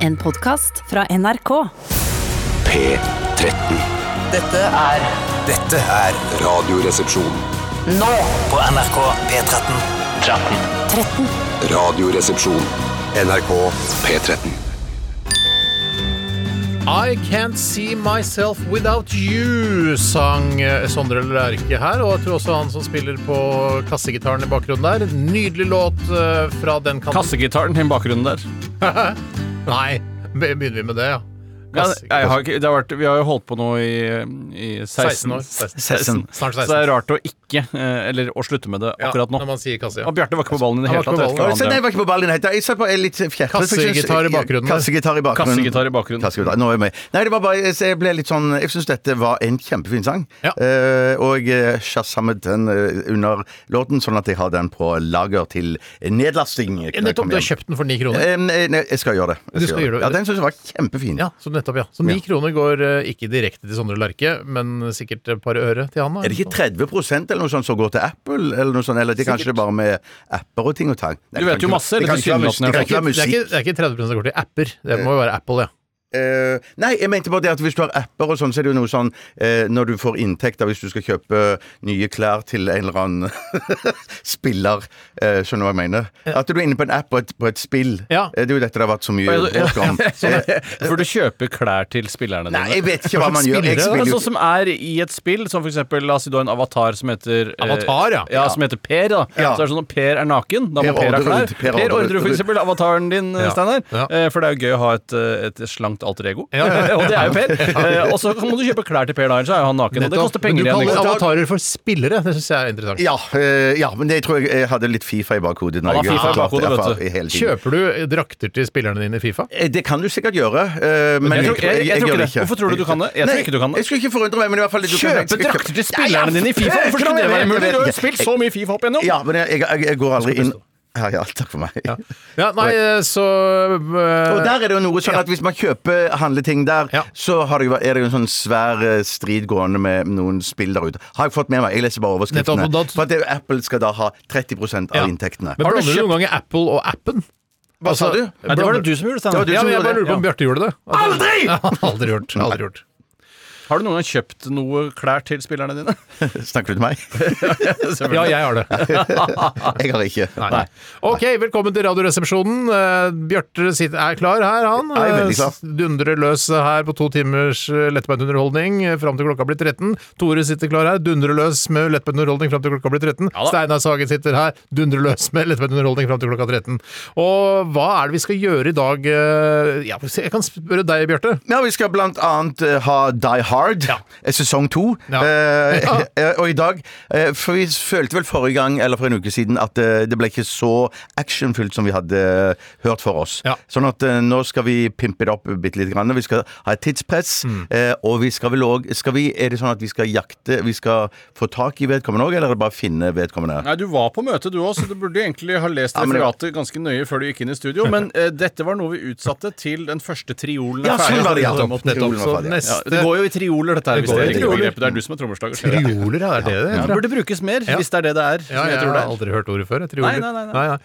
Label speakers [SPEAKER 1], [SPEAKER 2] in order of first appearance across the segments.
[SPEAKER 1] En podkast fra NRK.
[SPEAKER 2] P13.
[SPEAKER 3] Dette er
[SPEAKER 2] Dette er Radioresepsjon.
[SPEAKER 3] nå på NRK P13. 13.
[SPEAKER 2] Radioresepsjon. NRK P13.
[SPEAKER 4] I Can't See Myself Without You, sang eh, Sondre Lerche her. Og jeg tror også han som spiller på kassegitaren i bakgrunnen der. Nydelig låt eh, fra den kanten.
[SPEAKER 5] Kassegitaren i bakgrunnen der.
[SPEAKER 4] Nei, be- begynner vi med det, ja.
[SPEAKER 5] Ja,
[SPEAKER 4] Kasse-
[SPEAKER 5] jeg har, ikke- det har vært, vi har jo holdt på nå i, i
[SPEAKER 4] 16
[SPEAKER 5] 16,
[SPEAKER 4] år. 16.
[SPEAKER 5] 16.
[SPEAKER 4] Snart
[SPEAKER 5] Så det
[SPEAKER 4] 16.
[SPEAKER 5] er rart å ikke, eh, eller å slutte med det
[SPEAKER 4] Ja,
[SPEAKER 5] akkurat nå.
[SPEAKER 4] Når man sier kasse, ja.
[SPEAKER 5] Og Bjarte var ikke på ballen i det
[SPEAKER 4] Han
[SPEAKER 5] hele
[SPEAKER 4] var
[SPEAKER 5] tatt. jeg
[SPEAKER 4] ikke på
[SPEAKER 5] vet
[SPEAKER 6] Så
[SPEAKER 5] ikke
[SPEAKER 6] nei,
[SPEAKER 5] hva han drev med.
[SPEAKER 6] jeg var ikke på ballen helt. Jeg satt på en litt fjertet.
[SPEAKER 4] Kassegitar i bakgrunnen.
[SPEAKER 6] Kassegitar i bakgrunnen.
[SPEAKER 5] Kassegitar i bakgrunnen.
[SPEAKER 6] Kassegitar. Nå er jeg med. Nei, det var bare, jeg- jeg ble litt sånn Jeg syns dette var en kjempefin sang.
[SPEAKER 4] Ja.
[SPEAKER 6] Eh, og eh, shazammet den eh, under låten, sånn at jeg har den på lager til nedlasting. når jeg
[SPEAKER 4] Nettopp, du
[SPEAKER 6] kommer
[SPEAKER 4] har
[SPEAKER 6] hjem.
[SPEAKER 4] kjøpt den for ni kroner.
[SPEAKER 6] Eh, nei, nei, jeg skal gjøre det. Jeg
[SPEAKER 4] Du skal gjøre det.
[SPEAKER 6] Ja, Den syns jeg var kjempefin.
[SPEAKER 4] Ja, så nettopp, ja. Så ni
[SPEAKER 6] Ja.
[SPEAKER 4] kroner går eh, ikke direkte til Sondre Lerche, men sikkert et par øre til han. da.
[SPEAKER 6] Er det ikke 30 eller noe sånt som går til Apple? Eller noe sånt, eller det er kanskje bare med apper og ting og tang? Nei,
[SPEAKER 5] Du
[SPEAKER 6] det
[SPEAKER 5] vet
[SPEAKER 6] kan
[SPEAKER 5] jo
[SPEAKER 6] ikke-
[SPEAKER 5] masse,
[SPEAKER 6] det
[SPEAKER 5] eller
[SPEAKER 6] kan ikke være
[SPEAKER 5] tilsynelatende,
[SPEAKER 6] musikk- det kan
[SPEAKER 4] Det er
[SPEAKER 6] ikke være
[SPEAKER 4] ikke, det er
[SPEAKER 6] musikk.
[SPEAKER 4] ikke, det er ikke 30 som går til apper. Det må jo være Apple, ja.
[SPEAKER 6] Eh, nei, jeg mente bare det at hvis du har apper og sånn, så er det jo noe sånn eh, når du får inntekter hvis du skal kjøpe nye klær til en eller annen spiller, eh, skjønner du hva jeg mener? At du er inne på en app og et, på et spill.
[SPEAKER 4] Ja.
[SPEAKER 6] Eh, Det er jo dette det har vært så mye
[SPEAKER 5] Ja, sånn ja,
[SPEAKER 6] bråk om. Eh,
[SPEAKER 5] For du kjøper klær til spillerne
[SPEAKER 6] Nei, jeg
[SPEAKER 5] dine.
[SPEAKER 6] vet ikke hva man gjør. Jeg
[SPEAKER 4] Spillere,
[SPEAKER 5] Men
[SPEAKER 6] spiller jo
[SPEAKER 5] sånn som er i et spill, som for eksempel La oss si du har en avatar som heter eh,
[SPEAKER 4] Avatar, ja.
[SPEAKER 5] ja. Som heter Per, da.
[SPEAKER 6] Ja.
[SPEAKER 5] Så er det sånn at Per er naken. Da må
[SPEAKER 6] Per
[SPEAKER 5] Per ha
[SPEAKER 6] Orderud,
[SPEAKER 5] klær.
[SPEAKER 6] Per
[SPEAKER 5] Per Orderud, for
[SPEAKER 6] Orderud.
[SPEAKER 5] eksempel. Avataren din,
[SPEAKER 4] Ja.
[SPEAKER 5] Steinar.
[SPEAKER 4] Ja.
[SPEAKER 5] Eh, For det er jo gøy å ha et, eh, et slankt alter ego.
[SPEAKER 4] Ja, ja, ja.
[SPEAKER 5] og det er jo Per. Eh, Og så må du kjøpe klær til Per, da, ellers er jo han naken. Og det
[SPEAKER 4] Nettopp.
[SPEAKER 5] koster penger
[SPEAKER 4] Men
[SPEAKER 5] igjen.
[SPEAKER 4] du
[SPEAKER 5] ikke
[SPEAKER 4] kaller
[SPEAKER 5] sant?
[SPEAKER 4] avatarer for spillere. Det syns jeg er interessant.
[SPEAKER 6] ja, eh, ja, men det tror jeg jeg hadde litt Fifa i bakhodet.
[SPEAKER 5] Han
[SPEAKER 6] når
[SPEAKER 5] har
[SPEAKER 6] jeg-
[SPEAKER 5] FIFA i
[SPEAKER 6] klart,
[SPEAKER 5] bakhodet,
[SPEAKER 6] jeg
[SPEAKER 5] vet
[SPEAKER 6] har-
[SPEAKER 5] du.
[SPEAKER 6] hele tiden.
[SPEAKER 4] Kjøper du drakter til spillerne dine i Fifa?
[SPEAKER 6] Eh, Det kan du sikkert gjøre, eh, men
[SPEAKER 5] Jeg tror- jeg- jeg tror
[SPEAKER 6] gjør
[SPEAKER 5] ikke det. Hvorfor tror du du kan det? Jeg tror
[SPEAKER 6] Nei,
[SPEAKER 5] ikke du kan det.
[SPEAKER 6] Jeg skulle ikke forundre meg, men i hvert fall du kan-
[SPEAKER 5] Kjøpe drakter til spillerne dine i Fifa! Hvorfor skulle det være mulig? Du har jo spilt så mye Fifa opp igjennom.
[SPEAKER 6] Ja, men jeg, jeg, jeg, jeg går aldri inn ja, ja, takk for meg.
[SPEAKER 4] Ja, nei, så eh,
[SPEAKER 6] Og der er det jo noe sånn at hvis man kjøper handleting der,
[SPEAKER 4] Ja.
[SPEAKER 6] så har det, jo- er det jo en sånn svær eh, strid gående med noen spill der ute. Har jeg fått med meg. Jeg leser bare overskriftene.
[SPEAKER 4] Nettopp, og da-
[SPEAKER 6] For at det, Apple skal da ha 30 av
[SPEAKER 4] Ja.
[SPEAKER 6] inntektene.
[SPEAKER 4] Men blander du noen ganger Apple og appen?
[SPEAKER 6] Hva sa du?
[SPEAKER 5] Nei, det var det du som gjorde, Steinar.
[SPEAKER 6] Det var du
[SPEAKER 4] Ja,
[SPEAKER 6] som
[SPEAKER 4] men jeg
[SPEAKER 6] gjorde
[SPEAKER 4] bare
[SPEAKER 6] det.
[SPEAKER 4] lurer på om Bjarte gjorde det. Aldri! Aldri gjort. Aldri gjort.
[SPEAKER 5] Har du noen gang kjøpt noe klær til spillerne dine?
[SPEAKER 6] Snakker du til meg?
[SPEAKER 4] Ja, jeg har det.
[SPEAKER 6] jeg har ikke.
[SPEAKER 4] Nei. Ok, velkommen til Radioresepsjonen. Eh, Bjarte sitter- er klar her, han.
[SPEAKER 6] Jeg er veldig klar.
[SPEAKER 4] Eh, Dundrer løs her på to timers eh, lettbeint underholdning eh, fram til klokka blir 13. Tore sitter klar her, dundrer løs med lettbeint underholdning fram til klokka blir 13.
[SPEAKER 5] Ja da.
[SPEAKER 4] Steinar Sagen sitter her, dundrer løs med lettbeint underholdning fram til klokka 13. Og hva er det vi skal gjøre i dag? eh, Ja, jeg kan spørre deg, Bjarte.
[SPEAKER 6] Ja, vi skal blant annet eh, ha Die Hard,
[SPEAKER 4] Ja.
[SPEAKER 6] eh, sesong to.
[SPEAKER 4] Ja.
[SPEAKER 6] Eh,
[SPEAKER 4] Ja.
[SPEAKER 6] eh, og i dag eh, For vi følte vel forrige gang, eller for en uke siden, at eh, det ble ikke så actionfylt som vi hadde eh, hørt for oss.
[SPEAKER 4] Ja.
[SPEAKER 6] Sånn at eh, nå skal vi pimpe det opp bitte lite grann. og Vi skal ha et tidspress.
[SPEAKER 4] Mm.
[SPEAKER 6] eh, og vi skal vel òg skal vi, Er det sånn at vi skal jakte Vi skal få tak i vedkommende òg, eller er det bare finne vedkommende?
[SPEAKER 5] Nei, Du var på møtet du òg, så du burde egentlig ha lest
[SPEAKER 6] Ja, men det-
[SPEAKER 5] referatet ganske nøye før du gikk inn i studio. Men eh, dette var noe vi utsatte til den første triolen
[SPEAKER 6] Ja,
[SPEAKER 5] er
[SPEAKER 6] sånn
[SPEAKER 5] ferdig.
[SPEAKER 6] var det, ja.
[SPEAKER 5] Nettopp,
[SPEAKER 6] Triolen
[SPEAKER 5] nettopp.
[SPEAKER 6] var
[SPEAKER 4] Så
[SPEAKER 6] ferdig, ja.
[SPEAKER 5] Ja,
[SPEAKER 4] neste
[SPEAKER 5] det går jo i trioler, dette her.
[SPEAKER 4] Det
[SPEAKER 5] hvis
[SPEAKER 4] går
[SPEAKER 5] det
[SPEAKER 4] i
[SPEAKER 5] er riktig
[SPEAKER 4] trioler.
[SPEAKER 5] begrepet. Det er du som er trommeslager. skjønner jeg.
[SPEAKER 4] Trioler, ja, er det det?
[SPEAKER 5] Ja,
[SPEAKER 4] heter,
[SPEAKER 5] det burde brukes mer,
[SPEAKER 4] Ja.
[SPEAKER 5] hvis det er det det er.
[SPEAKER 4] Ja,
[SPEAKER 5] som
[SPEAKER 4] jeg,
[SPEAKER 5] jeg tror det
[SPEAKER 4] har
[SPEAKER 5] er.
[SPEAKER 4] aldri hørt ordet før. Jeg tror
[SPEAKER 5] Nei,
[SPEAKER 4] aldri-
[SPEAKER 5] nei, nei, nei.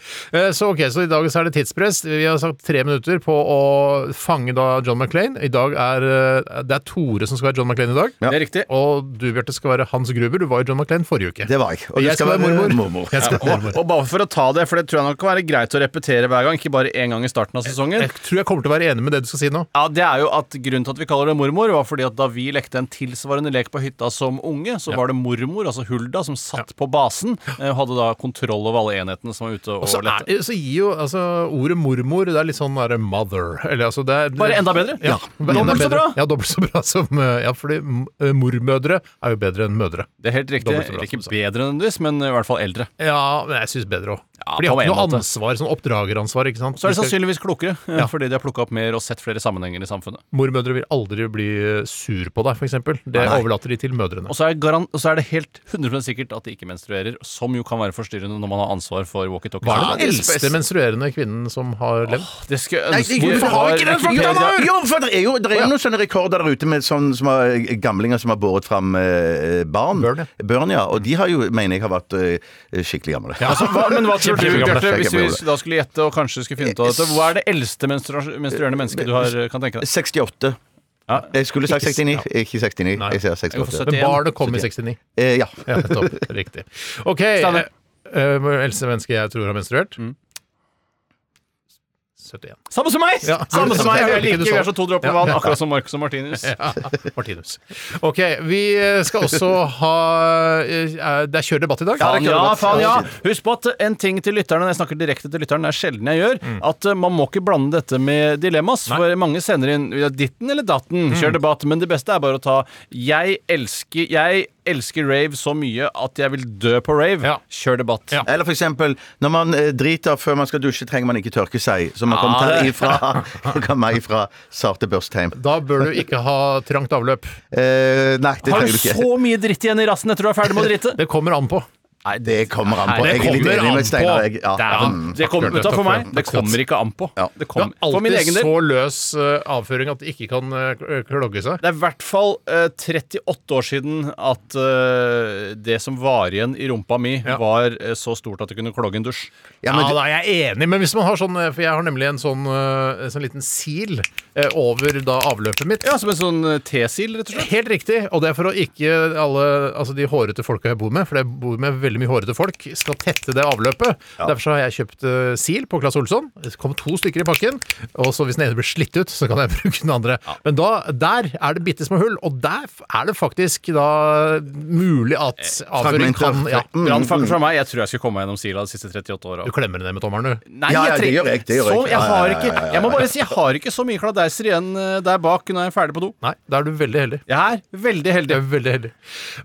[SPEAKER 4] Eh, Så ok, så i dag så er det tidspress. Vi har sagt tre minutter på å fange da John McClain. I dag er eh, det er Tore som skal være John McClain i dag.
[SPEAKER 5] Det er riktig.
[SPEAKER 4] Og du, Bjarte, skal være Hans Gruber. Du var jo John McClain forrige uke.
[SPEAKER 6] Det var jeg. Og du
[SPEAKER 4] jeg skal være mormor. Jeg skal være
[SPEAKER 5] Og,
[SPEAKER 4] mormor.
[SPEAKER 5] og bare for å ta det, for det tror jeg nok kan være greit å repetere hver gang, ikke bare én gang i starten av sesongen.
[SPEAKER 4] Jeg tror jeg kommer til å være enig med det du skal si nå.
[SPEAKER 5] Ja, det er jo at Grunnen til at vi kaller det mormor, var fordi at da vi lekte en tilsvarende lek på hytta som unge, så var det mormor, altså Hulda, som satt på basen eh, og hadde da kontroll over alle enhetene som var ute og,
[SPEAKER 4] Og så,
[SPEAKER 5] lette.
[SPEAKER 4] er, så gir jo altså, ordet mormor Det er litt sånn der, mother. Eller, altså, det er,
[SPEAKER 5] Bare enda bedre.
[SPEAKER 4] Ja,
[SPEAKER 5] Dobbelt
[SPEAKER 4] enda
[SPEAKER 5] så
[SPEAKER 4] bedre.
[SPEAKER 5] bra.
[SPEAKER 4] Ja, dobbelt så bra som eh, Ja, fordi mm, eh, mormødre er jo bedre enn mødre.
[SPEAKER 5] Det er helt riktig.
[SPEAKER 4] Dobbelt så bra,
[SPEAKER 5] Eller
[SPEAKER 4] som
[SPEAKER 5] ikke
[SPEAKER 4] du sa.
[SPEAKER 5] bedre nødvendigvis, men i hvert fall eldre.
[SPEAKER 4] Ja, men jeg syns bedre òg.
[SPEAKER 5] Ja,
[SPEAKER 4] For de
[SPEAKER 5] på
[SPEAKER 4] har ikke
[SPEAKER 5] en
[SPEAKER 4] noe
[SPEAKER 5] måte.
[SPEAKER 4] ansvar, sånn oppdrageransvar, ikke sant.
[SPEAKER 5] Så er det
[SPEAKER 4] De skal-
[SPEAKER 5] sannsynligvis klokere, eh, fordi de har plukka opp mer og sett flere sammenhenger i samfunnet.
[SPEAKER 4] Mormødre vil aldri bli eh, sur på deg, f.eks. Det overlater de til mødrene.
[SPEAKER 5] Og så, er garan og så er det helt 100 sikkert at de ikke menstruerer, som jo kan være forstyrrende når man har ansvar
[SPEAKER 4] Hva
[SPEAKER 5] for
[SPEAKER 4] er
[SPEAKER 5] walkietalkie.
[SPEAKER 4] den eldste menstruerende kvinnen som har levd?
[SPEAKER 5] Det skulle jeg
[SPEAKER 6] Nei,
[SPEAKER 5] ønske
[SPEAKER 6] ikke-
[SPEAKER 5] vi
[SPEAKER 6] hvorfor
[SPEAKER 5] var
[SPEAKER 6] har ikke den
[SPEAKER 5] Wikipedia.
[SPEAKER 6] fakta der? Jo, for det er jo, det er jo noen sånne rekorder der ute med sånne som har, gamlinger som har båret fram eh, barn.
[SPEAKER 4] Børn, ja.
[SPEAKER 6] Børn, ja. Og de har jo, mener jeg, har vært eh, skikkelig gamle.
[SPEAKER 5] Altså, hva, men hva tror tror du,
[SPEAKER 4] kjempegamle.
[SPEAKER 5] Bjarte, hvis
[SPEAKER 6] Kjempegamle.
[SPEAKER 5] vi da skulle gjette og kanskje skulle finne ut av dette, hva er det eldste menstru- menstruerende mennesket du har, kan tenke deg?
[SPEAKER 6] 68.
[SPEAKER 5] Ja.
[SPEAKER 6] Jeg skulle sagt
[SPEAKER 5] Ikke-
[SPEAKER 6] 69, ikke 69.
[SPEAKER 4] Nei.
[SPEAKER 6] Jeg sier
[SPEAKER 5] Jeg går for
[SPEAKER 6] 68.
[SPEAKER 5] 70.
[SPEAKER 4] Men barnet kom i 69.
[SPEAKER 6] Eh, ja.
[SPEAKER 4] Ja, nettopp. Riktig. OK. eh,
[SPEAKER 5] Steinar. Mm.
[SPEAKER 4] eh, Eldste menneske jeg tror har menstruert? 71.
[SPEAKER 5] Samme som meg!
[SPEAKER 4] Ja.
[SPEAKER 5] Samme som meg,
[SPEAKER 4] Jeg
[SPEAKER 5] jeg
[SPEAKER 4] liker
[SPEAKER 5] liker
[SPEAKER 4] du
[SPEAKER 5] Vi er
[SPEAKER 4] sånn.
[SPEAKER 5] så to dråper
[SPEAKER 4] Ja.
[SPEAKER 5] vann, akkurat som Marcus og Martinus.
[SPEAKER 4] Ja, Martinus. OK, vi eh, skal også ha eh, eh, Det er kjør debatt i dag.
[SPEAKER 5] Faen ja, faen ja! Husk på at en ting til lytterne, når jeg snakker direkte til lytteren, det er sjelden jeg gjør,
[SPEAKER 4] Mm.
[SPEAKER 5] at eh, man må ikke blande dette med dilemmas, for mange sender inn ja, ditten eller
[SPEAKER 4] Mm.
[SPEAKER 5] datten, kjør debatt, men det beste er bare å ta jeg elsker, jeg elsker rave så mye at jeg vil dø på rave,
[SPEAKER 4] Ja.
[SPEAKER 5] kjør debatt.
[SPEAKER 4] Ja.
[SPEAKER 6] Eller for eksempel, når man eh, driter før man skal dusje, trenger man ikke tørke seg. Så man kan
[SPEAKER 5] Ah,
[SPEAKER 6] ta
[SPEAKER 5] det-
[SPEAKER 6] ifra kan meg ifra Sarte Børstheim.
[SPEAKER 4] Da bør du ikke ha trangt avløp.
[SPEAKER 6] Eh, nei, det
[SPEAKER 5] Har
[SPEAKER 6] trenger
[SPEAKER 5] du
[SPEAKER 6] du ikke.
[SPEAKER 5] så mye dritt igjen i rassen etter du er ferdig med å drite?
[SPEAKER 4] Det kommer an på.
[SPEAKER 6] Nei, det kommer an på.
[SPEAKER 4] Nei, det
[SPEAKER 6] Jeg er litt
[SPEAKER 4] kommer
[SPEAKER 6] enig
[SPEAKER 4] an
[SPEAKER 6] med Steinar.
[SPEAKER 4] på.
[SPEAKER 6] jeg- Ja.
[SPEAKER 5] Det,
[SPEAKER 6] Mm.
[SPEAKER 5] er, det
[SPEAKER 4] Takk,
[SPEAKER 5] kommer vet du hva, for
[SPEAKER 4] takk,
[SPEAKER 5] meg. Det
[SPEAKER 4] takk.
[SPEAKER 5] kommer ikke an på.
[SPEAKER 6] Ja.
[SPEAKER 5] Det
[SPEAKER 4] Du har
[SPEAKER 5] kommer, for min
[SPEAKER 4] alltid
[SPEAKER 5] egen del.
[SPEAKER 4] så løs eh, avføring at det ikke kan eh, k- klogge seg.
[SPEAKER 5] Det er i hvert fall eh, 38 år siden at eh, det som var igjen i rumpa mi,
[SPEAKER 4] Ja.
[SPEAKER 5] var eh, så stort at det kunne klogge en dusj.
[SPEAKER 4] Ja,
[SPEAKER 6] Ja, men
[SPEAKER 4] da er jeg enig, men hvis man har sånn eh, For jeg har nemlig en sånn, eh, en sånn liten sil eh, over da avløpet mitt.
[SPEAKER 5] Ja, Som en sånn eh, tesil, rett og slett.
[SPEAKER 4] Helt riktig, og det er for å ikke alle altså de hårete folka jeg bor med, for jeg bor med veldig mye hårete folk, skal tette det avløpet. Derfor så har jeg kjøpt eh, sil på Claes Olsson. Det kom to stykker i pakken. Og så hvis den ene blir slitt ut, så kan jeg bruke den andre. Men da, der er det bitte små hull, og der f- er det faktisk da mulig at
[SPEAKER 5] Eh,
[SPEAKER 4] avføring
[SPEAKER 6] fragmenter.
[SPEAKER 4] kan ja,
[SPEAKER 6] Mm,
[SPEAKER 5] Brannfakkel fra meg. Jeg tror jeg skulle komme meg gjennom sila de siste 38 åra.
[SPEAKER 4] Du klemmer det ned med tommelen, du.
[SPEAKER 5] Nei,
[SPEAKER 6] Ja, ja, det gjør jeg, det gjør jeg.
[SPEAKER 5] Så, jeg,
[SPEAKER 6] Ja, ja,
[SPEAKER 5] har
[SPEAKER 6] ja,
[SPEAKER 5] ikke,
[SPEAKER 6] ja, ja, ja,
[SPEAKER 5] jeg må
[SPEAKER 6] ja.
[SPEAKER 5] bare si jeg har ikke så mye kladeiser igjen eh, der bak når jeg er ferdig på do.
[SPEAKER 4] Nei, da er du veldig heldig.
[SPEAKER 5] Jeg er veldig
[SPEAKER 4] Du
[SPEAKER 5] heldig.
[SPEAKER 4] er veldig heldig.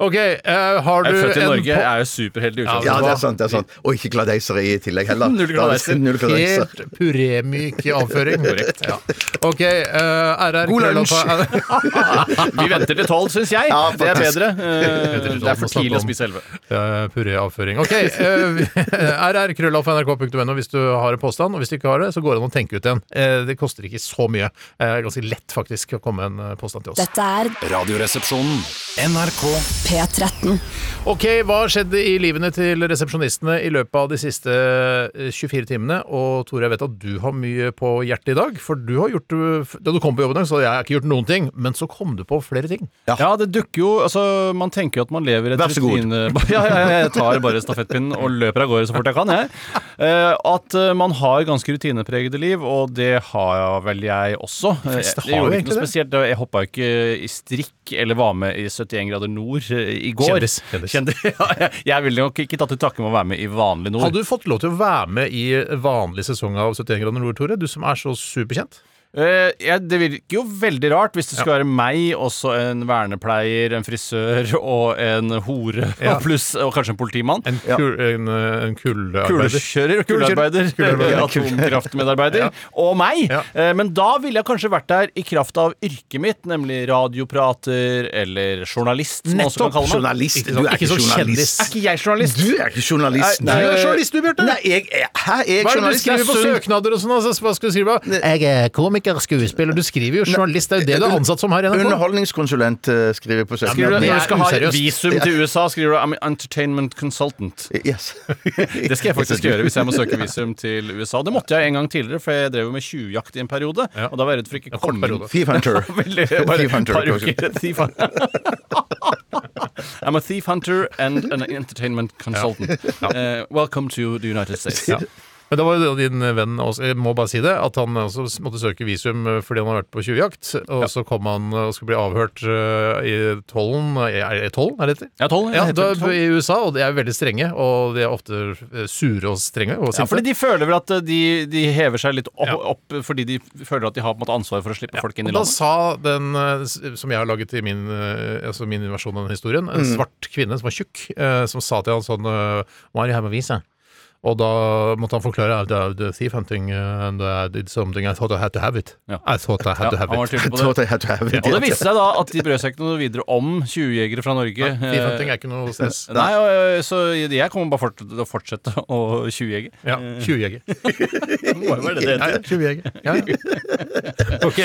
[SPEAKER 4] OK, eh, har du
[SPEAKER 5] Jeg er født i
[SPEAKER 4] en
[SPEAKER 5] Norge,
[SPEAKER 4] på-
[SPEAKER 5] jeg er jo superheldig i utgangspunktet.
[SPEAKER 6] Ja, det er sant. det er sant Og ikke gladeiser i tillegg heller.
[SPEAKER 5] Null
[SPEAKER 6] Da er det
[SPEAKER 5] gladeiser.
[SPEAKER 6] Null gladeiser.
[SPEAKER 4] Helt purémyk i avføring.
[SPEAKER 5] Korrekt.
[SPEAKER 4] Ja. OK, eh, RR
[SPEAKER 6] God lunsj.
[SPEAKER 4] krøllalfa-
[SPEAKER 5] Vi venter til tolv, syns jeg.
[SPEAKER 6] Ja,
[SPEAKER 5] det er
[SPEAKER 6] faktisk.
[SPEAKER 5] bedre. Eh,
[SPEAKER 4] til
[SPEAKER 5] Det er
[SPEAKER 4] tolv,
[SPEAKER 5] for tidlig
[SPEAKER 4] snakke
[SPEAKER 5] å
[SPEAKER 4] om.
[SPEAKER 5] spise elleve.
[SPEAKER 4] Ja, Puréavføring. OK. eh, rrkrøllalfa.nrk.no hvis du har en påstand. Og hvis du ikke har det, så går det an å tenke ut en. Eh, Det koster ikke så mye. Eh, Det er ganske lett faktisk å komme med en eh, påstand til oss.
[SPEAKER 1] Dette er
[SPEAKER 2] Radioresepsjonen. NRK
[SPEAKER 1] P13.
[SPEAKER 4] Ok, Hva skjedde i livene til resepsjonistene i løpet av de siste eh, 24 timene? Og Tore, jeg vet at du har mye på hjertet i dag. For du har gjort eh, Da du kom på jobb i dag, så hadde jeg ikke gjort noen ting. Men så kom du på flere ting.
[SPEAKER 5] Ja. det dukker jo altså, Man tenker jo at man lever et
[SPEAKER 6] Vær så god.
[SPEAKER 5] rutine... Ja, ja, ja, jeg tar bare stafettpinnen og løper av gårde så fort jeg kan. Jeg. Eh, at eh, man har ganske rutinepregede liv, og det har jeg vel jeg også. Eh,
[SPEAKER 4] fleste
[SPEAKER 5] det
[SPEAKER 4] har jo
[SPEAKER 5] gjorde ikke
[SPEAKER 4] egentlig
[SPEAKER 5] noe
[SPEAKER 4] det.
[SPEAKER 5] spesielt. Jeg hoppa jo ikke i strikk eller var med i 71 grader nord eh, i går.
[SPEAKER 4] Kjendis, kjendis.
[SPEAKER 5] Kjendis, ja, jeg- jeg ville nok ikke tatt til takke med å være med i vanlig nord.
[SPEAKER 4] Hadde du fått lov til å være med i vanlig sesong av 71 grader nord, Tore? Du som er så superkjent.
[SPEAKER 5] Eh, ja, det virker jo veldig rart hvis det skulle være meg, også en vernepleier, en frisør og en hore,
[SPEAKER 4] Ja.
[SPEAKER 5] og pluss og kanskje en politimann.
[SPEAKER 4] En, kul, en, eh, en kulearbeider.
[SPEAKER 5] Kulekjører, kulearbeider,
[SPEAKER 4] Kulearbeider.
[SPEAKER 5] atomkraftmedarbeider og meg.
[SPEAKER 4] Ja.
[SPEAKER 5] Eh, Men da ville jeg kanskje vært der i kraft av yrket mitt, nemlig radioprater eller journalist. som man også
[SPEAKER 4] Nettopp,
[SPEAKER 5] kan kalle meg.
[SPEAKER 6] Journalist.
[SPEAKER 4] Ikke
[SPEAKER 6] Du
[SPEAKER 4] sånn-
[SPEAKER 6] er
[SPEAKER 4] ikke
[SPEAKER 6] ikke
[SPEAKER 4] sånn
[SPEAKER 6] journalist.
[SPEAKER 5] Er ikke jeg journalist?
[SPEAKER 6] Du er ikke
[SPEAKER 5] Nei,
[SPEAKER 6] journalist.
[SPEAKER 4] Du
[SPEAKER 5] nei.
[SPEAKER 4] er journalist, du, Bjarte!
[SPEAKER 6] Nei, jeg er Hæ, jeg Eh,
[SPEAKER 4] Hva
[SPEAKER 6] er
[SPEAKER 4] er det du
[SPEAKER 6] journalist.
[SPEAKER 4] skriver på
[SPEAKER 5] Det er sunt.
[SPEAKER 4] søknader og sånn? Altså? Hva skal du skrive? Jeg er komiker, skuespiller Du skriver jo journalist, det er jo det du er ansatt som her i NRK.
[SPEAKER 6] Underholdningskonsulent eh, skriver på
[SPEAKER 5] Skriver
[SPEAKER 6] søknaden.
[SPEAKER 5] du,
[SPEAKER 4] det
[SPEAKER 5] når
[SPEAKER 4] er
[SPEAKER 5] du skal ha
[SPEAKER 4] useriøst.
[SPEAKER 5] visum til USA, skriver du I'm an entertainment consultant.
[SPEAKER 6] Yes.
[SPEAKER 5] Det skal jeg faktisk gjøre hvis jeg må søke visum til USA. Det måtte jeg en gang tidligere, for jeg drev jo med tjuvjakt i en periode. Og da var jeg redd for ikke å komme inn.
[SPEAKER 6] Thief Hunter.
[SPEAKER 5] Veldig, bare
[SPEAKER 6] Thief
[SPEAKER 5] et
[SPEAKER 6] Hunter,
[SPEAKER 5] par
[SPEAKER 6] kanskje.
[SPEAKER 5] uker. Thief hunter. I'm a thief hunter and an entertainment consultant. Eh, welcome to the United States.
[SPEAKER 4] Men det var jo det din venn også, jeg må bare si det, at han også måtte søke visum eh, fordi han har vært på tjuvjakt. Og så kom han og skulle bli avhørt eh, i tollen eh, Er det tollen, er det det?
[SPEAKER 5] Ja, tolv,
[SPEAKER 4] Ja,
[SPEAKER 5] jeg
[SPEAKER 4] da,
[SPEAKER 5] heter tolv.
[SPEAKER 4] i USA, og de er veldig strenge, og de er ofte eh, sure og strenge. Og
[SPEAKER 5] Ja,
[SPEAKER 4] sinte.
[SPEAKER 5] fordi de føler vel at eh, de, de hever seg litt opp,
[SPEAKER 4] Ja.
[SPEAKER 5] opp fordi de føler at de har på en måte ansvar for å slippe folk inn i
[SPEAKER 4] Og da
[SPEAKER 5] landet.
[SPEAKER 4] sa den eh, s- som jeg har laget i min, eh, altså min versjon av den historien, en
[SPEAKER 5] Mm.
[SPEAKER 4] svart kvinne som var tjukk, eh, som sa til han sånn eh, Why do you have a visa? Og da måtte han forklare at uh, the thief hunting uh, and I did something I thought I had to have it.
[SPEAKER 5] Ja.
[SPEAKER 4] I thought I had
[SPEAKER 5] Ja,
[SPEAKER 4] to have
[SPEAKER 5] han var
[SPEAKER 4] it.
[SPEAKER 5] tydelig på det.
[SPEAKER 6] Thought I had to have it.
[SPEAKER 5] Og det viste seg da at de brød seg ikke noe videre om tjuvjegere fra Norge.
[SPEAKER 4] Thief hunting er ikke noe stress.
[SPEAKER 5] Eh, Nei, og, eh, så jeg kommer bare fort- til å fortsette å tjuvjege.
[SPEAKER 4] Ja, Tjuvjeger.
[SPEAKER 5] Det må jo være det det heter.
[SPEAKER 4] Ja, tjuvjeger. Ja, ja. Ok,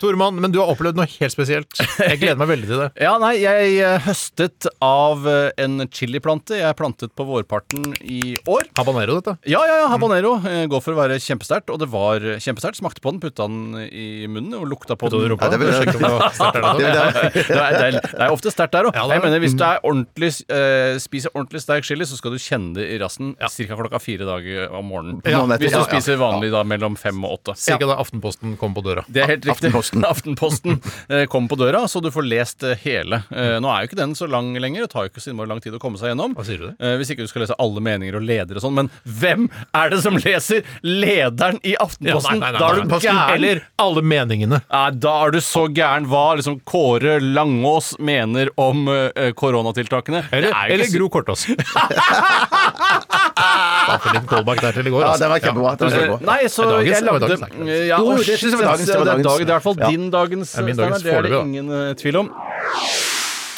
[SPEAKER 4] Tormann, men du har opplevd noe helt spesielt. Jeg gleder meg veldig til det.
[SPEAKER 5] Ja, nei, jeg eh, høstet av eh, en chiliplante jeg plantet på vårparten i år.
[SPEAKER 4] Habanero, dette.
[SPEAKER 5] Ja, ja, ja, habanero. eh, Går for å være kjempesterkt, og det var eh, kjempesterkt. Smakte på den, putta den i munnen og lukta på den.
[SPEAKER 6] Ja, det vil jeg-
[SPEAKER 4] Sjekke om det var sterkt eller noe.
[SPEAKER 6] Det er det.
[SPEAKER 5] det, er, det, er, det er ofte sterkt der òg.
[SPEAKER 4] Ja, det er
[SPEAKER 5] jeg
[SPEAKER 4] det.
[SPEAKER 5] mener, hvis du er ordentlig, eh, spiser ordentlig sterk chili, så skal du kjenne det i rassen Cirka klokka fire dager om morgenen.
[SPEAKER 6] Ja.
[SPEAKER 5] Hvis du
[SPEAKER 6] Ja, ja.
[SPEAKER 5] spiser vanlig da mellom fem og åtte.
[SPEAKER 4] Cirka da Aftenposten kom på døra.
[SPEAKER 5] Det er helt riktig.
[SPEAKER 6] Aftenposten.
[SPEAKER 5] Aftenposten eh, kom på døra, så du får lest eh, hele. Eh, Nå er jo ikke den så lang lenger. Det tar jo ikke så innmari lang tid å komme seg gjennom.
[SPEAKER 4] Hva sier du det?
[SPEAKER 5] Eh, Hvis ikke du skal lese alle meninger og ledere og sånn. Men hvem er det som leser lederen i Aftenposten? Da er du gæren!
[SPEAKER 4] Eller alle meningene.
[SPEAKER 5] Nei, da er du så gæren hva liksom Kåre Langås mener om eh, koronatiltakene.
[SPEAKER 4] Eller,
[SPEAKER 5] Det er jo
[SPEAKER 4] eller
[SPEAKER 5] ikke så-
[SPEAKER 4] Gro Kortås. Bare for en callback der til i går.
[SPEAKER 6] Ja,
[SPEAKER 4] altså.
[SPEAKER 6] den var kjempebra. Den var
[SPEAKER 5] Eh,
[SPEAKER 6] kjempebra.
[SPEAKER 5] Nei, så
[SPEAKER 4] Det er dagens, det
[SPEAKER 5] jeg
[SPEAKER 4] var
[SPEAKER 5] lagde
[SPEAKER 4] dagens,
[SPEAKER 5] ja,
[SPEAKER 4] det er
[SPEAKER 6] Jo, jo,
[SPEAKER 5] å,
[SPEAKER 6] det
[SPEAKER 5] shit,
[SPEAKER 6] synes jeg var dagens, det var
[SPEAKER 5] det er
[SPEAKER 6] dagens.
[SPEAKER 5] dag- Det er i hvert fall
[SPEAKER 6] Ja.
[SPEAKER 5] din dagens,
[SPEAKER 4] er min
[SPEAKER 5] Steinar,
[SPEAKER 4] dagens
[SPEAKER 5] det er
[SPEAKER 4] foreløpig,
[SPEAKER 5] det
[SPEAKER 4] da.
[SPEAKER 5] ingen eh, tvil om.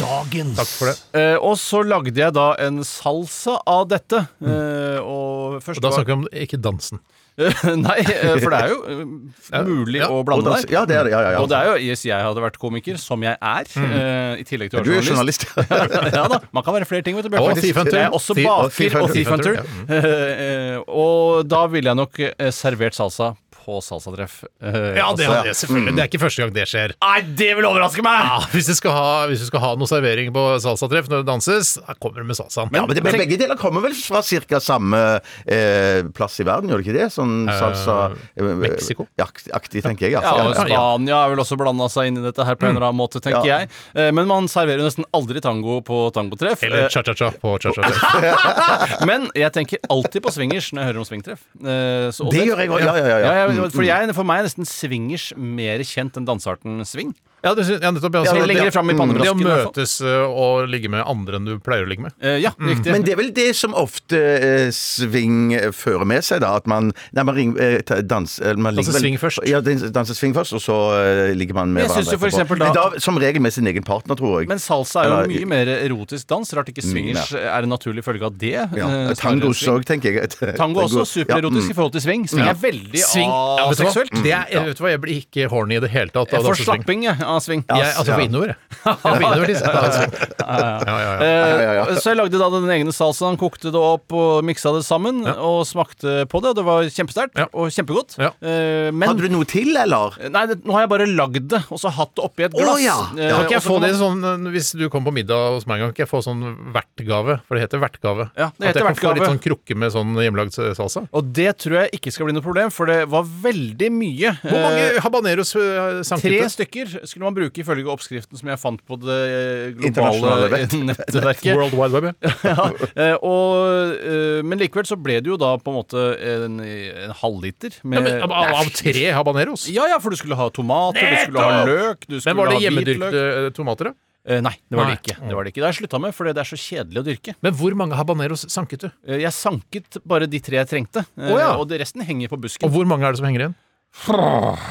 [SPEAKER 4] Takk for det.
[SPEAKER 5] Eh, og så lagde jeg da en salsa av dette. Eh, og først
[SPEAKER 4] Og da
[SPEAKER 5] var-
[SPEAKER 4] snakker vi om ikke dansen.
[SPEAKER 5] Nei, eh, for det er jo eh, mulig
[SPEAKER 4] Ja.
[SPEAKER 5] å
[SPEAKER 6] Og
[SPEAKER 5] blande
[SPEAKER 6] dans-
[SPEAKER 5] der.
[SPEAKER 6] Ja, det er det. Ja, ja,
[SPEAKER 5] Og det
[SPEAKER 6] ja.
[SPEAKER 5] er jo, hvis jeg hadde vært komiker, som jeg er, eh, i tillegg til å
[SPEAKER 6] Du er
[SPEAKER 5] være journalist
[SPEAKER 6] journalist.
[SPEAKER 5] ja da, Man kan være flere ting, vet du. Bjarte.
[SPEAKER 4] Og Thief Hunter.
[SPEAKER 5] Jeg er også
[SPEAKER 4] Thief-
[SPEAKER 5] baker
[SPEAKER 4] og
[SPEAKER 5] og Thief
[SPEAKER 4] Thief
[SPEAKER 5] Hunter.
[SPEAKER 4] Hunter. Ja,
[SPEAKER 5] Eh, eh, og da ville jeg nok eh, servert salsa på salsatreff. Eh,
[SPEAKER 4] Ja, det,
[SPEAKER 5] altså-
[SPEAKER 4] hadde jeg selvfølgelig. det er ikke første gang det skjer.
[SPEAKER 5] Nei, det vil overraske meg!
[SPEAKER 4] Ja, hvis, du skal ha, hvis du skal ha noe servering på salsatreff når det danses, da kommer du med salsaen.
[SPEAKER 6] Ja, men det, men
[SPEAKER 5] Tenk-
[SPEAKER 6] Begge deler kommer vel fra ca. samme eh, plass i verden, gjør det ikke det? Sånn salsa eh,
[SPEAKER 4] Mexico?
[SPEAKER 6] ja, Aktig, tenker jeg.
[SPEAKER 5] Ja, og
[SPEAKER 6] Altså. Ja, ja.
[SPEAKER 5] Spania har vel også blanda seg inn i dette her på en eller annen måte, tenker
[SPEAKER 6] Ja.
[SPEAKER 5] jeg. Eh, Men man serverer nesten aldri tango på tangotreff.
[SPEAKER 4] Eller
[SPEAKER 5] Eh,
[SPEAKER 4] cha-cha-cha på cha-cha-cha.
[SPEAKER 5] Men jeg tenker alltid på swingers når jeg hører om swingtreff. Eh, så- og
[SPEAKER 6] Det gjør jeg òg, ja, Mm. ja, ja, ja.
[SPEAKER 5] Ja, jeg- for, jeg, for meg er nesten swingers mer kjent enn dansearten swing.
[SPEAKER 4] Ja, det, ja, nettopp. ja,
[SPEAKER 5] Jeg
[SPEAKER 4] altså,
[SPEAKER 5] legger det fram i
[SPEAKER 4] det å
[SPEAKER 5] pannebrasken. i hvert fall.
[SPEAKER 4] møtes ø, og ligge med andre enn du pleier å ligge med.
[SPEAKER 5] Eh, Ja, riktig.
[SPEAKER 6] Mm. Men det er vel det som ofte eh, sving eh, fører med seg, da. At man Nei, man, ring, eh, ta- dans, eh, man ligger
[SPEAKER 4] Danser
[SPEAKER 6] vel-
[SPEAKER 4] swing først.
[SPEAKER 6] Ja, dans- danser swing først, og så eh, ligger man med
[SPEAKER 5] Jeg synes
[SPEAKER 6] hverandre
[SPEAKER 5] jo for eksempel da-
[SPEAKER 6] Men da som regel med sin egen partner, tror jeg.
[SPEAKER 5] Men salsa er jo
[SPEAKER 6] Eller- Mm,
[SPEAKER 5] mye mer erotisk dans. Rart ikke swingers er en naturlig følge av det.
[SPEAKER 6] ja.
[SPEAKER 5] eh,
[SPEAKER 6] Tango
[SPEAKER 5] snarere enn swing.
[SPEAKER 6] òg, tenker jeg.
[SPEAKER 5] Tango også.
[SPEAKER 6] Ja,
[SPEAKER 5] Supererotisk
[SPEAKER 6] mm.
[SPEAKER 5] i forhold til swing. Swing er veldig
[SPEAKER 4] Ja, vet du hva?
[SPEAKER 5] aseksuelt.
[SPEAKER 4] Det er, vet du hva? Jeg blir ikke horny i det hele tatt
[SPEAKER 5] Jeg
[SPEAKER 4] av
[SPEAKER 5] får
[SPEAKER 4] dansesving.
[SPEAKER 5] slapping jeg, av swing.
[SPEAKER 4] Jeg, altså for
[SPEAKER 6] Ja.
[SPEAKER 4] innover, jeg. jeg. får innover, liksom. Ja, ja, ja.
[SPEAKER 5] Eh,
[SPEAKER 6] ja, ja.
[SPEAKER 5] Så jeg lagde da den egne salsaen, kokte det opp og miksa det sammen. Og smakte på det, og det var kjempesterkt
[SPEAKER 4] Ja.
[SPEAKER 5] og kjempegodt.
[SPEAKER 4] Ja.
[SPEAKER 5] Eh, Men
[SPEAKER 6] Hadde du noe til, eller?
[SPEAKER 5] Nei, det, nå har jeg bare lagd det, og så hatt det oppi et glass.
[SPEAKER 6] ja.
[SPEAKER 5] Eh,
[SPEAKER 4] Kan ikke
[SPEAKER 5] og
[SPEAKER 4] jeg
[SPEAKER 5] så
[SPEAKER 4] få
[SPEAKER 5] kan man-
[SPEAKER 4] det sånn, ø, Hvis du kommer på middag hos meg en gang, kan jeg få sånn vertgave? For det heter vertgave.
[SPEAKER 5] Ja, det
[SPEAKER 4] At jeg
[SPEAKER 5] heter
[SPEAKER 4] kan få
[SPEAKER 5] vertgave.
[SPEAKER 4] litt sånn krukke med sånn hjemmelagd salsa?
[SPEAKER 5] Og det tror jeg ikke skal bli noe problem, for det var veldig mye.
[SPEAKER 4] Hvor
[SPEAKER 5] Eh,
[SPEAKER 4] mange habaneros eh, ø, sank
[SPEAKER 5] Tre
[SPEAKER 4] ut?
[SPEAKER 5] stykker skulle man bruke ifølge oppskriften som jeg fant på det eh, globale
[SPEAKER 6] Internasjonale vett-
[SPEAKER 5] nettverket.
[SPEAKER 4] World Wide Web, ja.
[SPEAKER 5] ja, eh, og, eh, men likevel så ble det jo da på en måte en, en halvliter med
[SPEAKER 4] Men, av, av tre habaneros?
[SPEAKER 5] Ja, ja, for du skulle ha tomater, du skulle ha løk du skulle
[SPEAKER 4] Men var det
[SPEAKER 5] ha hvitløk.
[SPEAKER 4] hjemmedyrkede ø, tomater, da?
[SPEAKER 5] Eh, nei, det var det
[SPEAKER 4] Nei.
[SPEAKER 5] ikke. Det var det ikke. Det har jeg slutta med, fordi det er så kjedelig å dyrke.
[SPEAKER 4] Men hvor mange habaneros sanket du?
[SPEAKER 5] Eh, Jeg sanket bare de tre jeg trengte, eh,
[SPEAKER 4] Å, ja.
[SPEAKER 5] og det resten henger på busken.
[SPEAKER 4] Og hvor mange er det som henger igjen?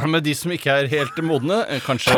[SPEAKER 5] Med de som ikke er helt modne, eh, kanskje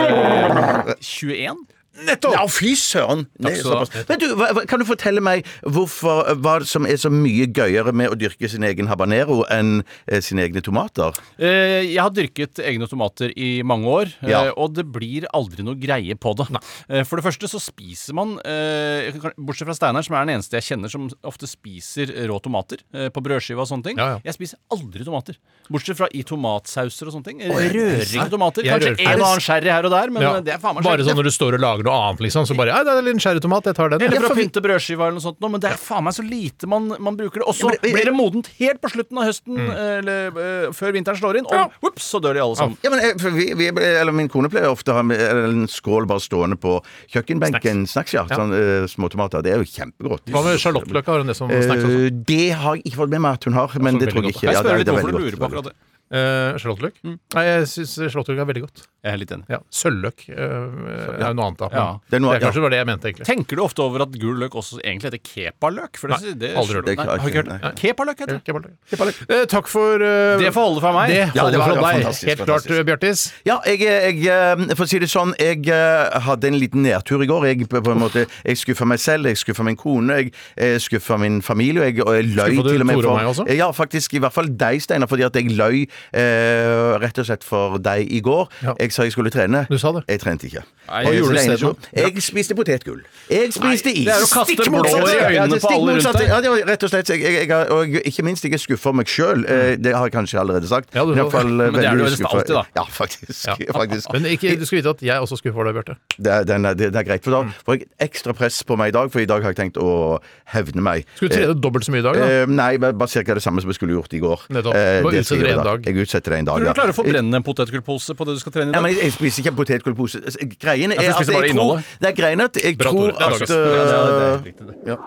[SPEAKER 5] 21?
[SPEAKER 6] Nettopp! Ja, fy søren! Det er
[SPEAKER 5] skal du ha.
[SPEAKER 6] såpass. Men du, hva, hva- kan du fortelle meg hvorfor, hva som er så mye gøyere med å dyrke sin egen habanero enn eh, sine egne tomater?
[SPEAKER 5] Eh, Jeg har dyrket egne tomater i mange år, eh,
[SPEAKER 6] Ja.
[SPEAKER 5] og det blir aldri noe greie på det. Eh, For det første så spiser man, eh, kan- bortsett fra Steinar, som er den eneste jeg kjenner som ofte spiser rå tomater eh, på brødskive og sånne ting.
[SPEAKER 4] Ja, ja.
[SPEAKER 5] Jeg spiser aldri tomater. Bortsett fra i tomatsauser og sånne ting. Rørige tomater.
[SPEAKER 4] Jeg
[SPEAKER 5] Kanskje
[SPEAKER 4] rører-
[SPEAKER 5] en og annen sherry her og der, men
[SPEAKER 4] Ja.
[SPEAKER 5] eh, det er faen meg
[SPEAKER 4] Bare
[SPEAKER 5] sjelden.
[SPEAKER 4] sånn når du står og lager noe annet, liksom. Så bare Ja, det er en liten sherrytomat, jeg tar den.
[SPEAKER 5] Eller
[SPEAKER 4] Ja,
[SPEAKER 5] fra
[SPEAKER 4] for-
[SPEAKER 5] pynte brødskiva eller noe sånt, nå, men det er faen meg så lite man, man bruker det. Og så
[SPEAKER 6] Ja, men-
[SPEAKER 5] blir det modent helt på slutten av høsten,
[SPEAKER 4] Mm.
[SPEAKER 5] eller eh, før vinteren slår inn, og whoops, så dør de alle sammen.
[SPEAKER 6] Ja, men jeg, for vi, vi, eller Min kone pleier ofte å ha med- eller en skål bare stående på kjøkkenbenken. Snacks, ja. Sånn, eh, små tomater. Det er jo kjempegodt.
[SPEAKER 4] Hva med sjalottløk? Har hun det som sånn? snacks også?
[SPEAKER 6] Eh, det har jeg ikke fått med meg at hun har, men det
[SPEAKER 4] veldig
[SPEAKER 6] tror jeg
[SPEAKER 4] godt.
[SPEAKER 6] ikke.
[SPEAKER 5] Kan jeg
[SPEAKER 6] Ja, det
[SPEAKER 5] spørre
[SPEAKER 6] er-
[SPEAKER 5] litt
[SPEAKER 6] det er
[SPEAKER 5] hvorfor
[SPEAKER 6] veldig
[SPEAKER 5] du
[SPEAKER 6] godt,
[SPEAKER 5] lurer på
[SPEAKER 6] veldig
[SPEAKER 5] akkurat det?
[SPEAKER 4] Eh, Sjalottløk? Nei, jeg syns sjalottløk er veldig godt.
[SPEAKER 5] Jeg er helt enig.
[SPEAKER 4] Ja, Sølvløk øh, er jo noe annet, da. Men
[SPEAKER 5] Ja.
[SPEAKER 6] Det er noe-
[SPEAKER 4] det er kanskje bare det jeg mente, egentlig.
[SPEAKER 5] Tenker du ofte over at gul løk også egentlig heter kepaløk? For
[SPEAKER 4] Nei,
[SPEAKER 5] det, det,
[SPEAKER 4] aldri hørt
[SPEAKER 6] det.
[SPEAKER 5] Nei, har ikke hørt det.
[SPEAKER 6] Nei.
[SPEAKER 5] Kepaløk heter det.
[SPEAKER 4] Ikke bare det. Eh, takk for eh,
[SPEAKER 5] Det får holde for meg.
[SPEAKER 4] Det
[SPEAKER 5] Ja,
[SPEAKER 4] holder
[SPEAKER 6] det var-
[SPEAKER 4] for
[SPEAKER 6] det var
[SPEAKER 4] deg.
[SPEAKER 6] fantastisk,
[SPEAKER 4] Helt klart,
[SPEAKER 6] fantastisk.
[SPEAKER 4] eh, Bjartis.
[SPEAKER 6] Ja, jeg, jeg, eh, for å si det sånn, jeg eh, hadde en liten nedtur i går. Jeg, på på en måte, jeg skuffa meg selv, jeg skuffa min kone, jeg, jeg skuffa min familie. Og jeg, og jeg løy
[SPEAKER 4] Skuffa du
[SPEAKER 6] til og med
[SPEAKER 4] Tore og
[SPEAKER 6] for
[SPEAKER 4] meg også?
[SPEAKER 6] Ja, faktisk. I hvert fall deg, Steinar, fordi at jeg løy eh, rett og slett for deg i går.
[SPEAKER 4] Ja.
[SPEAKER 6] Jeg sa jeg skulle trene.
[SPEAKER 4] Du sa det.
[SPEAKER 6] Jeg trente ikke.
[SPEAKER 5] Nei,
[SPEAKER 6] Eh,
[SPEAKER 5] hva gjorde
[SPEAKER 6] så det
[SPEAKER 5] du
[SPEAKER 6] ene
[SPEAKER 5] isteden?
[SPEAKER 6] så- Jeg spiste potetgull. Jeg spiste is.
[SPEAKER 5] det er å kaste
[SPEAKER 6] Stikk
[SPEAKER 5] blår i
[SPEAKER 6] motsatt.
[SPEAKER 5] øynene
[SPEAKER 6] Ja, det er
[SPEAKER 5] på
[SPEAKER 6] stikk
[SPEAKER 5] alle rundt
[SPEAKER 6] motsatt.
[SPEAKER 5] deg.
[SPEAKER 6] Ja, det var rett og slett. så Jeg, jeg, jeg, og ikke minst, jeg er skuffa meg sjøl. Det har jeg kanskje allerede sagt.
[SPEAKER 4] Mm. Ja, du
[SPEAKER 6] Men i
[SPEAKER 4] sa
[SPEAKER 6] hvert fall,
[SPEAKER 4] det.
[SPEAKER 6] eh,
[SPEAKER 5] Men det er du
[SPEAKER 6] veldig
[SPEAKER 5] nesten
[SPEAKER 6] skuffet.
[SPEAKER 5] alltid, da.
[SPEAKER 6] Ja, faktisk. faktisk.
[SPEAKER 4] Men ikke, du skal vite at jeg også skuffer deg, Bjarte.
[SPEAKER 6] Det er, den er, det, det er greit,
[SPEAKER 4] Mm.
[SPEAKER 6] for da får jeg ekstra press på meg i dag, for i dag har jeg tenkt å hevne meg.
[SPEAKER 4] Skal du trene dobbelt så mye i dag? da?
[SPEAKER 6] Eh, eh, nei, bare bare cirka det samme som jeg skulle gjort i går.
[SPEAKER 4] Nettopp.
[SPEAKER 6] Eh,
[SPEAKER 4] Bare
[SPEAKER 6] det skal
[SPEAKER 4] utsetter det
[SPEAKER 6] jeg
[SPEAKER 4] en
[SPEAKER 6] gjøre da.
[SPEAKER 4] dag.
[SPEAKER 6] Jeg utsetter det en dag,
[SPEAKER 5] Tror du
[SPEAKER 6] ja.
[SPEAKER 5] du klarer å forbrenne en potetgullpose på det du skal trene i
[SPEAKER 6] Ja,
[SPEAKER 5] dag?
[SPEAKER 6] men jeg, jeg spiser ikke potetgullpose. Greien er
[SPEAKER 5] Ja, for du
[SPEAKER 6] at
[SPEAKER 5] spiser bare
[SPEAKER 6] jeg tror,
[SPEAKER 5] innholdet.
[SPEAKER 6] det er greien at jeg
[SPEAKER 4] Bra, Tore.
[SPEAKER 6] tror
[SPEAKER 4] Det er
[SPEAKER 6] at
[SPEAKER 4] dagens.
[SPEAKER 6] eh,
[SPEAKER 5] Ja.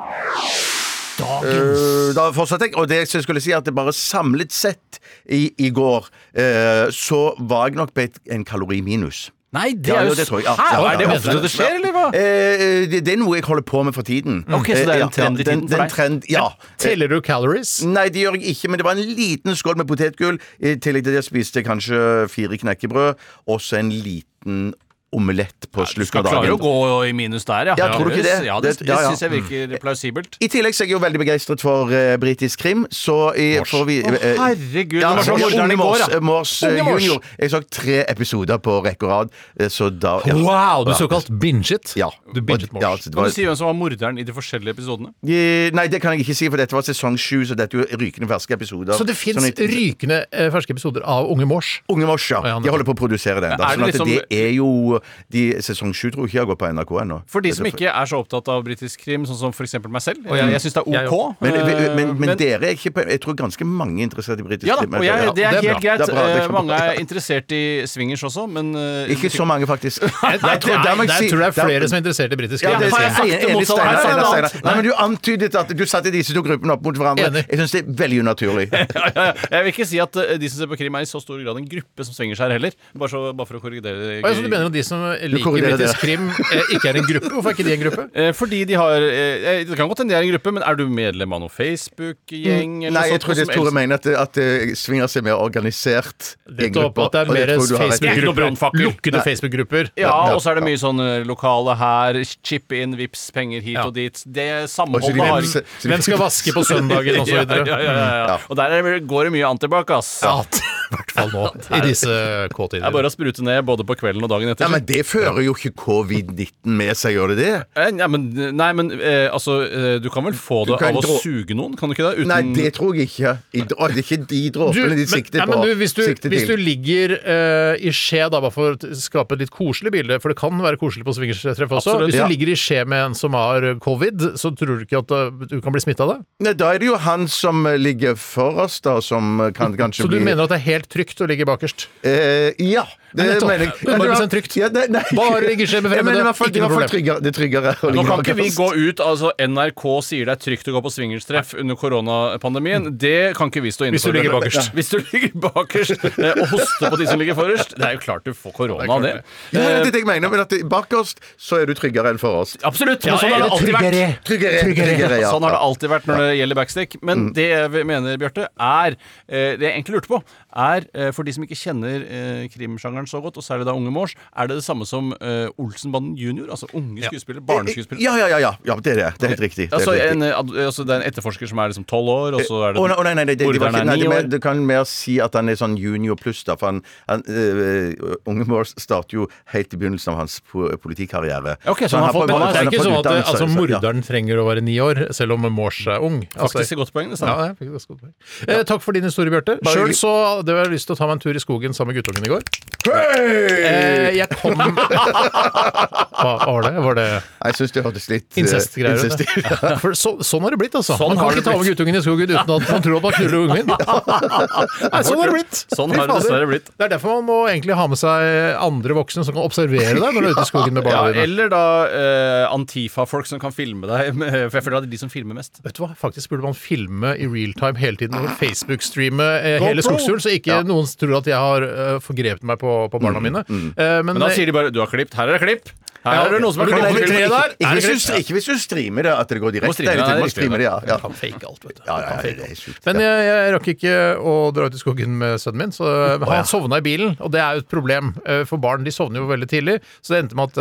[SPEAKER 6] Eh, Da fortsatte jeg, og det jeg skulle si er at det bare samlet sett i, i går, eh, så var jeg nok på et, en kalori minus.
[SPEAKER 5] Nei, det
[SPEAKER 6] Ja,
[SPEAKER 5] er
[SPEAKER 6] jo,
[SPEAKER 5] jo
[SPEAKER 6] det tror jeg. Ja,
[SPEAKER 5] Hæ?
[SPEAKER 6] ja, ja,
[SPEAKER 5] Er det
[SPEAKER 6] ja, ja.
[SPEAKER 5] ofte det skjer, eller hva?
[SPEAKER 6] Eh, det, det er noe jeg holder på med for tiden.
[SPEAKER 5] Ok, så det er
[SPEAKER 6] Eh,
[SPEAKER 5] en
[SPEAKER 6] ja,
[SPEAKER 5] trend i
[SPEAKER 6] ja,
[SPEAKER 5] tiden for
[SPEAKER 6] den
[SPEAKER 5] deg?
[SPEAKER 6] trend, ja. Eh,
[SPEAKER 4] Teller du calories?
[SPEAKER 6] Nei, det gjør jeg ikke, men det var en liten skål med potetgull. I tillegg til det spiste jeg kanskje fire knekkebrød, og så en liten omelett på
[SPEAKER 5] Du
[SPEAKER 6] slutten
[SPEAKER 5] skal
[SPEAKER 6] av dagen.
[SPEAKER 5] klare å gå i minus der, ja.
[SPEAKER 6] Ja, tror du ikke det?
[SPEAKER 5] Ja, det,
[SPEAKER 6] Det-
[SPEAKER 5] det,
[SPEAKER 6] ja, Mm. ja.
[SPEAKER 5] syns jeg virker plausibelt.
[SPEAKER 6] I tillegg så er jeg jo veldig begeistret for eh, britisk krim, så i, får vi eh,
[SPEAKER 5] herregud, det var så
[SPEAKER 6] så
[SPEAKER 5] morderen i
[SPEAKER 6] Unge
[SPEAKER 5] går,
[SPEAKER 6] Mors,
[SPEAKER 5] ja.
[SPEAKER 6] eh, Mors eh,
[SPEAKER 5] Unge Mors.
[SPEAKER 6] junior. Jeg så tre episoder på rekke og rad, eh, så da ja.
[SPEAKER 4] Wow, du såkalt binget.
[SPEAKER 6] Ja.
[SPEAKER 4] Du binget
[SPEAKER 6] Ja,
[SPEAKER 4] mors.
[SPEAKER 6] altså, det
[SPEAKER 5] Kan
[SPEAKER 6] var,
[SPEAKER 5] du si hvem som var morderen i de forskjellige episodene?
[SPEAKER 6] Eh, nei, det kan jeg ikke si, for dette var sesong sju, så dette er jo rykende ferske episoder.
[SPEAKER 4] Så det fins
[SPEAKER 6] Sånn at-
[SPEAKER 4] rykende eh, ferske episoder av Unge Mors.
[SPEAKER 6] Unge Mors, ja.
[SPEAKER 4] ja, nettopp.
[SPEAKER 6] De holder på å produsere den. Da.
[SPEAKER 5] Er det
[SPEAKER 6] Sånn at
[SPEAKER 5] liksom-
[SPEAKER 6] det er jo de, Sesong sju tror jeg ikke jeg går på NRK ennå.
[SPEAKER 5] For de som ikke er så opptatt av britisk krim, sånn som for eksempel meg selv. Jeg, jeg syns det
[SPEAKER 4] Jeg
[SPEAKER 5] er OK.
[SPEAKER 6] Mm. men, men,
[SPEAKER 5] eh,
[SPEAKER 6] men, men dere er ikke på Jeg tror ganske mange er interessert i britisk
[SPEAKER 5] ja da,
[SPEAKER 6] krim.
[SPEAKER 5] og jeg, det
[SPEAKER 6] Ja,
[SPEAKER 5] er
[SPEAKER 4] det er
[SPEAKER 5] helt
[SPEAKER 4] bra.
[SPEAKER 5] greit.
[SPEAKER 6] Det er bra, det er
[SPEAKER 5] Eh,
[SPEAKER 6] kjempebra.
[SPEAKER 5] Mange er interessert i swingers også, men eh,
[SPEAKER 6] Ikke så mange, faktisk.
[SPEAKER 4] Jeg, jeg,
[SPEAKER 6] det- det må jeg
[SPEAKER 4] der
[SPEAKER 6] si-
[SPEAKER 4] tror jeg det er
[SPEAKER 6] der-
[SPEAKER 4] flere som er interessert i britisk.
[SPEAKER 6] Ja,
[SPEAKER 4] krim.
[SPEAKER 6] det
[SPEAKER 5] har
[SPEAKER 6] er
[SPEAKER 5] jeg sagt det
[SPEAKER 6] enig- enig,
[SPEAKER 5] motsatte?
[SPEAKER 6] Steinar,
[SPEAKER 5] Nei,
[SPEAKER 6] Steinar,
[SPEAKER 5] nei,
[SPEAKER 6] Steinar.
[SPEAKER 5] nei.
[SPEAKER 6] Nei, men du antydet at du satte disse to gruppene opp mot hverandre.
[SPEAKER 4] Enig.
[SPEAKER 6] Jeg syns det er veldig unaturlig.
[SPEAKER 5] Ja, ja, ja. Jeg vil ikke si at eh, de som ser på krim, er i så stor grad en gruppe som svinger seg her heller. Bare, så, bare for å korrigere.
[SPEAKER 4] Å, ja, så du mener at de som liker
[SPEAKER 6] korrigerer
[SPEAKER 4] britisk krim, eh, ikke er en gruppe? Hvorfor er ikke de en gruppe?
[SPEAKER 5] Eh, Fordi de har eh, eh, Det kan godt hende de er en gruppe, men er du medlem av noen Facebook-gjeng? eller
[SPEAKER 6] Mm, Nei,
[SPEAKER 5] noe
[SPEAKER 6] jeg
[SPEAKER 4] sånn
[SPEAKER 5] sånt
[SPEAKER 6] tror det
[SPEAKER 5] som
[SPEAKER 6] Tore
[SPEAKER 5] elsker-
[SPEAKER 6] mener at, at eh, svinger seg mer organisert i
[SPEAKER 4] Nettopp,
[SPEAKER 6] grupper,
[SPEAKER 4] at det
[SPEAKER 6] og
[SPEAKER 4] er mer
[SPEAKER 6] tror du har rett i.
[SPEAKER 5] Det er ikke noe brannfakkel.
[SPEAKER 4] Facebook-grupper. Lukkede Facebook-grupper.
[SPEAKER 5] Ja, og så er det mye sånn eh, lokale her, chip inn, vips, penger hit
[SPEAKER 4] Ja.
[SPEAKER 5] og dit. Det
[SPEAKER 6] Og så de
[SPEAKER 5] samholdet har
[SPEAKER 6] vipser- så de-
[SPEAKER 4] Hvem skal vaske på søndagen, og så
[SPEAKER 5] ja, ja, ja,
[SPEAKER 4] videre?
[SPEAKER 5] ja. Og der er, det- går det mye antibac, ass.
[SPEAKER 4] Ja, i hvert fall nå. I disse
[SPEAKER 5] Det
[SPEAKER 4] K-tider.
[SPEAKER 5] er bare å sprute ned både på kvelden og dagen etter.
[SPEAKER 6] Ja, men det fører jo ikke covid-19 med seg, gjør det det?
[SPEAKER 5] Eh, Nei, men, nei, men eh, altså eh, Du kan vel få det
[SPEAKER 6] kan
[SPEAKER 5] av å
[SPEAKER 6] dra-
[SPEAKER 5] suge noen, kan du ikke det? Uten
[SPEAKER 6] Nei, det tror jeg ikke. I, å, det er ikke de
[SPEAKER 4] Mm. Du,
[SPEAKER 6] dråpene
[SPEAKER 4] men,
[SPEAKER 6] de sikter
[SPEAKER 4] nei, men
[SPEAKER 6] på.
[SPEAKER 4] du, hvis, du,
[SPEAKER 6] sikter
[SPEAKER 4] hvis du
[SPEAKER 6] til.
[SPEAKER 4] ligger eh, i skje, da, bare for å t- skape et litt koselig bilde, for det kan være koselig på swingerstreff også
[SPEAKER 5] Absolutt,
[SPEAKER 4] Hvis du
[SPEAKER 6] ja.
[SPEAKER 4] ligger i skje med en som har eh, covid, så tror du ikke at eh, du kan bli smitta av det?
[SPEAKER 6] Nei, da er det jo han som eh, ligger forrest, da, som eh, kan
[SPEAKER 4] Mm,
[SPEAKER 6] kanskje
[SPEAKER 4] Så du
[SPEAKER 6] bli
[SPEAKER 4] mener at det er helt trygt å ligge bakerst?
[SPEAKER 6] Eh, ja, det
[SPEAKER 4] Nei, nettopp.
[SPEAKER 6] mener jeg.
[SPEAKER 4] 100% trygt.
[SPEAKER 6] Ja, det- nei.
[SPEAKER 4] Bare ikke skje med fremmede.
[SPEAKER 6] Jeg mener i hvert fall-
[SPEAKER 4] Ikke
[SPEAKER 6] i hvert fall
[SPEAKER 4] noe
[SPEAKER 6] tryggere- Det er tryggere å
[SPEAKER 5] Nå
[SPEAKER 6] ligge
[SPEAKER 5] kan ikke vi
[SPEAKER 6] bakerst.
[SPEAKER 5] gå ut altså NRK sier det er trygt å gå på swingerstreff under koronapandemien. Det kan ikke vi stå inne
[SPEAKER 4] Hvis du
[SPEAKER 5] for.
[SPEAKER 4] ligger bakerst.
[SPEAKER 5] Hvis du ligger bakerst eh, og hoster på de som ligger forrest. Det er jo klart du får korona av det.
[SPEAKER 6] Ja, det er det
[SPEAKER 4] Eh,
[SPEAKER 6] jeg mener, men at det- bakerst så er du tryggere enn forrest.
[SPEAKER 5] Absolutt. Men sånn har det alltid vært.
[SPEAKER 4] Tryggere.
[SPEAKER 6] Tryggere, tryggere ja. Mm.
[SPEAKER 5] Sånn har det alltid vært når det gjelder backstick. Men det vi mener, Bjarte, er eh, Det jeg egentlig lurte på, er eh, for de som ikke kjenner eh, krimsjangeren så godt, og særlig da Unge Mors, er det det samme som eh, Olsenbanden jr.? Altså unge skuespillere? Barneskuespillere?
[SPEAKER 6] Ja, ja, ja, ja. ja. Det er det. Det er helt riktig. Det er
[SPEAKER 5] Altså,
[SPEAKER 6] helt riktig.
[SPEAKER 5] en, eh, ad- altså, det er en etterforsker som er liksom tolv år, og så er det
[SPEAKER 6] Å nei, å nei, nei, det, det, det var
[SPEAKER 5] morderen
[SPEAKER 6] ikke,
[SPEAKER 5] er
[SPEAKER 6] nei, det,
[SPEAKER 5] ni
[SPEAKER 6] men,
[SPEAKER 5] år.
[SPEAKER 6] du kan mer si at han er sånn junior pluss, da. For han, han, øh, Unge Mors starter jo helt i begynnelsen av hans po politikarriere.
[SPEAKER 5] Ok, så han har fått-
[SPEAKER 6] på en
[SPEAKER 5] men
[SPEAKER 6] måte-
[SPEAKER 4] Det er
[SPEAKER 6] han
[SPEAKER 4] ikke
[SPEAKER 6] har
[SPEAKER 4] sånn at
[SPEAKER 6] fått
[SPEAKER 4] eh,
[SPEAKER 6] utdannelse,
[SPEAKER 4] altså,
[SPEAKER 6] så- ja.
[SPEAKER 4] morderen trenger å være ni år, selv om Mors er ung. Altså,
[SPEAKER 5] Faktisk et godt poeng, nesten.
[SPEAKER 4] ja, jeg fikk et godt poeng. eh, takk for din historie, Bjarte. Sjøl så hadde jeg lyst til å ta meg en tur i skogen sammen med guttungen i går. Eh, jeg kom Hva var det? Var det
[SPEAKER 6] Jeg syns det hørtes litt eh,
[SPEAKER 4] incestgreier Altså, ut?
[SPEAKER 6] incest-
[SPEAKER 4] Ja. For så, sånn har det blitt, altså.
[SPEAKER 5] Sånn
[SPEAKER 4] man
[SPEAKER 5] har
[SPEAKER 4] kan
[SPEAKER 5] det
[SPEAKER 4] ikke ta med
[SPEAKER 5] blitt.
[SPEAKER 4] guttungen i skogen uten at man tror at man knuller ungen min. Nei, sånn har det blitt.
[SPEAKER 5] Sånn
[SPEAKER 4] Fy
[SPEAKER 5] har det
[SPEAKER 4] fader.
[SPEAKER 5] dessverre blitt.
[SPEAKER 4] Det er derfor man må egentlig ha med seg andre voksne som kan observere deg når du er ute i skogen med
[SPEAKER 5] Ja,
[SPEAKER 4] barna dine.
[SPEAKER 5] eller da eh, Antifa-folk som kan filme deg. med- For jeg føler at det er de som filmer mest.
[SPEAKER 4] Vet du hva? Faktisk burde man filme i real time hele tiden og Facebook-streame eh, hele
[SPEAKER 5] GoPro.
[SPEAKER 4] skogsturen, så ikke noen tror at jeg har eh, forgrepet meg på, på barna mine. Eh, men,
[SPEAKER 5] Men da sier de bare 'du har klipp', her er det klipp. Her
[SPEAKER 4] Ja,
[SPEAKER 5] er det noen som har
[SPEAKER 4] har du
[SPEAKER 5] klipp.
[SPEAKER 4] klippet
[SPEAKER 5] på
[SPEAKER 4] tre
[SPEAKER 5] klipp».
[SPEAKER 4] der?
[SPEAKER 6] Ikke- Ikke
[SPEAKER 4] Er det
[SPEAKER 6] hvis du-
[SPEAKER 4] greit?
[SPEAKER 6] ikke hvis du streamer det, at det går direkte.
[SPEAKER 5] streame det,
[SPEAKER 6] eller
[SPEAKER 5] det er
[SPEAKER 6] til- Man
[SPEAKER 5] riktig.
[SPEAKER 6] streamer det, ja. ja.
[SPEAKER 4] kan fake alt, vet du.
[SPEAKER 6] Ja, ja,
[SPEAKER 4] Kan
[SPEAKER 6] ja,
[SPEAKER 4] fake
[SPEAKER 6] det er
[SPEAKER 4] alt.
[SPEAKER 6] sjukt,
[SPEAKER 4] Men eh, jeg, jeg rakk ikke å dra ut i skogen med sønnen min, så eh, han sovna i bilen. Og det er jo et problem eh, for barn. De sovner jo veldig tidlig. Så det endte med at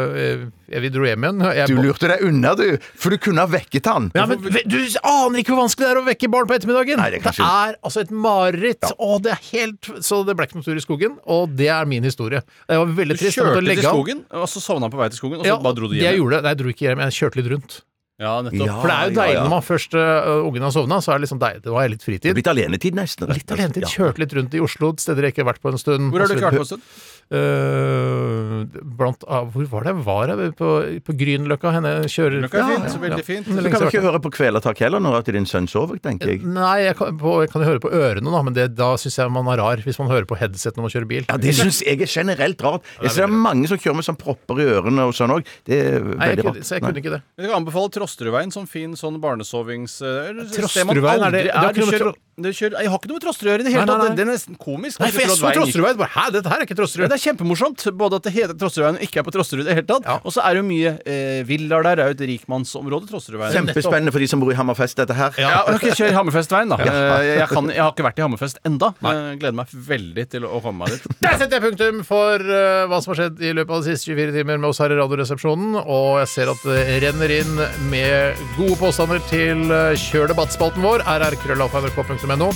[SPEAKER 4] eh, vi dro hjem igjen. Jeg,
[SPEAKER 6] Du lurte deg unna, du, for du kunne ha vekket han.
[SPEAKER 4] ja, men ve- Du aner ikke hvor vanskelig det er å vekke barn på ettermiddagen!
[SPEAKER 6] Nei, det
[SPEAKER 4] det,
[SPEAKER 6] er kanskje-
[SPEAKER 4] er altså et mareritt! Å, det er helt Så det ble ikke noen tur i skogen, og det er min historie. Det var veldig
[SPEAKER 5] Du
[SPEAKER 4] trist. Jeg måtte
[SPEAKER 5] kjørte til
[SPEAKER 4] legge han.
[SPEAKER 5] skogen, og så sovna han på vei til skogen, og så
[SPEAKER 4] Ja,
[SPEAKER 5] bare dro du
[SPEAKER 4] det jeg
[SPEAKER 5] hjem.
[SPEAKER 4] gjorde, nei, jeg dro ikke hjem, jeg kjørte litt rundt.
[SPEAKER 5] Ah, Ja, nettopp.
[SPEAKER 6] Ja.
[SPEAKER 4] For det er jo
[SPEAKER 6] ja,
[SPEAKER 4] deilig
[SPEAKER 6] ja.
[SPEAKER 4] når man først øh, ungen har sovna, så er det liksom deilig. Det var litt
[SPEAKER 6] Det er
[SPEAKER 4] fritid.
[SPEAKER 6] blitt alenetid, nesten. rett og
[SPEAKER 4] Litt
[SPEAKER 6] slett.
[SPEAKER 4] alenetid.
[SPEAKER 6] Ja.
[SPEAKER 4] Kjørte litt rundt i Oslo, steder jeg ikke har vært på en stund.
[SPEAKER 5] Hvor har du
[SPEAKER 4] Og så
[SPEAKER 5] ikke vært
[SPEAKER 4] videre.
[SPEAKER 5] på en stund?
[SPEAKER 4] Øh, blant ah, Hvor var det jeg var? Jeg? På, på Grünerløkka? Henne kjører
[SPEAKER 5] Grünerløkka er fint, så veldig fint.
[SPEAKER 4] Det er lenge siden
[SPEAKER 6] Du kan vel
[SPEAKER 4] jeg
[SPEAKER 6] ikke
[SPEAKER 4] har vært
[SPEAKER 6] høre på Kvelertak heller når at din sønn sover, tenker jeg.
[SPEAKER 4] der. Nei, jeg kan, på, jeg kan jo høre på ørene, da, men det, da syns jeg man er rar, hvis man hører på headset når man kjører bil.
[SPEAKER 6] Ja, Det syns jeg er generelt rart. Jeg ser det er mange som kjører med sånn propper i ørene og sånn òg. Det er
[SPEAKER 4] Nei, jeg
[SPEAKER 6] veldig
[SPEAKER 4] kunne,
[SPEAKER 6] rart.
[SPEAKER 4] så jeg
[SPEAKER 6] Nei.
[SPEAKER 4] kunne ikke det.
[SPEAKER 5] Jeg kan anbefale Trosterudveien som fin sånn barnesovings... eh, eller et sted man
[SPEAKER 4] Trosterudveien, er det-
[SPEAKER 5] aldri
[SPEAKER 4] det har ikke
[SPEAKER 5] Du
[SPEAKER 4] noe med
[SPEAKER 5] kjører- du kjører- Jeg har ikke noe med Trosterud å gjøre i det
[SPEAKER 4] Nei,
[SPEAKER 5] hele
[SPEAKER 4] nei,
[SPEAKER 5] tatt.
[SPEAKER 4] nei.
[SPEAKER 5] Det er nesten komisk.
[SPEAKER 4] Nei, for jeg så
[SPEAKER 5] Trosterud veien gikk-
[SPEAKER 4] Trosterudveien! bare, Hæ, dette her er ikke
[SPEAKER 5] Ja,
[SPEAKER 4] Trosterud!
[SPEAKER 5] det er kjempemorsomt, både at det heter Trosterudveien og ikke er på Trosterud i det hele tatt.
[SPEAKER 4] Ja.
[SPEAKER 5] Og så er det jo mye eh, villaer der, det er jo et rikmannsområde, Trosterudveien.
[SPEAKER 6] Kjempespennende for de som bor i Hammerfest, dette her.
[SPEAKER 5] Ja, ok, kjør Hammerfestveien, da. Eh, Jeg, kan, jeg har ikke vært i Hammerfest enda. Eh, Gleder meg veldig til å komme meg dit.
[SPEAKER 4] Der setter jeg punktum for eh, hva som har skjedd i løpet av de siste 24 timer med oss her i Radioresepsjonen. Og jeg ser at det renner inn med gode påstander til eh, Kjør debattspalten vår, rrkrøllalfa.nrk.no.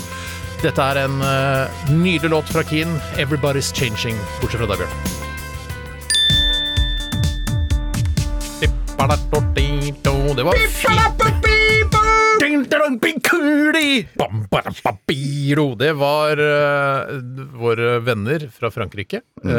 [SPEAKER 4] Dette er en eh, nydelig låt fra Keen, 'Everybody's Changing', bortsett fra deg, Bjørn. Det var Bam, bam, bam, biro. Det var eh, våre venner fra Frankrike.
[SPEAKER 6] Mm.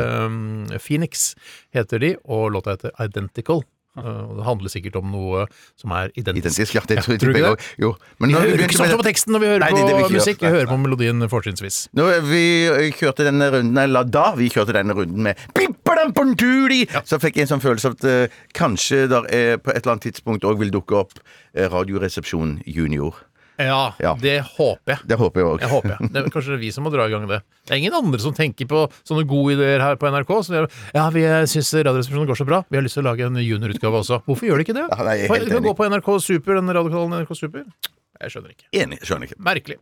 [SPEAKER 4] Eh, Phoenix heter de, og låta heter Identical. Eh, og det handler sikkert om noe som er identisk.
[SPEAKER 6] Identisk, ja. Det tror jeg
[SPEAKER 4] tror du
[SPEAKER 6] begge
[SPEAKER 4] ikke
[SPEAKER 6] òg. Jo. Men
[SPEAKER 4] Vi
[SPEAKER 6] når vi
[SPEAKER 4] hører ikke
[SPEAKER 6] begynte
[SPEAKER 4] så ofte
[SPEAKER 6] med
[SPEAKER 4] på teksten når vi hører
[SPEAKER 6] Nei, det- det vil
[SPEAKER 4] på
[SPEAKER 6] vi ikke
[SPEAKER 4] musikk.
[SPEAKER 6] gjøre.
[SPEAKER 4] Jeg hører på melodien fortrinnsvis.
[SPEAKER 6] når vi eh, kjørte denne runden, eller da vi kjørte denne runden med Pippadampontuli, så fikk jeg en sånn følelse av at eh, kanskje der eh, på et eller annet tidspunkt òg vil dukke opp eh, Radioresepsjon junior.
[SPEAKER 4] Ja,
[SPEAKER 6] Ja.
[SPEAKER 4] det håper jeg.
[SPEAKER 6] Det håper jeg òg.
[SPEAKER 4] Jeg håper jeg. Det er kanskje vi som må dra i gang det. Det er ingen andre som tenker på sånne gode ideer her på NRK. Som gjør, ja, vi syns Radioresepsjonen går så bra. Vi har lyst til å lage en juniorutgave også. Hvorfor gjør de ikke det?
[SPEAKER 6] Ja, nei, jeg er
[SPEAKER 4] Hva-
[SPEAKER 6] helt
[SPEAKER 4] kan
[SPEAKER 6] enig.
[SPEAKER 4] gå på NRK Super, den radiokanalen NRK Super. Jeg skjønner ikke.
[SPEAKER 6] Enig. Skjønner ikke.
[SPEAKER 4] Merkelig.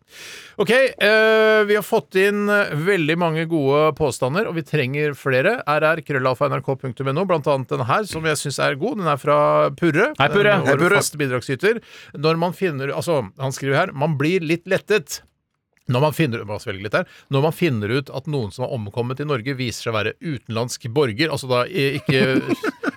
[SPEAKER 4] Ok, eh, vi har fått inn eh, veldig mange gode påstander, og vi trenger flere. rr.krøllalfa.nrk.no, blant annet den her, som jeg syns er god. Den er fra Purre.
[SPEAKER 5] Hei, Purre.
[SPEAKER 4] eh,
[SPEAKER 5] Hei,
[SPEAKER 4] Vår
[SPEAKER 5] Purre.
[SPEAKER 4] faste bidragsyter. Når man finner Altså, han skriver her Man blir litt lettet. Når man, finner, bare svelge litt her, når man finner ut at noen som har omkommet i Norge, viser seg å være utenlandsk borger altså da i- ikke,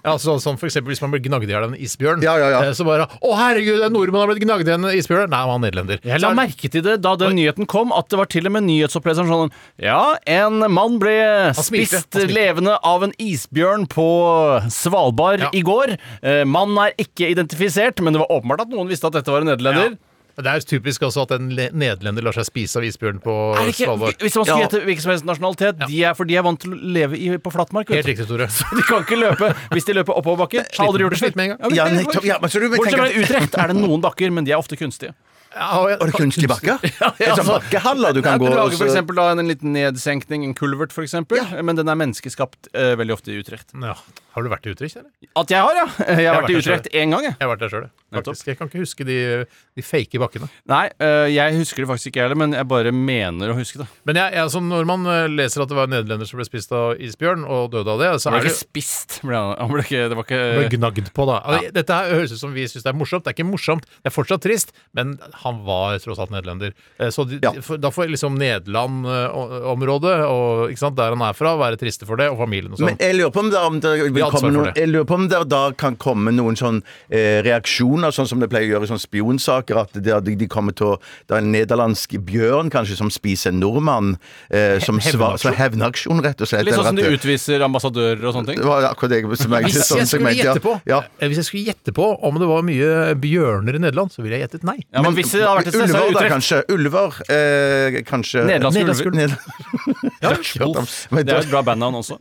[SPEAKER 4] ja, altså, Som for eksempel hvis man blir gnagd i hjel av en isbjørn.
[SPEAKER 6] Ja, ja, ja.
[SPEAKER 4] eh, Så bare 'Å, herregud, en nordmann har blitt gnagd i en isbjørn'. Nei, han var nederlender.
[SPEAKER 5] Jeg
[SPEAKER 4] Så
[SPEAKER 5] la
[SPEAKER 4] er-
[SPEAKER 5] merke til det da den nyheten kom, at det var til og med nyhetsoppleseren sånn Ja, en mann ble
[SPEAKER 4] smilte,
[SPEAKER 5] spist
[SPEAKER 4] han smilte.
[SPEAKER 5] levende av en isbjørn på Svalbard
[SPEAKER 4] Ja.
[SPEAKER 5] i går. Eh, Mannen er ikke identifisert, men det var åpenbart at noen visste at dette var en nederlender.
[SPEAKER 4] Ja. Det er jo typisk også at en le- nederlender lar seg spise av isbjørn på
[SPEAKER 5] Er det ikke,
[SPEAKER 4] Svalbard.
[SPEAKER 5] hvis man skulle
[SPEAKER 6] Ja.
[SPEAKER 5] gjette hvilken som helst nasjonalitet, de er, for de er vant til å leve i, på flatmark.
[SPEAKER 4] Helt
[SPEAKER 5] vet du.
[SPEAKER 4] riktig, Tore.
[SPEAKER 5] De kan ikke løpe hvis de løper oppoverbakke. Har aldri gjort det
[SPEAKER 4] Slitt med en gang.
[SPEAKER 6] Ja,
[SPEAKER 5] men-
[SPEAKER 6] nettopp. Ja, men så du vil
[SPEAKER 5] Bortsett
[SPEAKER 6] tenke
[SPEAKER 5] fra
[SPEAKER 6] at
[SPEAKER 5] i Utrecht er det noen bakker, men de er ofte kunstige.
[SPEAKER 4] Ja, og jeg-
[SPEAKER 6] Var det kunstige bakker? Ja,
[SPEAKER 5] ja,
[SPEAKER 6] sånn
[SPEAKER 5] altså-
[SPEAKER 6] bakkehaller du kan
[SPEAKER 5] du
[SPEAKER 6] gå og
[SPEAKER 5] lager for
[SPEAKER 6] så-
[SPEAKER 5] eksempel da en, en liten nedsenkning, en kulvert for eksempel, men den er menneskeskapt eh, veldig ofte i Utrecht.
[SPEAKER 4] Ja. Har du vært i Utrecht, eller?
[SPEAKER 5] At jeg har, ja! Jeg har vært i
[SPEAKER 4] vært der
[SPEAKER 5] Utrecht én gang, jeg.
[SPEAKER 4] Jeg har vært der sjøl,
[SPEAKER 5] Nettopp.
[SPEAKER 4] faktisk. Jeg kan ikke huske de, de fake bakkene.
[SPEAKER 5] Nei, eh, jeg husker det faktisk ikke jeg heller, men jeg bare mener å huske det.
[SPEAKER 4] Men jeg, jeg, altså, når man eh, leser at det var en nederlender som ble spist av isbjørn og døde av det, så
[SPEAKER 5] Han
[SPEAKER 4] er
[SPEAKER 5] ble
[SPEAKER 4] det
[SPEAKER 5] ikke spist. ble Han han ble ikke, det var
[SPEAKER 4] ble
[SPEAKER 5] ikke
[SPEAKER 4] gnagd på, da. Altså, Dette her høres ut som vi syns det er morsomt. Det er ikke morsomt, det er fortsatt trist, men han var tross alt nederlender. Eh, Så de,
[SPEAKER 6] Ja.
[SPEAKER 4] de- for, da får liksom Nederland-området, og ikke sant, der han er fra, være triste for det, og familien og sånn.
[SPEAKER 6] Men eh, jeg lurer på om det, om det vil
[SPEAKER 4] ansvar
[SPEAKER 6] komme
[SPEAKER 4] for det.
[SPEAKER 6] noen, jeg lurer på om det da kan komme noen sånn eh, reaksjoner, sånn som det pleier å gjøre i sånne spionsaker, at det, de, de kommer til å Det er en nederlandsk bjørn kanskje som spiser en nordmann, eh, som svar- som hevnaksjon, rett og slett.
[SPEAKER 5] Litt sånn som
[SPEAKER 6] eller
[SPEAKER 5] de
[SPEAKER 6] at det-
[SPEAKER 5] utviser ambassadører og sånne ting.
[SPEAKER 6] Det var akkurat det jeg som jeg
[SPEAKER 4] Hvis
[SPEAKER 6] sånn
[SPEAKER 4] jeg
[SPEAKER 6] som
[SPEAKER 4] skulle
[SPEAKER 6] jeg- ja.
[SPEAKER 4] gjette på
[SPEAKER 6] ja.
[SPEAKER 4] eh, Hvis jeg skulle gjette på om det var mye bjørner i Nederland, så ville jeg gjettet nei.
[SPEAKER 5] Ja, men, hvis det hadde vært et sted, så er
[SPEAKER 6] Ulver, da,
[SPEAKER 5] det Utrecht.
[SPEAKER 6] kanskje. Ulver, eh, kanskje
[SPEAKER 5] Nederlandske ulver.
[SPEAKER 6] Neder-
[SPEAKER 5] Dutch Wolf. Det er jo et bra bandnavn også.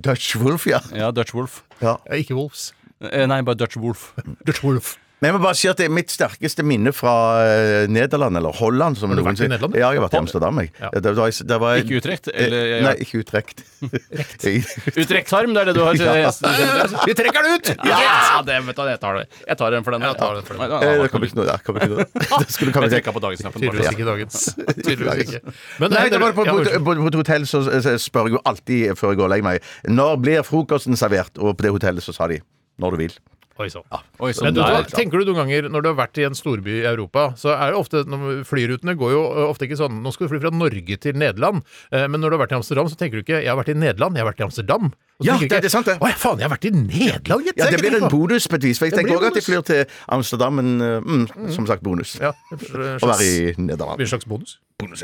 [SPEAKER 6] Dutch Wolf, ja.
[SPEAKER 5] Ja, Dutch Wolf.
[SPEAKER 6] ja.
[SPEAKER 4] Eh, Ikke Wolves.
[SPEAKER 5] Eh, Nei, bare Dutch Wolf.
[SPEAKER 4] Dutch Wolf.
[SPEAKER 6] Men jeg må bare si at det er mitt sterkeste minne fra eh, Nederland, eller Holland. Som
[SPEAKER 4] Har du
[SPEAKER 6] noen
[SPEAKER 4] vært i
[SPEAKER 6] sier.
[SPEAKER 4] Nederland?
[SPEAKER 6] Ja, jeg har vært i Amsterdam. Jeg.
[SPEAKER 4] Ja.
[SPEAKER 6] Der var jeg, der var jeg,
[SPEAKER 5] Ikke Utrecht? Eller
[SPEAKER 6] Eh,
[SPEAKER 5] ja.
[SPEAKER 6] Nei, ikke Utrecht. Jeg-
[SPEAKER 5] Utrecht-harm, det er det du har?
[SPEAKER 6] Ja.
[SPEAKER 4] Vi trekker den ut!
[SPEAKER 5] Ja, det, vet du, jeg tar det. Jeg tar den for den.
[SPEAKER 4] Jeg tar den for den.
[SPEAKER 5] Nei, nei,
[SPEAKER 6] Eh,
[SPEAKER 5] nei,
[SPEAKER 6] Det kom ikke noe der. Kom ikke noe. Det skulle komme
[SPEAKER 5] Jeg
[SPEAKER 6] til.
[SPEAKER 5] trykka på dagens knappen.
[SPEAKER 4] Tydeligvis
[SPEAKER 5] bare.
[SPEAKER 4] ikke dagens. Tydeligvis ikke. Men eh,
[SPEAKER 6] Nei, det var på,
[SPEAKER 4] ja,
[SPEAKER 6] på,
[SPEAKER 4] unnskyld.
[SPEAKER 6] på, på et hotell så, så spør jeg jo alltid før jeg går og legger meg Når blir frokosten servert? Og på det hotellet så sa de når du vil.
[SPEAKER 4] Oi sann.
[SPEAKER 5] Oi, så
[SPEAKER 4] Men du,
[SPEAKER 5] der.
[SPEAKER 4] tenker du noen ganger når du har vært i en storby i Europa, så er det ofte når- Flyrutene går jo ofte ikke sånn Nå skal du fly fra Norge til Nederland. Eh, Men når du har vært i Amsterdam, så tenker du ikke 'Jeg har vært i Nederland, jeg har vært i Amsterdam'. Og så
[SPEAKER 6] Ja,
[SPEAKER 4] tenker du ikke,
[SPEAKER 6] det er sant det.
[SPEAKER 4] Å ja, faen, jeg har vært i Nederland, gitt!
[SPEAKER 6] Ja, Det
[SPEAKER 4] Jeg
[SPEAKER 6] blir
[SPEAKER 4] tenkte
[SPEAKER 6] en
[SPEAKER 4] på-
[SPEAKER 6] bonus på et vis. For jeg
[SPEAKER 4] Det
[SPEAKER 6] tenker
[SPEAKER 4] blir
[SPEAKER 6] også at de flyr
[SPEAKER 4] bonus.
[SPEAKER 6] til Amsterdam, men eh, mm, som sagt bonus.
[SPEAKER 4] Ja,
[SPEAKER 6] Å være i Nederland.
[SPEAKER 4] blir en slags bonus?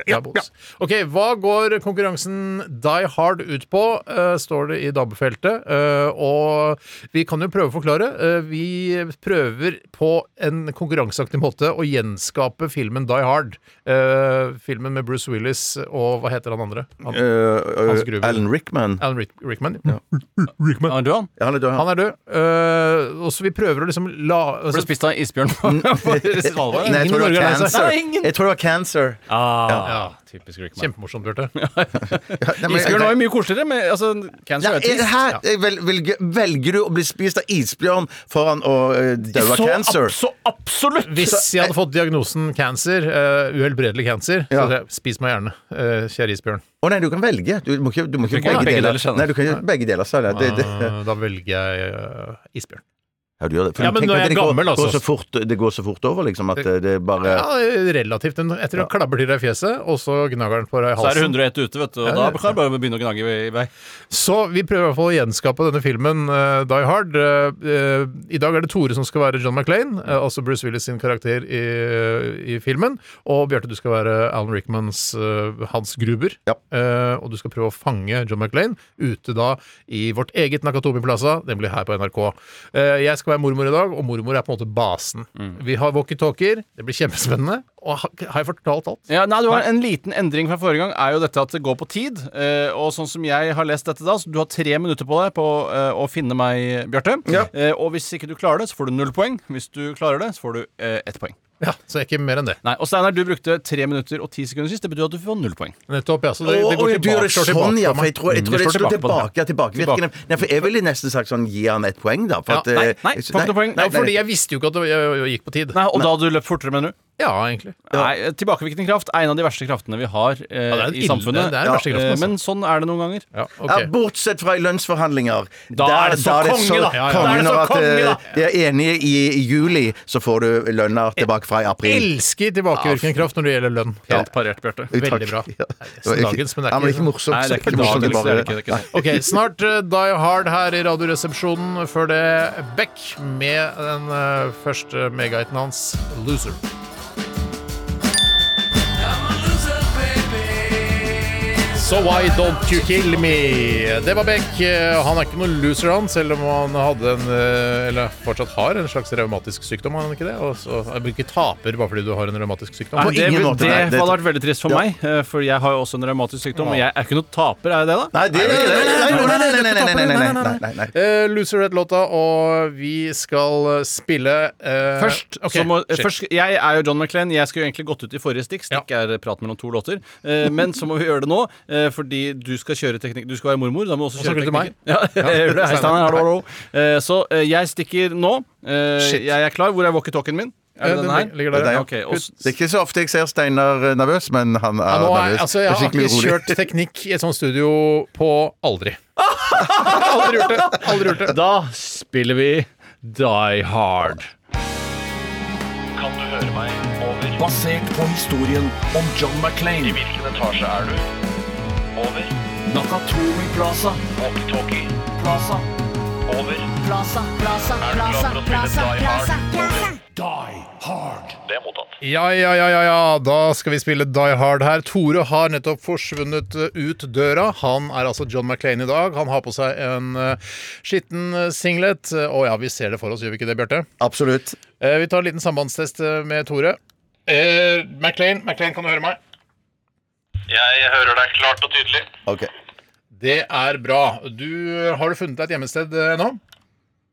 [SPEAKER 4] Ja, bonus. Ok, Hva går konkurransen Die Hard ut på, eh, står det i dabbefeltet. Eh, og vi kan jo prøve å forklare. Eh, vi prøver på en konkurranseaktig måte å gjenskape filmen Die Hard. Eh, filmen med Bruce Willis og hva heter han andre? Han, Hans Gruber.
[SPEAKER 6] uh, Eh, Alan Rickman.
[SPEAKER 4] Alan Rick Rickman.
[SPEAKER 5] Ja, men du, han?
[SPEAKER 6] Ja, han er død, han.
[SPEAKER 4] Han er død. Eh, og så vi prøver å liksom la
[SPEAKER 5] Ble
[SPEAKER 4] altså,
[SPEAKER 5] spist av en isbjørn på på Svalbard?
[SPEAKER 6] Nei, jeg tror
[SPEAKER 4] Ingen
[SPEAKER 6] det
[SPEAKER 4] i Norge
[SPEAKER 6] var
[SPEAKER 4] har reist seg.
[SPEAKER 6] cancer.
[SPEAKER 5] Nei, ingen.
[SPEAKER 6] Jeg tror det var cancer.
[SPEAKER 5] Ah,
[SPEAKER 4] Ja.
[SPEAKER 5] Typisk Rickman.
[SPEAKER 4] Kjempemorsomt, Bjarte.
[SPEAKER 6] Ja, nei, men-
[SPEAKER 5] Isbjørn var jo mye koseligere, men altså, cancer er
[SPEAKER 6] Nei, er det
[SPEAKER 5] trist.
[SPEAKER 6] her, vel, velger, velger du å bli spist av isbjørn foran å eh, dø av
[SPEAKER 5] Så
[SPEAKER 6] cancer?
[SPEAKER 5] ab- så absolutt!
[SPEAKER 4] Hvis jeg hadde fått diagnosen cancer, eh, uhelbredelig cancer, så
[SPEAKER 6] Ja.
[SPEAKER 4] hadde jeg spis meg gjerne, eh, kjære isbjørn.
[SPEAKER 6] Å nei, du kan velge. Du må ikke, du må ikke
[SPEAKER 5] kan begge
[SPEAKER 6] begge, deler.
[SPEAKER 5] deler, skjønner
[SPEAKER 6] Nei, du kan ikke begge deler. sa jeg. Det, det.
[SPEAKER 4] Eh, da velger jeg eh, isbjørn.
[SPEAKER 6] Ja, du gjør det. For
[SPEAKER 4] Ja, men
[SPEAKER 6] tenk
[SPEAKER 4] nå er jeg
[SPEAKER 6] at det går-
[SPEAKER 4] gammel, altså.
[SPEAKER 6] Går så fort, det går så fort over, liksom, at eh, det er bare
[SPEAKER 4] Ja, relativt. Den- Etter å klabber til deg i fjeset, og så gnager den på deg i
[SPEAKER 5] Så er det
[SPEAKER 4] halsen.
[SPEAKER 5] 101 ute, vet du, og da kan jeg bare begynne å gnage i vei.
[SPEAKER 4] Så vi prøver i hvert fall å gjenskape denne filmen, eh, Die Hard. Eh, eh, I dag er det Tore som skal være John McClain, eh, altså Bruce Willis sin karakter i, i filmen. Og Bjarte, du skal være Alan Rickmans eh, Hans Gruber.
[SPEAKER 6] Ja.
[SPEAKER 4] Eh, og du skal prøve å fange John McClain ute da i vårt eget Nakatomi Plaza, nemlig her på NRK. Eh, jeg skal være mormor i dag, og mormor er på en måte basen.
[SPEAKER 6] Mm.
[SPEAKER 4] Vi har walkietalkier, det blir kjempespennende. Og har, har jeg fortalt alt?
[SPEAKER 5] Ja, nei, du har En liten endring fra forrige gang er jo dette at det går på tid. Eh, og sånn som jeg har lest dette da, så du har tre minutter på deg på eh, å finne meg, Bjarte. Eh, og hvis ikke du klarer det, så får du null poeng. Hvis du klarer det, så får du eh, ett poeng.
[SPEAKER 4] Ja, så ikke mer enn det.
[SPEAKER 5] Nei, Og Steinar, du brukte tre minutter og ti sekunder sist. Det betyr at du får null poeng.
[SPEAKER 4] Nettopp, ja. Så det, det
[SPEAKER 6] Å,
[SPEAKER 4] går
[SPEAKER 6] å, du gjør
[SPEAKER 4] tilbake,
[SPEAKER 6] det
[SPEAKER 4] slår
[SPEAKER 6] sånn,
[SPEAKER 4] tilbake
[SPEAKER 6] ja,
[SPEAKER 4] på meg.
[SPEAKER 6] for jeg tror, jeg
[SPEAKER 5] Det
[SPEAKER 6] tror det
[SPEAKER 5] slår
[SPEAKER 6] slår
[SPEAKER 5] tilbake
[SPEAKER 6] tilbake, tilbakevirkende. Nei, for jeg ville nesten sagt sånn, gi han ett poeng, da. For
[SPEAKER 5] Ja,
[SPEAKER 6] at, eh,
[SPEAKER 5] nei, nei, får ikke noe poeng.
[SPEAKER 4] Ja,
[SPEAKER 5] Nei,
[SPEAKER 4] fordi jeg visste jo ikke at det jeg, jeg gikk på tid.
[SPEAKER 5] Nei, Og da hadde du løpt fortere, mener du?
[SPEAKER 4] Ja, egentlig.
[SPEAKER 5] Nei, Tilbakevirkende kraft er en av de verste kraftene vi har
[SPEAKER 4] Ja,
[SPEAKER 5] eh,
[SPEAKER 4] det er en
[SPEAKER 5] i
[SPEAKER 4] ille-
[SPEAKER 5] samfunnet.
[SPEAKER 4] det er den verste
[SPEAKER 5] Ja,
[SPEAKER 4] kraften, altså.
[SPEAKER 5] eh, Men sånn er det noen ganger.
[SPEAKER 4] Ja, ok.
[SPEAKER 6] Ja, bortsett fra i lønnsforhandlinger.
[SPEAKER 5] Da er det så konge, da. Ja, ja.
[SPEAKER 6] konge,
[SPEAKER 5] Da er det så
[SPEAKER 6] når at,
[SPEAKER 5] konge, da.
[SPEAKER 6] eh, De er enige i i juli, så får du
[SPEAKER 4] Eh,
[SPEAKER 6] lønna tilbake fra i april.
[SPEAKER 4] Elsker tilbakevirkende kraft når det gjelder lønn.
[SPEAKER 5] Helt parert, Bjarte.
[SPEAKER 4] Veldig bra.
[SPEAKER 6] Ja.
[SPEAKER 4] Nesten dagens, men det er
[SPEAKER 6] Ja, men
[SPEAKER 4] ikke-
[SPEAKER 6] ikke morsomt.
[SPEAKER 5] Nei, det er ikke
[SPEAKER 6] morsomt,
[SPEAKER 5] dagens. Det
[SPEAKER 6] bare-
[SPEAKER 5] er det ikke, det er ikke. det.
[SPEAKER 4] Ok, snart eh, Die Hard her i Radioresepsjonen. Før det Beck med den eh, første megahiten hans, Loser. So why don't you kill me? Det var Beck. Eh, Han er ikke noen loser, han, selv om han hadde en eh, Eller fortsatt har en slags revmatisk sykdom, har han ikke det? Og så jeg blir ikke taper bare fordi du har en revmatisk sykdom.
[SPEAKER 5] Nei, det,
[SPEAKER 6] ingen måte,
[SPEAKER 5] det
[SPEAKER 6] nei, det-
[SPEAKER 5] hadde vært veldig trist for meg, eh, for jeg har jo også en revmatisk sykdom. Og jeg er ikke noe taper, er jeg det, da?
[SPEAKER 6] Nei, det er ikke det. Nei, nei, nei, nei, nei, nei, nei, nei, nei, nei, nei.
[SPEAKER 4] Eh, loser het låta, og vi skal eh, spille eh,
[SPEAKER 5] Først,
[SPEAKER 4] ok,
[SPEAKER 5] så må, eh,
[SPEAKER 4] shit.
[SPEAKER 5] først Jeg er jo John McClain. Jeg skulle jo egentlig gått ut i forrige stikk. Stikk er prat mellom to låter. Eh, men så må vi gjøre det nå, eh, fordi du skal kjøre teknikk. Du skal være mormor. Da må du også
[SPEAKER 4] Og snakker du
[SPEAKER 5] kjøre
[SPEAKER 4] til
[SPEAKER 5] teknikken. Ja, jeg gjør det. Hei, Steinar. Hallo, hallo. Eh, så eh, jeg stikker nå. Eh,
[SPEAKER 4] Shit.
[SPEAKER 5] jeg er klar. Hvor er walkietalkien min?
[SPEAKER 4] Eh,
[SPEAKER 5] Er det
[SPEAKER 4] den
[SPEAKER 5] den her?
[SPEAKER 4] ligger der,
[SPEAKER 6] ja.
[SPEAKER 5] Ok, og s-
[SPEAKER 6] Det er ikke så ofte jeg ser Steinar eh, nervøs, men han
[SPEAKER 4] Ja,
[SPEAKER 6] er
[SPEAKER 4] nå er,
[SPEAKER 6] nervøs.
[SPEAKER 4] altså, jeg
[SPEAKER 6] Og
[SPEAKER 4] har
[SPEAKER 6] skikkelig
[SPEAKER 4] ikke
[SPEAKER 6] rolig.
[SPEAKER 4] kjørt teknikk i et sånt studio på aldri. aldri gjort det. Aldri gjort det.
[SPEAKER 5] Da spiller vi Die Hard.
[SPEAKER 3] Kan du høre meg? Over.
[SPEAKER 2] basert på historien om John McClain. I hvilken etasje er du? Over. Nakatomi Plaza. Walkie-talkie. Plaza. Over.
[SPEAKER 7] Plaza, plaza, plaza, plaza, plaza, plaza.
[SPEAKER 2] Die Hard.
[SPEAKER 4] Ja, ja, ja, ja, ja. Da skal vi spille Die Hard her. Tore har nettopp forsvunnet eh, ut døra. Han er altså John McClain i dag. Han har på seg en eh, skitten eh, singlet. Eh, Å ja, vi ser det for oss, gjør vi ikke det, Bjarte?
[SPEAKER 6] Absolutt.
[SPEAKER 4] Eh, Vi tar en liten sambandstest eh, med Tore. McLean, McLean, kan du høre meg?
[SPEAKER 8] Jeg hører deg klart og tydelig.
[SPEAKER 6] Ok.
[SPEAKER 4] Det er bra. Du, uh, har du funnet deg et hjemmested eh, nå?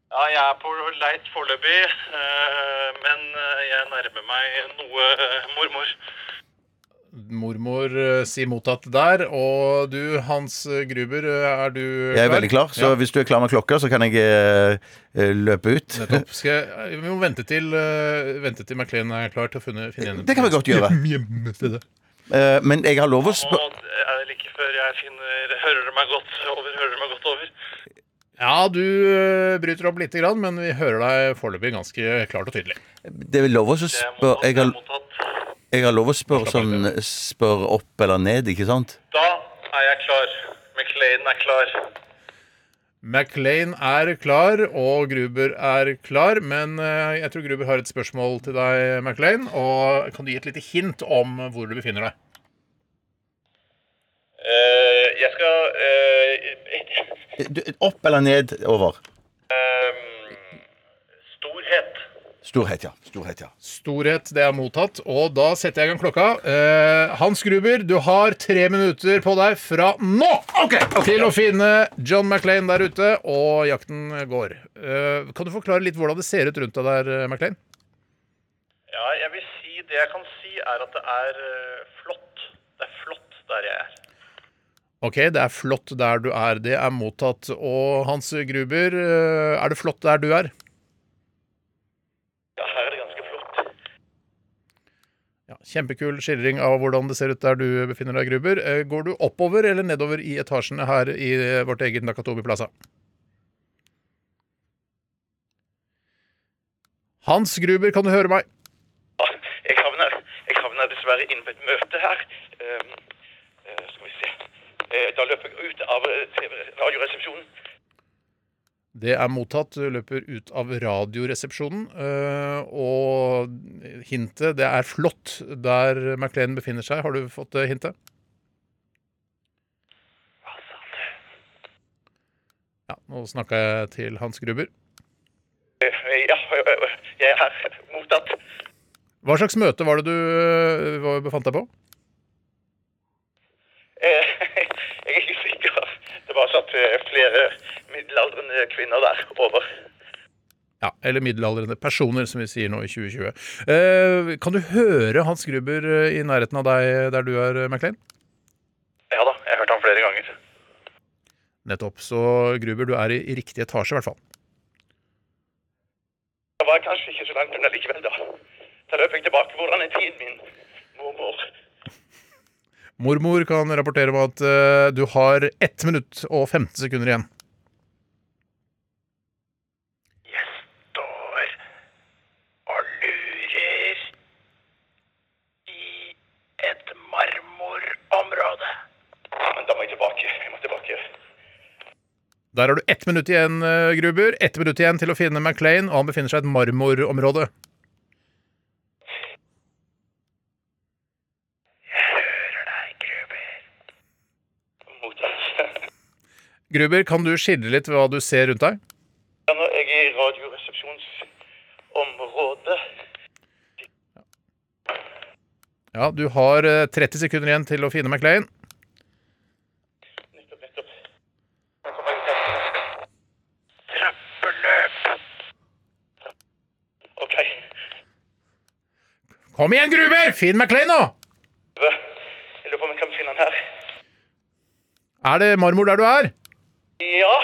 [SPEAKER 8] Ja, jeg er på leit foreløpig, eh, men eh, jeg nærmer meg noe eh, mormor.
[SPEAKER 4] Mormor eh, sier mottatt der. Og du, Hans Gruber, eh, er du
[SPEAKER 6] Jeg er veldig klar, så
[SPEAKER 4] Ja.
[SPEAKER 6] hvis du er klar med klokka, så kan jeg eh, eh, løpe ut.
[SPEAKER 4] Nettopp. Skal jeg, eh, vi må vente til, uh, vente til McLean er klar til å finne, finne en-
[SPEAKER 6] Det kan vi godt gjøre.
[SPEAKER 4] Hjemmestedet.
[SPEAKER 6] Eh, men jeg har lov å spå...
[SPEAKER 8] Og det er like før jeg finner Hører du meg godt over? Hører du meg godt over?
[SPEAKER 4] Ja, du eh, bryter opp lite grann, men vi hører deg foreløpig ganske klart og tydelig.
[SPEAKER 6] Det er lov å
[SPEAKER 8] Det er
[SPEAKER 6] spørre
[SPEAKER 8] mottatt.
[SPEAKER 6] jeg,
[SPEAKER 8] det er
[SPEAKER 6] har-
[SPEAKER 8] mottatt.
[SPEAKER 6] jeg har lov å spørre sånn Spørre opp eller ned, ikke sant?
[SPEAKER 8] Da er jeg klar. McLean er klar.
[SPEAKER 4] McLean er klar, og Gruber er klar, men eh, jeg tror Gruber har et spørsmål til deg, McLean. Og kan du gi et lite hint om hvor du befinner deg?
[SPEAKER 8] Eh, jeg skal eh,
[SPEAKER 6] Du, opp eller ned over.
[SPEAKER 8] eh, Storhet.
[SPEAKER 6] Storhet, ja. Storhet, ja.
[SPEAKER 4] Storhet, det er mottatt. Og da setter jeg i gang klokka. Eh, Hans Gruber, du har tre minutter på deg fra nå til å finne John McLean der ute, og jakten går. Eh, kan du forklare litt hvordan det ser ut rundt deg der, eh, McLean?
[SPEAKER 8] Ja, jeg vil si Det jeg kan si, er at det er eh, flott. Det er flott der jeg er.
[SPEAKER 4] OK, det er flott der du er. Det er mottatt. Og Hans Gruber, eh, er det flott der du er?
[SPEAKER 8] Ja, her er det ganske flott.
[SPEAKER 4] Ja, kjempekul skildring av hvordan det ser ut der du befinner deg, Gruber. Eh, går du oppover eller nedover i etasjene her i eh, vårt eget Nakatobi Plaza? Hans Gruber, kan du høre meg?
[SPEAKER 8] Ah, Jeg havner, jeg havner dessverre inn på et møte her. Ehm, eh, skal vi se. Eh, da løper jeg ut av eh, TV radioresepsjonen.
[SPEAKER 4] Det er mottatt. Du løper ut av Radioresepsjonen. eh, og hintet, det er flott der McLean befinner seg. Har du fått det hintet? Ja, nå snakka jeg til Hans Gruber.
[SPEAKER 8] Eh, ja, eh, jeg er her. Mottatt.
[SPEAKER 4] Hva slags møte var det du øh, hva- befant deg på?
[SPEAKER 8] Eh, jeg er ikke sikker. Det var satt eh, flere middelaldrende kvinner der. Over.
[SPEAKER 4] Ja, Eller middelaldrende personer, som vi sier nå i 2020. Eh, kan du høre Hans Gruber øh, i nærheten av deg der du er, øh, McLean?
[SPEAKER 8] Ja da, jeg har hørt ham flere ganger.
[SPEAKER 4] Nettopp. Så Gruber, du er i, i riktig etasje, i hvert fall.
[SPEAKER 8] Jeg var kanskje ikke så langt unna likevel, da. Da løp jeg tilbake. Hvordan er tiden min, mormor?
[SPEAKER 4] Mormor kan rapportere om at øh, du har 1 minutt og 15 sekunder igjen.
[SPEAKER 8] Jeg står og lurer i et marmorområde. Men da må jeg tilbake. Jeg må tilbake.
[SPEAKER 4] Der har du 1 minutt igjen, øh, Gruber. 1 minutt igjen til å finne McLean, og han befinner seg i et marmorområde.
[SPEAKER 8] Hører deg, Gruber. Mottatt.
[SPEAKER 4] Gruber, kan du skildre litt hva du ser rundt deg?
[SPEAKER 8] Ja, nå er jeg i radioresepsjonsområdet.
[SPEAKER 4] Ja, du har øh, 30 sekunder igjen til å finne McLean.
[SPEAKER 8] Nettopp, nettopp. Nå kommer jeg ut her. Trappeløp. Ok.
[SPEAKER 4] Kom igjen, Gruber! Finn McLean nå!
[SPEAKER 8] Jeg lurer på om jeg kan finne den her.
[SPEAKER 4] Er det marmor der du er?
[SPEAKER 8] Ja.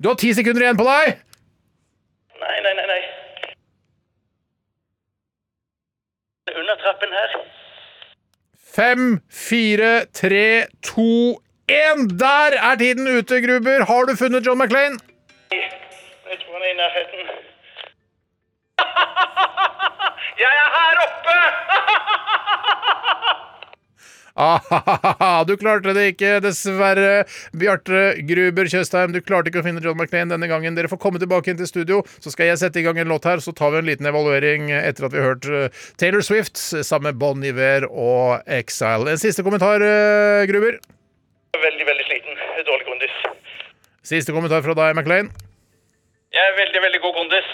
[SPEAKER 4] Du har ti sekunder igjen på deg!
[SPEAKER 8] Nei, nei, nei, nei. Under trappen her.
[SPEAKER 4] Fem, fire, tre, to, én! Der er tiden ute, Gruber! Har du funnet John McLean?
[SPEAKER 8] Jeg tror han er i nærheten. Jeg er her oppe!
[SPEAKER 4] Ah, du klarte det ikke, dessverre. Bjarte Gruber Tjøstheim, du klarte ikke å finne John McLean denne gangen. Dere får komme tilbake inn til studio, så skal jeg sette i gang en låt her. Så tar vi en liten evaluering etter at vi har hørt eh, Taylor Swift sammen med Bon Iver og Exile. En siste kommentar, eh, Gruber.
[SPEAKER 8] Veldig, veldig sliten. Dårlig kondis.
[SPEAKER 4] Siste kommentar fra deg, McLean.
[SPEAKER 8] Jeg er veldig, veldig god kondis.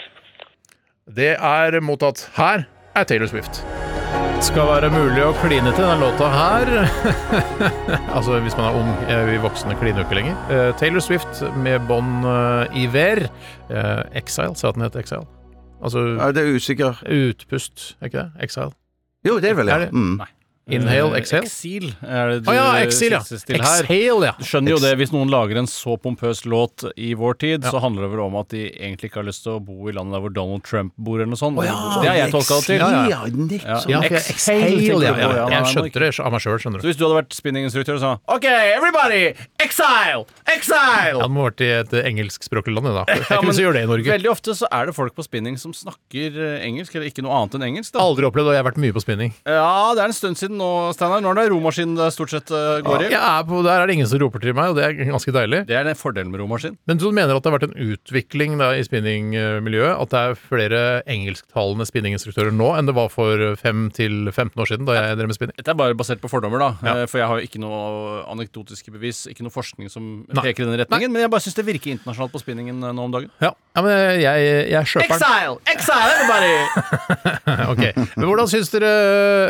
[SPEAKER 4] Det er mottatt. Her er Taylor Swift. Skal være mulig å kline til denne låta her. altså hvis man er ung. eh, Vi voksne kliner jo ikke lenger. Eh, Taylor Swift med Bon eh, Iver. Eh, Exile, sa den het Exile. Altså
[SPEAKER 6] Ja, det er usikker.
[SPEAKER 4] utpust, er ikke det? Exile.
[SPEAKER 6] Jo, det er vel
[SPEAKER 4] Er det-
[SPEAKER 6] det. Mm.
[SPEAKER 4] Inhale, exhale.
[SPEAKER 5] Eksil er det du
[SPEAKER 4] Å ja, Exile, ja.
[SPEAKER 5] siktes til her.
[SPEAKER 4] Exhale, ja.
[SPEAKER 5] Du skjønner jo det, Hvis noen lager en så pompøs låt i vår tid, så handler det vel om at de egentlig ikke har lyst til å bo i landet der hvor Donald Trump bor, eller noe sånt. det har jeg tolka det til.
[SPEAKER 6] Ja, ja. Nick,
[SPEAKER 5] Ja.
[SPEAKER 6] sånn.
[SPEAKER 4] Ja, for jeg-
[SPEAKER 5] Exhale,
[SPEAKER 4] exhale, ja,
[SPEAKER 5] tenker du på,
[SPEAKER 4] ja.
[SPEAKER 5] ja.
[SPEAKER 4] Jeg
[SPEAKER 5] Nei,
[SPEAKER 4] skjønte det av meg sjøl, skjønner
[SPEAKER 5] Så
[SPEAKER 4] du.
[SPEAKER 5] hvis du hadde vært spinninginstruktør og sa OK, everybody, exile! Exile!
[SPEAKER 4] Han må ha vært i et engelskspråklig land, da. Det er
[SPEAKER 5] Ja,
[SPEAKER 4] ikke
[SPEAKER 5] men
[SPEAKER 4] noe som gjør det i Norge.
[SPEAKER 5] Veldig ofte så er det folk på spinning som snakker eh, engelsk, eller ikke noe annet enn engelsk. da.
[SPEAKER 4] Aldri opplevd, og jeg har vært mye på spinning.
[SPEAKER 5] Ja, det er en stund siden nå, Steinar. Når det er romaskin det stort sett eh, går i.
[SPEAKER 4] Jeg er på, der er det ingen som roper til meg, og det er ganske deilig.
[SPEAKER 5] Det er den fordelen med romaskin.
[SPEAKER 4] Men du mener at det har vært en utvikling da, i spinningmiljøet? At det er flere engelsktalende spinninginstruktører nå enn det var for 5 til 15 år siden, da jeg drev med spinning?
[SPEAKER 5] Dette er bare basert på fordommer, da.
[SPEAKER 4] Ja.
[SPEAKER 5] eh, For jeg har jo ikke noe anekdotiske bevis, ikke noe forskning som
[SPEAKER 4] Nei.
[SPEAKER 5] peker i den retningen. Men jeg bare syns det virker internasjonalt på spinningen eh, nå om dagen.
[SPEAKER 4] Ja, ja men jeg, jeg kjøper den.
[SPEAKER 5] Exile! Exile, everybody!
[SPEAKER 4] Ok. Men hvordan syns dere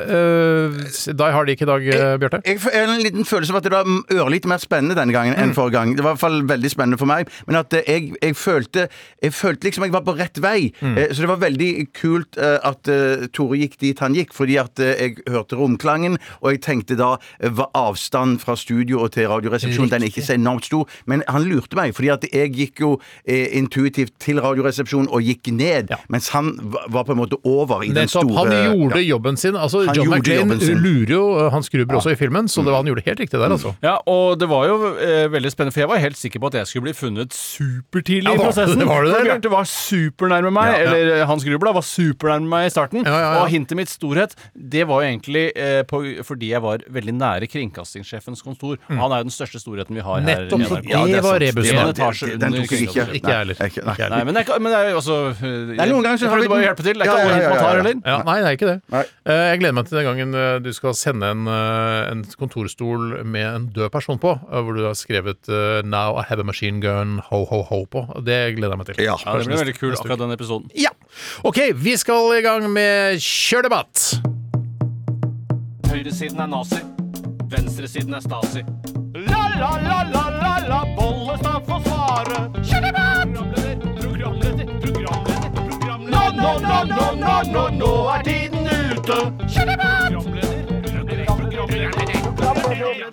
[SPEAKER 4] uh, Die Hard gikk i dag, eh, Bjarte?
[SPEAKER 6] Jeg får en liten følelse av at det var m- ørlite mer spennende denne gangen
[SPEAKER 4] Mm.
[SPEAKER 6] enn forrige gang. Det var i hvert fall veldig spennende for meg, men at eh, jeg, jeg følte Jeg følte liksom jeg var på rett vei.
[SPEAKER 4] Mm.
[SPEAKER 6] Eh, Så det var veldig kult eh, at eh, Tore gikk dit han gikk, fordi at eh, jeg hørte romklangen, og jeg tenkte da eh, var avstanden fra studio og til Radioresepsjonen den er ikke så enormt stor, men han lurte meg, fordi at jeg gikk jo eh, intuitivt til Radioresepsjonen og gikk ned,
[SPEAKER 4] Ja.
[SPEAKER 6] mens han va- var på en måte over i den
[SPEAKER 4] Nettopp.
[SPEAKER 6] store
[SPEAKER 4] Han gjorde jobben sin. Altså,
[SPEAKER 6] Han
[SPEAKER 4] John
[SPEAKER 6] gjorde
[SPEAKER 4] McClain
[SPEAKER 6] jobben sin. Mm.
[SPEAKER 4] lurer jo eh, Hans Gruber også i filmen, så det var, han gjorde helt riktig der, altså.
[SPEAKER 5] Ja, og det var jo eh, veldig spennende, for jeg var helt sikker på at jeg skulle bli funnet supertidlig
[SPEAKER 4] Ja,
[SPEAKER 5] i
[SPEAKER 4] var-
[SPEAKER 5] prosessen.
[SPEAKER 4] var det det,
[SPEAKER 5] For
[SPEAKER 4] eller?
[SPEAKER 5] Bjarte var supernærme meg,
[SPEAKER 4] Ja, ja.
[SPEAKER 5] eller eh, Hans Grubla var supernærme meg i starten.
[SPEAKER 4] Ja, ja, ja.
[SPEAKER 5] Og hintet mitt storhet, det var jo egentlig eh, på, fordi jeg var veldig nære kringkastingssjefens kontor. Han er jo den største storheten vi har
[SPEAKER 4] Mm. Nettopp,
[SPEAKER 5] her. i
[SPEAKER 4] så
[SPEAKER 5] NRK.
[SPEAKER 4] det var rebusen.
[SPEAKER 5] En etasje
[SPEAKER 6] Den tok jeg
[SPEAKER 5] under
[SPEAKER 6] ikke.
[SPEAKER 4] Ikke jeg heller.
[SPEAKER 6] Nei, ikke- nei.
[SPEAKER 4] Ikke jeg
[SPEAKER 5] Nei,
[SPEAKER 4] heller.
[SPEAKER 5] men det, er ikke- men det er jo også Det
[SPEAKER 6] er noen ganger så har vi
[SPEAKER 5] bare å
[SPEAKER 6] den-
[SPEAKER 5] hjelpe til. Det er
[SPEAKER 6] Ja,
[SPEAKER 5] ikke
[SPEAKER 6] ja,
[SPEAKER 5] alle hint
[SPEAKER 6] ja,
[SPEAKER 5] man
[SPEAKER 6] ja,
[SPEAKER 5] tar,
[SPEAKER 6] ja.
[SPEAKER 5] heller.
[SPEAKER 4] Ja, nei, det er ikke det.
[SPEAKER 6] Nei.
[SPEAKER 4] Eh, Jeg gleder meg til den gangen eh, du skal sende en, eh, en kontorstol med en død person på, eh, hvor du har skrevet eh, 'Now I have a machine gun, ho, ho, ho' på. Det gleder jeg meg til.
[SPEAKER 6] Ja.
[SPEAKER 5] Ja, det
[SPEAKER 4] Kanskje
[SPEAKER 5] blir veldig
[SPEAKER 4] neste-
[SPEAKER 5] kul,
[SPEAKER 4] neste uke.
[SPEAKER 5] akkurat den episoden.
[SPEAKER 4] Ja. OK, vi skal i gang med Kjør debatt!
[SPEAKER 9] Høyresiden er nazi. Venstresiden er stasi. La, la, la, la, la, la, Bollestad får svare. Kjør debatt! Programleder, programleder, programleder. Nå, nå, nå, nå, nå, nå, nå er tiden ute. Kjør debatt! Programleder, programleder, programleder, programleder.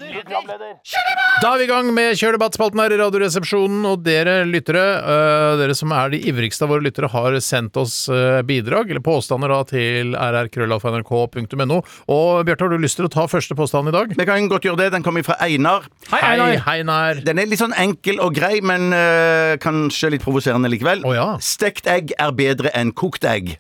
[SPEAKER 4] Da er vi i gang med Kjør debatt-spalten her i Radioresepsjonen. Og dere lyttere, øh, dere som er de ivrigste av våre lyttere, har sendt oss øh, bidrag eller påstander da til rrkrøllalfa.nrk.no. Og Bjarte, har du lyst til å ta første påstand i dag?
[SPEAKER 6] Vi kan godt gjøre det. Den kommer fra Einar.
[SPEAKER 4] Hei, Einar.
[SPEAKER 6] Den er litt sånn enkel og grei, men øh, kanskje litt provoserende likevel.
[SPEAKER 4] Å, ja.
[SPEAKER 6] Stekt egg er bedre enn kokt egg.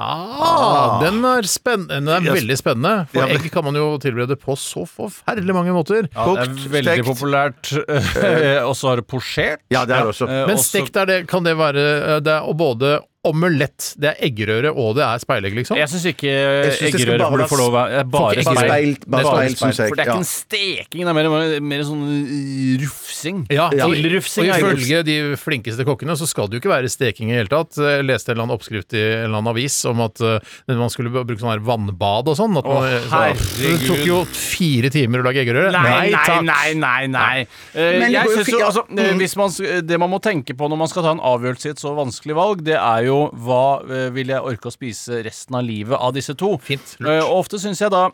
[SPEAKER 4] Ah, den er, spennende. Den er
[SPEAKER 6] Yes.
[SPEAKER 4] veldig spennende. For
[SPEAKER 6] Ja, men-
[SPEAKER 4] egg kan man jo tilberede på så forferdelig mange måter.
[SPEAKER 5] Det er veldig populært.
[SPEAKER 6] Eh.
[SPEAKER 5] Og så har du posjert.
[SPEAKER 6] Ja, det er det også.
[SPEAKER 5] Eh,
[SPEAKER 4] Men
[SPEAKER 5] også-
[SPEAKER 4] stekt er det, kan det være øh, det er, Og både omelett, det er eggerøre, og det er speilegg, liksom?
[SPEAKER 5] Jeg syns ikke
[SPEAKER 6] synes det skal
[SPEAKER 5] eggerøre
[SPEAKER 6] bare
[SPEAKER 5] burde
[SPEAKER 6] være
[SPEAKER 5] få lov å være
[SPEAKER 4] Får
[SPEAKER 5] bare
[SPEAKER 4] ikke
[SPEAKER 6] Bare
[SPEAKER 4] eggerøre.
[SPEAKER 5] speil.
[SPEAKER 6] speil, bare
[SPEAKER 4] Det er
[SPEAKER 6] speil som
[SPEAKER 5] For det
[SPEAKER 6] stek.
[SPEAKER 5] er ikke
[SPEAKER 6] Ja.
[SPEAKER 5] en steking, det er mer, mer sånn eh, rufsing.
[SPEAKER 4] Ja, og, og
[SPEAKER 5] Ildrufsing er jo-
[SPEAKER 4] ifølge de flinkeste kokkene så skal det jo ikke være steking i det hele tatt. Eh, Jeg leste en eller annen oppskrift i en eller annen avis om at eh, man skulle bruke sånn her vannbad og sånn. At man,
[SPEAKER 5] Å,
[SPEAKER 4] så- det tok jo fire timer å lage eggerøre.
[SPEAKER 5] Nei, nei, nei, nei, nei. Eh,
[SPEAKER 6] Men det
[SPEAKER 5] jeg
[SPEAKER 6] går jo
[SPEAKER 5] synes jo,
[SPEAKER 6] fint,
[SPEAKER 5] altså,
[SPEAKER 6] ja.
[SPEAKER 5] eh,
[SPEAKER 6] Mm.
[SPEAKER 5] hvis man, s- det man må tenke på når man skal ta en avgjørelse i et så vanskelig valg, det er jo hva eh, vil jeg orke å spise resten av livet av disse to.
[SPEAKER 4] Fint, lurt.
[SPEAKER 5] Eh, og ofte syns jeg da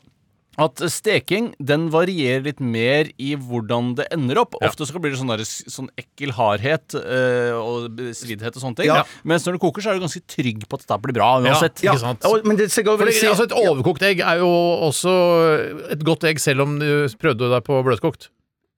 [SPEAKER 5] at steking den varierer litt mer i hvordan det ender opp. Ofte så blir det sånn, der, s- sånn ekkel hardhet eh, og svidhet og sånne ting.
[SPEAKER 6] Ja.
[SPEAKER 5] Mens når det koker, så er du ganske trygg på at dette blir bra uansett.
[SPEAKER 4] Ja, ikke sant?
[SPEAKER 6] Og- men det skal jeg også
[SPEAKER 4] Fordi,
[SPEAKER 6] vel si-
[SPEAKER 4] altså Et overkokt egg er jo også et godt egg, selv om du prøvde deg på bløtkokt.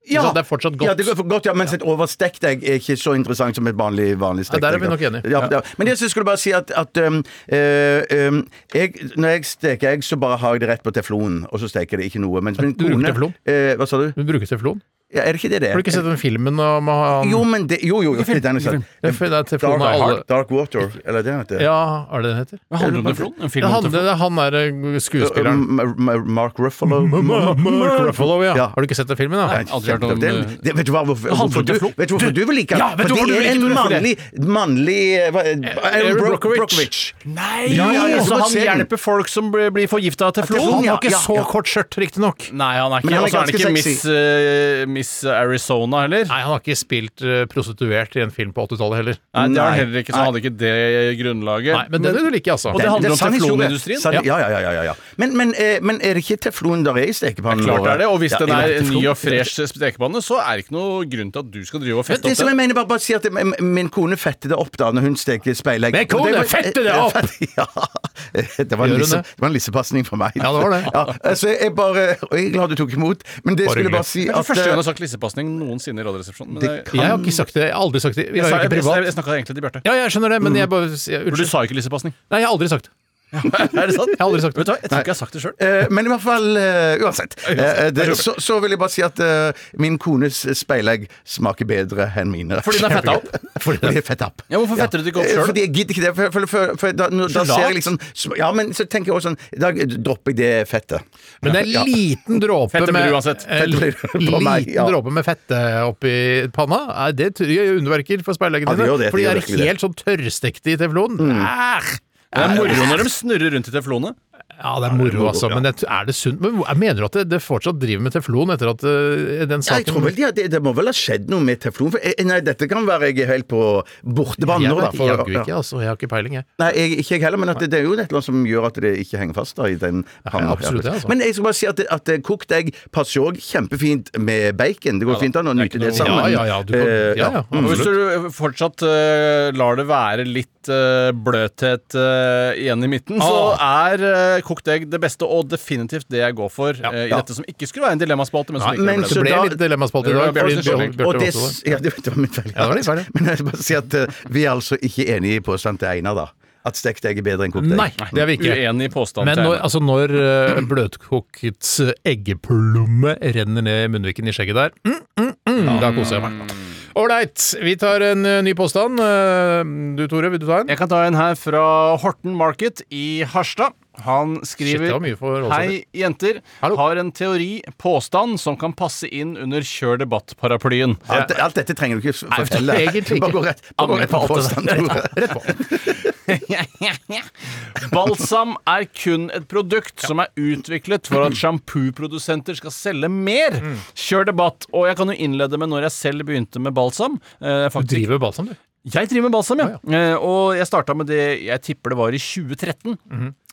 [SPEAKER 4] Ikke sant? Det er fortsatt godt.
[SPEAKER 6] Ja, det går for godt, ja, mens et overstekt egg er ikke så interessant som et vanlig, vanlig stekt
[SPEAKER 4] Ja, der er vi
[SPEAKER 6] egg, da.
[SPEAKER 4] nok enige.
[SPEAKER 6] Ja, ja. Men jeg synes- skulle bare si at, at øhm, øh, øhm, jeg, når jeg steker egg, så bare har jeg det rett på teflon, og så steker jeg det ikke noe. Mens min
[SPEAKER 4] Du bruker
[SPEAKER 6] kone
[SPEAKER 4] teflon?
[SPEAKER 6] Eh, hva sa du?
[SPEAKER 4] Hun bruker teflon.
[SPEAKER 6] Ja, er det ikke det det er?
[SPEAKER 4] Har du ikke sett den filmen om han
[SPEAKER 6] Jo, men det, jo, jo, jo. Den er sant.
[SPEAKER 4] Ja, for det er
[SPEAKER 6] Dark,
[SPEAKER 4] teflon av alle
[SPEAKER 6] Heart, Dark Water, eller det heter
[SPEAKER 4] Ja, er det det den heter?
[SPEAKER 5] Hva handler det om Teflon? En film
[SPEAKER 4] Det
[SPEAKER 5] om
[SPEAKER 4] handler,
[SPEAKER 5] Teflon? Um,
[SPEAKER 4] det er han er eh, skuespilleren.
[SPEAKER 6] M- M- Mark Ruffalo.
[SPEAKER 4] Mark Ruffalo, ja.
[SPEAKER 6] Ja.
[SPEAKER 4] Har du ikke sett den filmen? da? Eh,
[SPEAKER 5] Nei. Aldri hørt om eh,
[SPEAKER 6] det,
[SPEAKER 5] det.
[SPEAKER 6] det, vet du hva, hvorfor,
[SPEAKER 5] handler om
[SPEAKER 6] hvorfor du,
[SPEAKER 5] teflon.
[SPEAKER 6] vet du hvorfor du vil like
[SPEAKER 5] Ja, vet du
[SPEAKER 6] For
[SPEAKER 5] hvorfor
[SPEAKER 6] det
[SPEAKER 5] du
[SPEAKER 6] er
[SPEAKER 5] liker
[SPEAKER 6] en
[SPEAKER 5] det? Hvorfor
[SPEAKER 6] mannlig, mannlig eh, hva- Aaron Bro-
[SPEAKER 5] Brockovich.
[SPEAKER 6] Brockovich.
[SPEAKER 5] Nei!
[SPEAKER 6] Ja, ja, ja,
[SPEAKER 5] så
[SPEAKER 6] så må
[SPEAKER 5] han
[SPEAKER 6] se den.
[SPEAKER 5] hjelper folk som blir, blir forgifta av teflon?
[SPEAKER 6] Teflon,
[SPEAKER 4] Han
[SPEAKER 6] ja,
[SPEAKER 4] har ikke
[SPEAKER 6] ja,
[SPEAKER 4] så
[SPEAKER 6] ja.
[SPEAKER 4] kort skjørt, riktignok.
[SPEAKER 5] Nei, han er ikke
[SPEAKER 6] Men han er
[SPEAKER 5] Og så er han
[SPEAKER 6] ganske
[SPEAKER 5] ikke
[SPEAKER 6] sexy.
[SPEAKER 5] Miss, eh, Miss Arizona heller.
[SPEAKER 4] Nei, han har ikke spilt eh, prostituert i en film på 80-tallet heller.
[SPEAKER 5] Nei, det har han
[SPEAKER 6] Nei.
[SPEAKER 5] heller ikke, så han hadde ikke det grunnlaget.
[SPEAKER 4] Nei, Men den vil du like, altså.
[SPEAKER 5] Og det handler
[SPEAKER 6] er
[SPEAKER 5] om
[SPEAKER 6] sann historie.
[SPEAKER 5] teflonindustrien.
[SPEAKER 6] Sann- Ja, ja, ja. ja, ja, ja. Men, men, eh, men er det ikke teflon der er i stekepannen?
[SPEAKER 5] Klart
[SPEAKER 6] vår?
[SPEAKER 5] er det, og hvis
[SPEAKER 6] Ja,
[SPEAKER 5] den
[SPEAKER 6] jeg
[SPEAKER 5] er
[SPEAKER 6] vet
[SPEAKER 5] en ny
[SPEAKER 6] teflon.
[SPEAKER 5] og fresh stekepanne, så er det ikke noe grunn til at du skal drive og
[SPEAKER 6] Men
[SPEAKER 5] fette
[SPEAKER 6] det som
[SPEAKER 5] opp
[SPEAKER 6] jeg
[SPEAKER 5] det.
[SPEAKER 6] mener, bare, bare si at eh, min kone fetter det opp da når hun steker speilegg.
[SPEAKER 4] Min kone
[SPEAKER 6] Det var-
[SPEAKER 4] fetter det opp!
[SPEAKER 6] Ja. Det var en,
[SPEAKER 4] Gjør hun
[SPEAKER 6] lisse,
[SPEAKER 4] det?
[SPEAKER 6] det var en lissepasning for meg.
[SPEAKER 4] Ja, det var det.
[SPEAKER 6] Ja, så jeg bare, og jeg er glad du tok imot, men det
[SPEAKER 4] Bare
[SPEAKER 6] skulle jeg
[SPEAKER 4] hyggelig.
[SPEAKER 6] bare si
[SPEAKER 5] Det er
[SPEAKER 6] at
[SPEAKER 5] første gang jeg
[SPEAKER 6] eh,
[SPEAKER 5] har sagt lissepasning noensinne i Radioresepsjonen. Men
[SPEAKER 6] Det
[SPEAKER 5] det,
[SPEAKER 6] kan-
[SPEAKER 4] Jeg har ikke sagt det. Jeg har aldri sagt det. Vi
[SPEAKER 5] jeg,
[SPEAKER 4] har
[SPEAKER 5] sa-
[SPEAKER 4] jo
[SPEAKER 5] jeg,
[SPEAKER 4] ikke
[SPEAKER 5] jeg,
[SPEAKER 4] privat.
[SPEAKER 5] jeg snakka egentlig til Bjarte.
[SPEAKER 4] Ja, jeg skjønner det, men jeg bare jeg,
[SPEAKER 5] For du
[SPEAKER 4] Unnskyld.
[SPEAKER 5] sa jo ikke lissepasning.
[SPEAKER 4] Nei, jeg har aldri sagt det.
[SPEAKER 5] Er det sant?
[SPEAKER 4] Jeg har aldri sagt det.
[SPEAKER 5] Vet du hva, jeg tror ikke jeg har sagt det sjøl.
[SPEAKER 6] eh, men i hvert fall eh, Uansett. Eh, det, så, så vil jeg bare si at eh, min kones speilegg smaker bedre enn mine.
[SPEAKER 5] Fordi den er fetta opp.
[SPEAKER 6] Fordi den er fetta opp.
[SPEAKER 5] Ja, hvorfor fetter du det ikke opp
[SPEAKER 6] Eh,
[SPEAKER 5] selv?
[SPEAKER 6] Fordi jeg gidder ikke det. For, for, for, for da, nå- da
[SPEAKER 5] Så
[SPEAKER 6] ser
[SPEAKER 5] lat.
[SPEAKER 6] jeg liksom Ja, men så tenker jeg også sånn Da dropper jeg det fettet.
[SPEAKER 4] Men det er en liten dråpe
[SPEAKER 5] Fette blir
[SPEAKER 4] med,
[SPEAKER 5] uansett.
[SPEAKER 4] eh,
[SPEAKER 6] Fette blir på meg, ja.
[SPEAKER 4] liten dråpe med fette oppi panna. Nei, Det tror jeg gjør underverker for speileggene
[SPEAKER 6] Ja, det
[SPEAKER 4] dine.
[SPEAKER 6] gjør det, det
[SPEAKER 4] fordi det
[SPEAKER 6] gjør
[SPEAKER 4] er
[SPEAKER 6] virkelig det.
[SPEAKER 4] helt sånn tørrstekte i teflon. Æh!
[SPEAKER 5] Det er moro når de snurrer rundt i teflonet.
[SPEAKER 4] Ja, det er moro, altså. Men det, er det sunt? Men hvor- mener du at det, det fortsatt driver med teflon etter at eh, den
[SPEAKER 6] Ja, jeg tror
[SPEAKER 4] saken
[SPEAKER 6] vel de har- det, det må vel ha skjedd noe med teflon? For, eh, nei, dette kan være jeg er helt på bortebane
[SPEAKER 4] Jeg
[SPEAKER 6] nå, da.
[SPEAKER 4] vet
[SPEAKER 6] for-
[SPEAKER 4] jaggu
[SPEAKER 6] ja.
[SPEAKER 4] ikke, altså. Jeg har ikke peiling, jeg.
[SPEAKER 6] Nei, jeg, ikke jeg heller, men at det, det er jo et eller annet som gjør at det ikke henger fast da, i den panna.
[SPEAKER 4] absolutt det, altså.
[SPEAKER 6] Men jeg skal bare si at, at kokt egg passer òg kjempefint med bacon. Det går fint an å nyte det sammen.
[SPEAKER 4] Ja, ja, ja. Du kan,
[SPEAKER 6] Eh,
[SPEAKER 4] ja, ja,
[SPEAKER 5] Og
[SPEAKER 4] Mm.
[SPEAKER 5] hvis
[SPEAKER 4] absolutt.
[SPEAKER 5] du fortsatt eh, lar det være litt eh, bløthet eh, igjen i midten, så
[SPEAKER 4] Ah.
[SPEAKER 5] er eh, kokt egg det beste, og definitivt det jeg går for eh, i
[SPEAKER 6] Ja.
[SPEAKER 5] dette som ikke skulle være en dilemmaspalte. Men som ikke
[SPEAKER 6] men
[SPEAKER 5] ble det.
[SPEAKER 6] så
[SPEAKER 4] Det ble
[SPEAKER 6] da-
[SPEAKER 4] litt dilemmaspalte i
[SPEAKER 5] Det var
[SPEAKER 4] dag. fordi
[SPEAKER 5] Bjørtes skyld.
[SPEAKER 4] Bjørte
[SPEAKER 6] Og
[SPEAKER 4] valgte
[SPEAKER 6] det,
[SPEAKER 4] det.
[SPEAKER 6] ja, det var min feil.
[SPEAKER 4] Ja, det var din feil, ja.
[SPEAKER 6] Men jeg vil bare si at eh, vi er altså ikke enige i påstanden til Einar, da. At stekt egg er bedre enn kokt egg.
[SPEAKER 4] Nei, det er vi ikke.
[SPEAKER 5] Uenig i påstanden.
[SPEAKER 4] Men
[SPEAKER 5] til
[SPEAKER 4] når,
[SPEAKER 5] Einar.
[SPEAKER 4] altså når eh, bløtkokt eggeplomme renner ned i munnviken i skjegget der, mm, mm, mm, da koser jeg meg. Ålreit, vi tar en eh, ny påstand. Eh, Du Tore, vil du ta en?
[SPEAKER 5] Jeg kan ta en her fra Horten Market i Harstad. Han
[SPEAKER 4] Shit, det
[SPEAKER 5] skriver
[SPEAKER 4] var mye for Åsa.
[SPEAKER 5] Hei, jenter.
[SPEAKER 4] Hallo.
[SPEAKER 5] Har en teori, påstand, som kan passe inn under kjør debatt-paraplyen.
[SPEAKER 6] Alt, alt dette trenger du ikke s- fortelle.
[SPEAKER 4] egentlig
[SPEAKER 6] Bare gå rett, bare gå
[SPEAKER 4] Angrer
[SPEAKER 6] rett
[SPEAKER 4] på
[SPEAKER 6] på
[SPEAKER 4] alt det
[SPEAKER 6] påstanden.
[SPEAKER 4] Rett på.
[SPEAKER 5] Balsam er kun et produkt som er utviklet for at sjampoprodusenter skal selge mer. Kjør debatt. Og jeg kan jo innlede med når jeg selv begynte med balsam. Eh,
[SPEAKER 4] Du
[SPEAKER 5] faktisk,
[SPEAKER 4] driver med balsam, du.
[SPEAKER 5] jeg driver med balsam, ja. Eh, og jeg starta med det jeg tipper det var i 2013.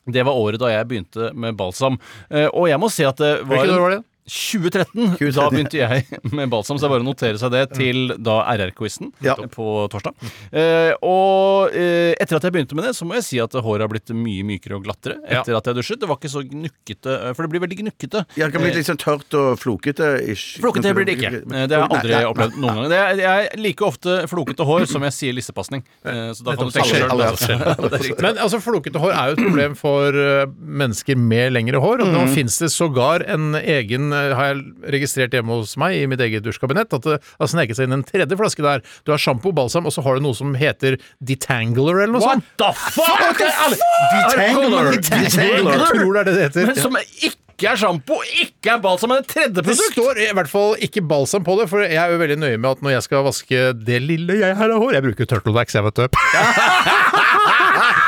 [SPEAKER 5] Det var året da jeg begynte med balsam. Eh, og jeg må si at det var
[SPEAKER 4] Hvilket år var det?
[SPEAKER 5] 2013, da begynte jeg med balsam, så det er bare å notere seg det til da RR-quizen
[SPEAKER 6] Ja.
[SPEAKER 5] på torsdag. Eh, og eh, etter at jeg begynte med det, så må jeg si at håret har blitt mye mykere og glattere etter at jeg dusjet. Det var ikke så gnukkete, eh, for det blir veldig gnukkete.
[SPEAKER 6] Ja, det kan bli
[SPEAKER 5] Eh,
[SPEAKER 6] litt sånn tørt og flokete. ish.
[SPEAKER 5] Flokete blir det ikke. Eh, Det har jeg aldri
[SPEAKER 6] Nei, nei.
[SPEAKER 5] opplevd noen gang. Det er, jeg er like ofte flokete hår som jeg sier lissepasning. Eh, Så da kan du tenke
[SPEAKER 4] Alle-
[SPEAKER 5] selv.
[SPEAKER 4] alle- alle- Men altså, flokete hår er jo et problem for eh, mennesker med lengre hår. Og nå fins det sågar en egen, eh, har jeg registrert hjemme hos meg i mitt eget dusjkabinett, at det har sneket seg inn en tredje flaske der. Du har sjampo, balsam, og så har du noe som heter detangler eller noe
[SPEAKER 5] What
[SPEAKER 4] sånt.
[SPEAKER 5] the fuck?!
[SPEAKER 6] Detangler!
[SPEAKER 4] Jeg
[SPEAKER 6] Detangler!
[SPEAKER 4] tror det er det det heter.
[SPEAKER 5] Men som ikke er sjampo, ikke er balsam, men et tredje
[SPEAKER 4] Det
[SPEAKER 5] produkt!
[SPEAKER 4] står i hvert fall ikke balsam på det, for jeg er jo veldig nøye med at når jeg skal vaske det lille jeg har av hår Jeg bruker turtledacks, jeg, vet du.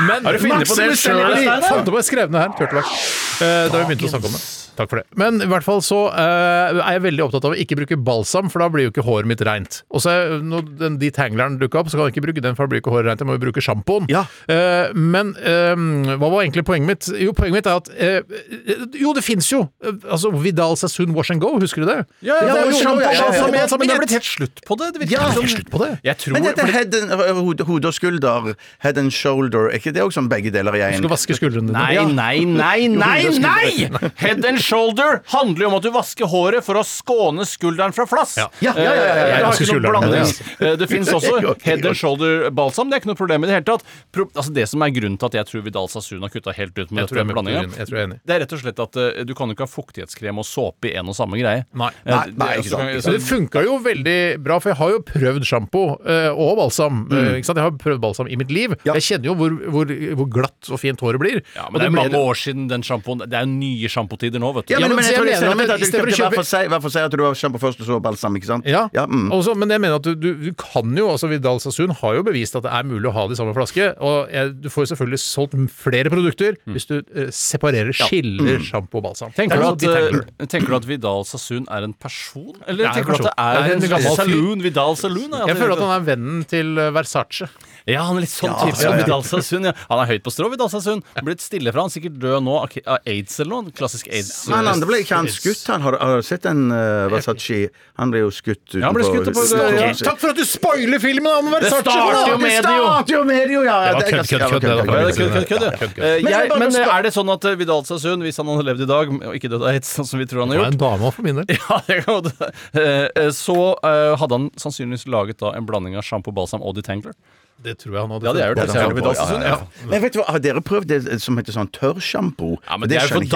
[SPEAKER 4] Men
[SPEAKER 5] Har du funnet på det
[SPEAKER 4] Maximus
[SPEAKER 5] selv,
[SPEAKER 4] Stellini
[SPEAKER 5] Steiner?
[SPEAKER 4] Fant opp og skrev ned her. Turtledack. Eh, da vi begynte å snakke om det. Takk for det. Men i hvert fall så eh, er jeg veldig opptatt av å ikke bruke balsam, for da blir jo ikke håret mitt reint. Og så er- når den detangleren dukka opp, så kan jeg ikke bruke den, for da blir ikke håret reint. Jeg må jo bruke sjampoen.
[SPEAKER 6] Ja.
[SPEAKER 4] Eh, men eh, hva var egentlig poenget mitt? Jo, poenget mitt er at eh, Jo, det fins jo! Eh, Altså, Vidal Sassoon Wash and Go, husker du det?
[SPEAKER 5] Ja, ja, det
[SPEAKER 6] var
[SPEAKER 5] er jo
[SPEAKER 6] jo
[SPEAKER 5] sjampo,
[SPEAKER 6] sjampo, ja, ja, ja.
[SPEAKER 5] balsam, men jeg- men det er
[SPEAKER 4] Balsam,
[SPEAKER 5] blitt helt slutt på det. det virker
[SPEAKER 4] Ja,
[SPEAKER 5] som-
[SPEAKER 4] helt slutt på det.
[SPEAKER 5] Jeg tror
[SPEAKER 6] Men dette
[SPEAKER 5] fordi-
[SPEAKER 6] head and, hode, hode og skulder, head and shoulder, er ikke det også sånn begge deler i
[SPEAKER 4] Skal
[SPEAKER 6] én?
[SPEAKER 4] vaske skuldrene dine.
[SPEAKER 5] Nei,
[SPEAKER 4] Ja.
[SPEAKER 5] nei, nei, nei, nei! Head and shoulder handler jo om at du vasker håret for å skåne skulderen fra flass.
[SPEAKER 4] Ja.
[SPEAKER 6] Ja, ja, ja, ja, ja.
[SPEAKER 5] Eh,
[SPEAKER 4] Jeg
[SPEAKER 5] Det, har
[SPEAKER 4] vasker
[SPEAKER 5] ikke noe
[SPEAKER 4] skulderen,
[SPEAKER 5] blanding.
[SPEAKER 4] det,
[SPEAKER 5] Eh, det fins også
[SPEAKER 6] Ok,
[SPEAKER 5] head
[SPEAKER 6] ok.
[SPEAKER 5] and shoulder-balsam. Det er ikke noe problem i det hele tatt. Pro altså, det som er grunnen til at jeg tror Vidal Sasun har kutta helt ut med
[SPEAKER 4] Jeg tror jeg
[SPEAKER 5] dette
[SPEAKER 4] er med på
[SPEAKER 5] blandinga,
[SPEAKER 4] din. Jeg tror jeg er enig.
[SPEAKER 5] det er rett og slett at eh, du kan jo ikke ha fuktighetskrem og såpe i en og samme greie.
[SPEAKER 4] Nei.
[SPEAKER 5] Eh,
[SPEAKER 6] Nei,
[SPEAKER 5] det-
[SPEAKER 6] nei,
[SPEAKER 5] altså,
[SPEAKER 6] ikke
[SPEAKER 5] du kan-
[SPEAKER 6] sant.
[SPEAKER 4] Så det funka jo veldig bra, for jeg har jo prøvd sjampo eh, og balsam.
[SPEAKER 5] Mm.
[SPEAKER 4] eh, Ikke sant? Jeg har prøvd balsam i mitt liv.
[SPEAKER 6] Ja.
[SPEAKER 4] Jeg kjenner jo hvor, hvor, hvor glatt og fint håret blir.
[SPEAKER 5] Ja,
[SPEAKER 4] Og
[SPEAKER 5] men det er
[SPEAKER 4] mer-
[SPEAKER 5] mange år siden den sjampoen Det er jo nye sjampotider nå, vet du.
[SPEAKER 6] Ja, men,
[SPEAKER 4] men
[SPEAKER 6] men
[SPEAKER 4] så
[SPEAKER 6] jeg
[SPEAKER 4] jeg
[SPEAKER 6] tror det
[SPEAKER 4] mener
[SPEAKER 6] stemmer.
[SPEAKER 4] at
[SPEAKER 6] at
[SPEAKER 4] i
[SPEAKER 6] Du
[SPEAKER 4] stedet for
[SPEAKER 6] kjøpte
[SPEAKER 4] å kjøpe-
[SPEAKER 6] hver for seg, hver for seg at du har sjampo først, og så balsam, ikke sant?
[SPEAKER 4] Ja,
[SPEAKER 6] mm.
[SPEAKER 4] også, men jeg mener at du, du, du kan jo altså Vidal Sassoon har jo bevist at det er mulig å ha det i samme flaske. Og jeg, du får jo selvfølgelig solgt m- flere produkter
[SPEAKER 5] Mm.
[SPEAKER 4] hvis du eh, separerer, skiller sjampo og balsam.
[SPEAKER 5] Tenker
[SPEAKER 4] Det er
[SPEAKER 5] du, at,
[SPEAKER 4] sånn de tenker.
[SPEAKER 5] eh, tenker du at Vidal Sassoon er en person? Eller
[SPEAKER 4] Det er en
[SPEAKER 5] tenker du at
[SPEAKER 4] person.
[SPEAKER 5] det er,
[SPEAKER 4] Det er en
[SPEAKER 5] en
[SPEAKER 4] gammel fyr.
[SPEAKER 5] saloon? Vidal Saloon? ja,
[SPEAKER 4] jeg føler at han er vennen til eh, Versace.
[SPEAKER 5] Ja, han er litt sånn type som Vidal Sassoon. Ja. Han er høyt på strå, Vidal Sassoon. Blitt stille fra han, sikkert død nå av ki- av aids eller noe. Klassisk aids.
[SPEAKER 6] Men han andre ble ikke han skutt, han. Har, har du sett den uh, Versace? Han ble jo skutt utenfor
[SPEAKER 5] han ble skutt på-
[SPEAKER 6] utenfor-
[SPEAKER 5] ja.
[SPEAKER 6] utenfor-
[SPEAKER 4] for at du spoiler filmen om Versace!
[SPEAKER 5] starter jo
[SPEAKER 4] da!
[SPEAKER 5] med-
[SPEAKER 6] Det starter jo med det, jo, ja!
[SPEAKER 4] Det var
[SPEAKER 6] er
[SPEAKER 4] kødd,
[SPEAKER 6] ganske-
[SPEAKER 4] kødd,
[SPEAKER 6] ja,
[SPEAKER 4] kødd,
[SPEAKER 6] det var
[SPEAKER 4] det var
[SPEAKER 5] Ja, det er kødd, kødd, kødd, ja. Eh,
[SPEAKER 6] Men jeg
[SPEAKER 5] jeg,
[SPEAKER 6] bare
[SPEAKER 5] men
[SPEAKER 6] spør-
[SPEAKER 5] er det sånn at eh, Vidal Sassoon, hvis han hadde levd i dag og ikke dødd av aids, sånn som vi tror han har
[SPEAKER 4] Det var en
[SPEAKER 5] gjort
[SPEAKER 4] dame for min del.
[SPEAKER 5] ja, det kan godt være. Eh, eh, Så eh, hadde han sannsynligvis laget da en blanding av sjampo, balsam og detangler.
[SPEAKER 4] Det tror jeg han hadde.
[SPEAKER 5] Ja, det er jo det.
[SPEAKER 6] Ja, det
[SPEAKER 5] Vidal
[SPEAKER 6] er det.
[SPEAKER 5] Sassoon, ja.
[SPEAKER 6] Men vet du hva, Har dere prøvd det som heter sånn tørrsjampo?
[SPEAKER 5] Ja, men det er jo for
[SPEAKER 6] skjønner ikke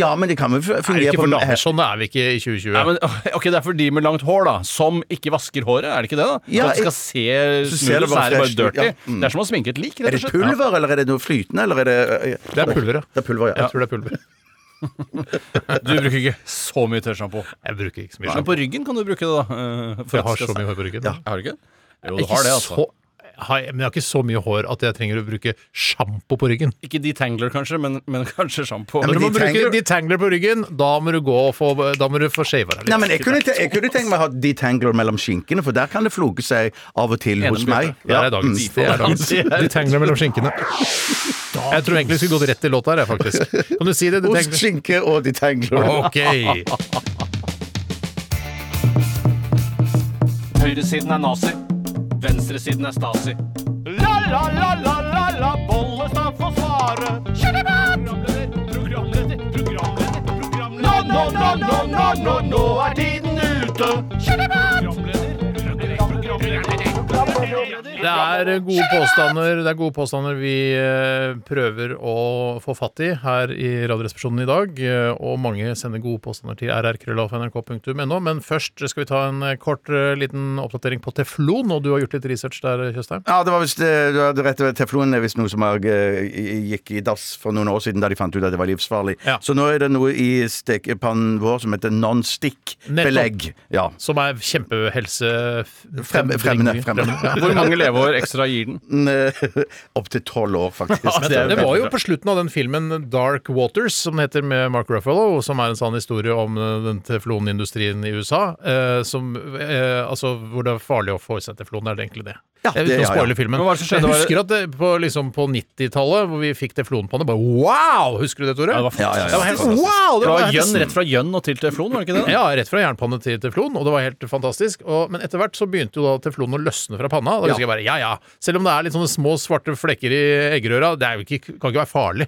[SPEAKER 5] damer.
[SPEAKER 6] Ja, men det kan vel fungere
[SPEAKER 4] Er det ikke
[SPEAKER 6] på
[SPEAKER 4] for damer sånn? Det er vi ikke i 2020.
[SPEAKER 5] Nei, men, ok, Det er for de med langt hår, da, som ikke vasker håret. Er det ikke det? da?
[SPEAKER 6] Ja,
[SPEAKER 5] For at det
[SPEAKER 6] jeg-
[SPEAKER 5] skal se
[SPEAKER 6] Så
[SPEAKER 5] smooth ut, så
[SPEAKER 6] ser det
[SPEAKER 5] er
[SPEAKER 6] bare
[SPEAKER 5] det bare
[SPEAKER 6] fresh ut,
[SPEAKER 5] dirty.
[SPEAKER 6] ja. Mm.
[SPEAKER 5] Det er som å sminke et lik,
[SPEAKER 6] Er
[SPEAKER 5] rett
[SPEAKER 6] det
[SPEAKER 5] og slett.
[SPEAKER 6] pulver, eller er det noe flytende, eller er det
[SPEAKER 4] Det er pulver, ja.
[SPEAKER 6] Det er pulver, ja.
[SPEAKER 4] Jeg tror det er pulver.
[SPEAKER 5] Ja. Du bruker ikke så mye tørrsjampo.
[SPEAKER 4] Jeg bruker ikke så mye
[SPEAKER 5] Men
[SPEAKER 4] sjampo.
[SPEAKER 5] på ryggen kan du bruke det, da. eh,
[SPEAKER 4] Jeg
[SPEAKER 5] For at
[SPEAKER 4] har
[SPEAKER 5] det
[SPEAKER 4] så
[SPEAKER 5] skal
[SPEAKER 4] mye
[SPEAKER 5] se-
[SPEAKER 4] hår på ryggen.
[SPEAKER 5] Har du ikke? Jo, du
[SPEAKER 4] Ikke
[SPEAKER 5] har det, altså.
[SPEAKER 4] så- Har jeg- Men jeg har ikke så mye hår at jeg trenger å bruke sjampo på ryggen.
[SPEAKER 5] Ikke detangler, kanskje, men, men kanskje sjampo.
[SPEAKER 4] Når du må
[SPEAKER 6] de
[SPEAKER 4] bruke
[SPEAKER 6] trenger-
[SPEAKER 4] detangler på ryggen, da må du gå og få, da må du få shava deg
[SPEAKER 6] Nei, men jeg kunne, te- jeg kunne tenke meg å ha detangler mellom skinkene, for der kan det floke seg av og til hos
[SPEAKER 5] Enig med
[SPEAKER 6] meg.
[SPEAKER 5] Bjarte.
[SPEAKER 4] Der er dagens.
[SPEAKER 5] Mm.
[SPEAKER 4] Det er dagens.
[SPEAKER 5] Det er-
[SPEAKER 4] Detangler mellom skinkene. Jeg tror egentlig vi skulle gått rett til låta her, jeg, faktisk. Kan du si det?
[SPEAKER 6] Ost,
[SPEAKER 4] Detangler.
[SPEAKER 6] skinke og detangler.
[SPEAKER 4] Ok.
[SPEAKER 9] Høyresiden er nazi. Venstresiden er stasi. La-la-la-la-la-la, Bollestad får svare. Programleder, programleder, programleder, programleder. Nå, nå, nå, nå, nå, nå, nå er tiden ute. Programleder, programleder, programleder.
[SPEAKER 4] Det er gode påstander Det er gode påstander vi eh, prøver å få fatt i her i Radioresepsjonen i dag. eh, Og mange sender gode påstander til rrkrøllalfa.nrk.no. Men først skal vi ta en eh, kort eh, liten oppdatering på teflon. Og du har gjort litt research der, Tjøstheim?
[SPEAKER 6] Ja, det var visst eh, du hadde rett Teflon er visst noe som har, eh, gikk i dass for noen år siden da de fant ut at det var livsfarlig.
[SPEAKER 4] Ja.
[SPEAKER 6] Så nå er det noe i stekepannen vår som heter non-stick-belegg. Ja.
[SPEAKER 4] Som er kjempehelse...
[SPEAKER 6] Frem, fremmende. fremmende.
[SPEAKER 4] Ja.
[SPEAKER 5] Hvor mange leveår ekstra gir den?
[SPEAKER 6] Opptil eh, tolv år, faktisk.
[SPEAKER 5] Ja, det er-
[SPEAKER 4] Det var jo på slutten av den filmen Dark Waters, som den heter med Mark Ruffalo, som er en sann historie om eh, den teflonindustrien i USA, eh, som, eh, altså, hvor det er farlig å få i seg teflon. Er det egentlig det?
[SPEAKER 6] Ja,
[SPEAKER 4] Jeg
[SPEAKER 6] det-
[SPEAKER 4] uten å
[SPEAKER 6] ja, ja.
[SPEAKER 4] spoile filmen.
[SPEAKER 5] Men hva er det som skjedde?
[SPEAKER 4] Jeg husker at det, på, liksom, på 90-tallet, hvor vi fikk teflonpanne, bare wow! Husker du det, Tore?
[SPEAKER 5] Ja, det var
[SPEAKER 6] Ja, ja, ja.
[SPEAKER 4] Det var helt wow! Det
[SPEAKER 5] Fra
[SPEAKER 4] var
[SPEAKER 5] gjønn, rett fra gjønn og til teflon, var det ikke det?
[SPEAKER 4] ja, rett fra jernpanne til teflon, og det var helt fantastisk. Og, men etter hvert så begynte jo da teflon å løsne fra panna. Da husker jeg bare, ja ja, Selv om det er litt sånne små svarte flekker i eggerøra, det er jo ikke, kan ikke være farlig.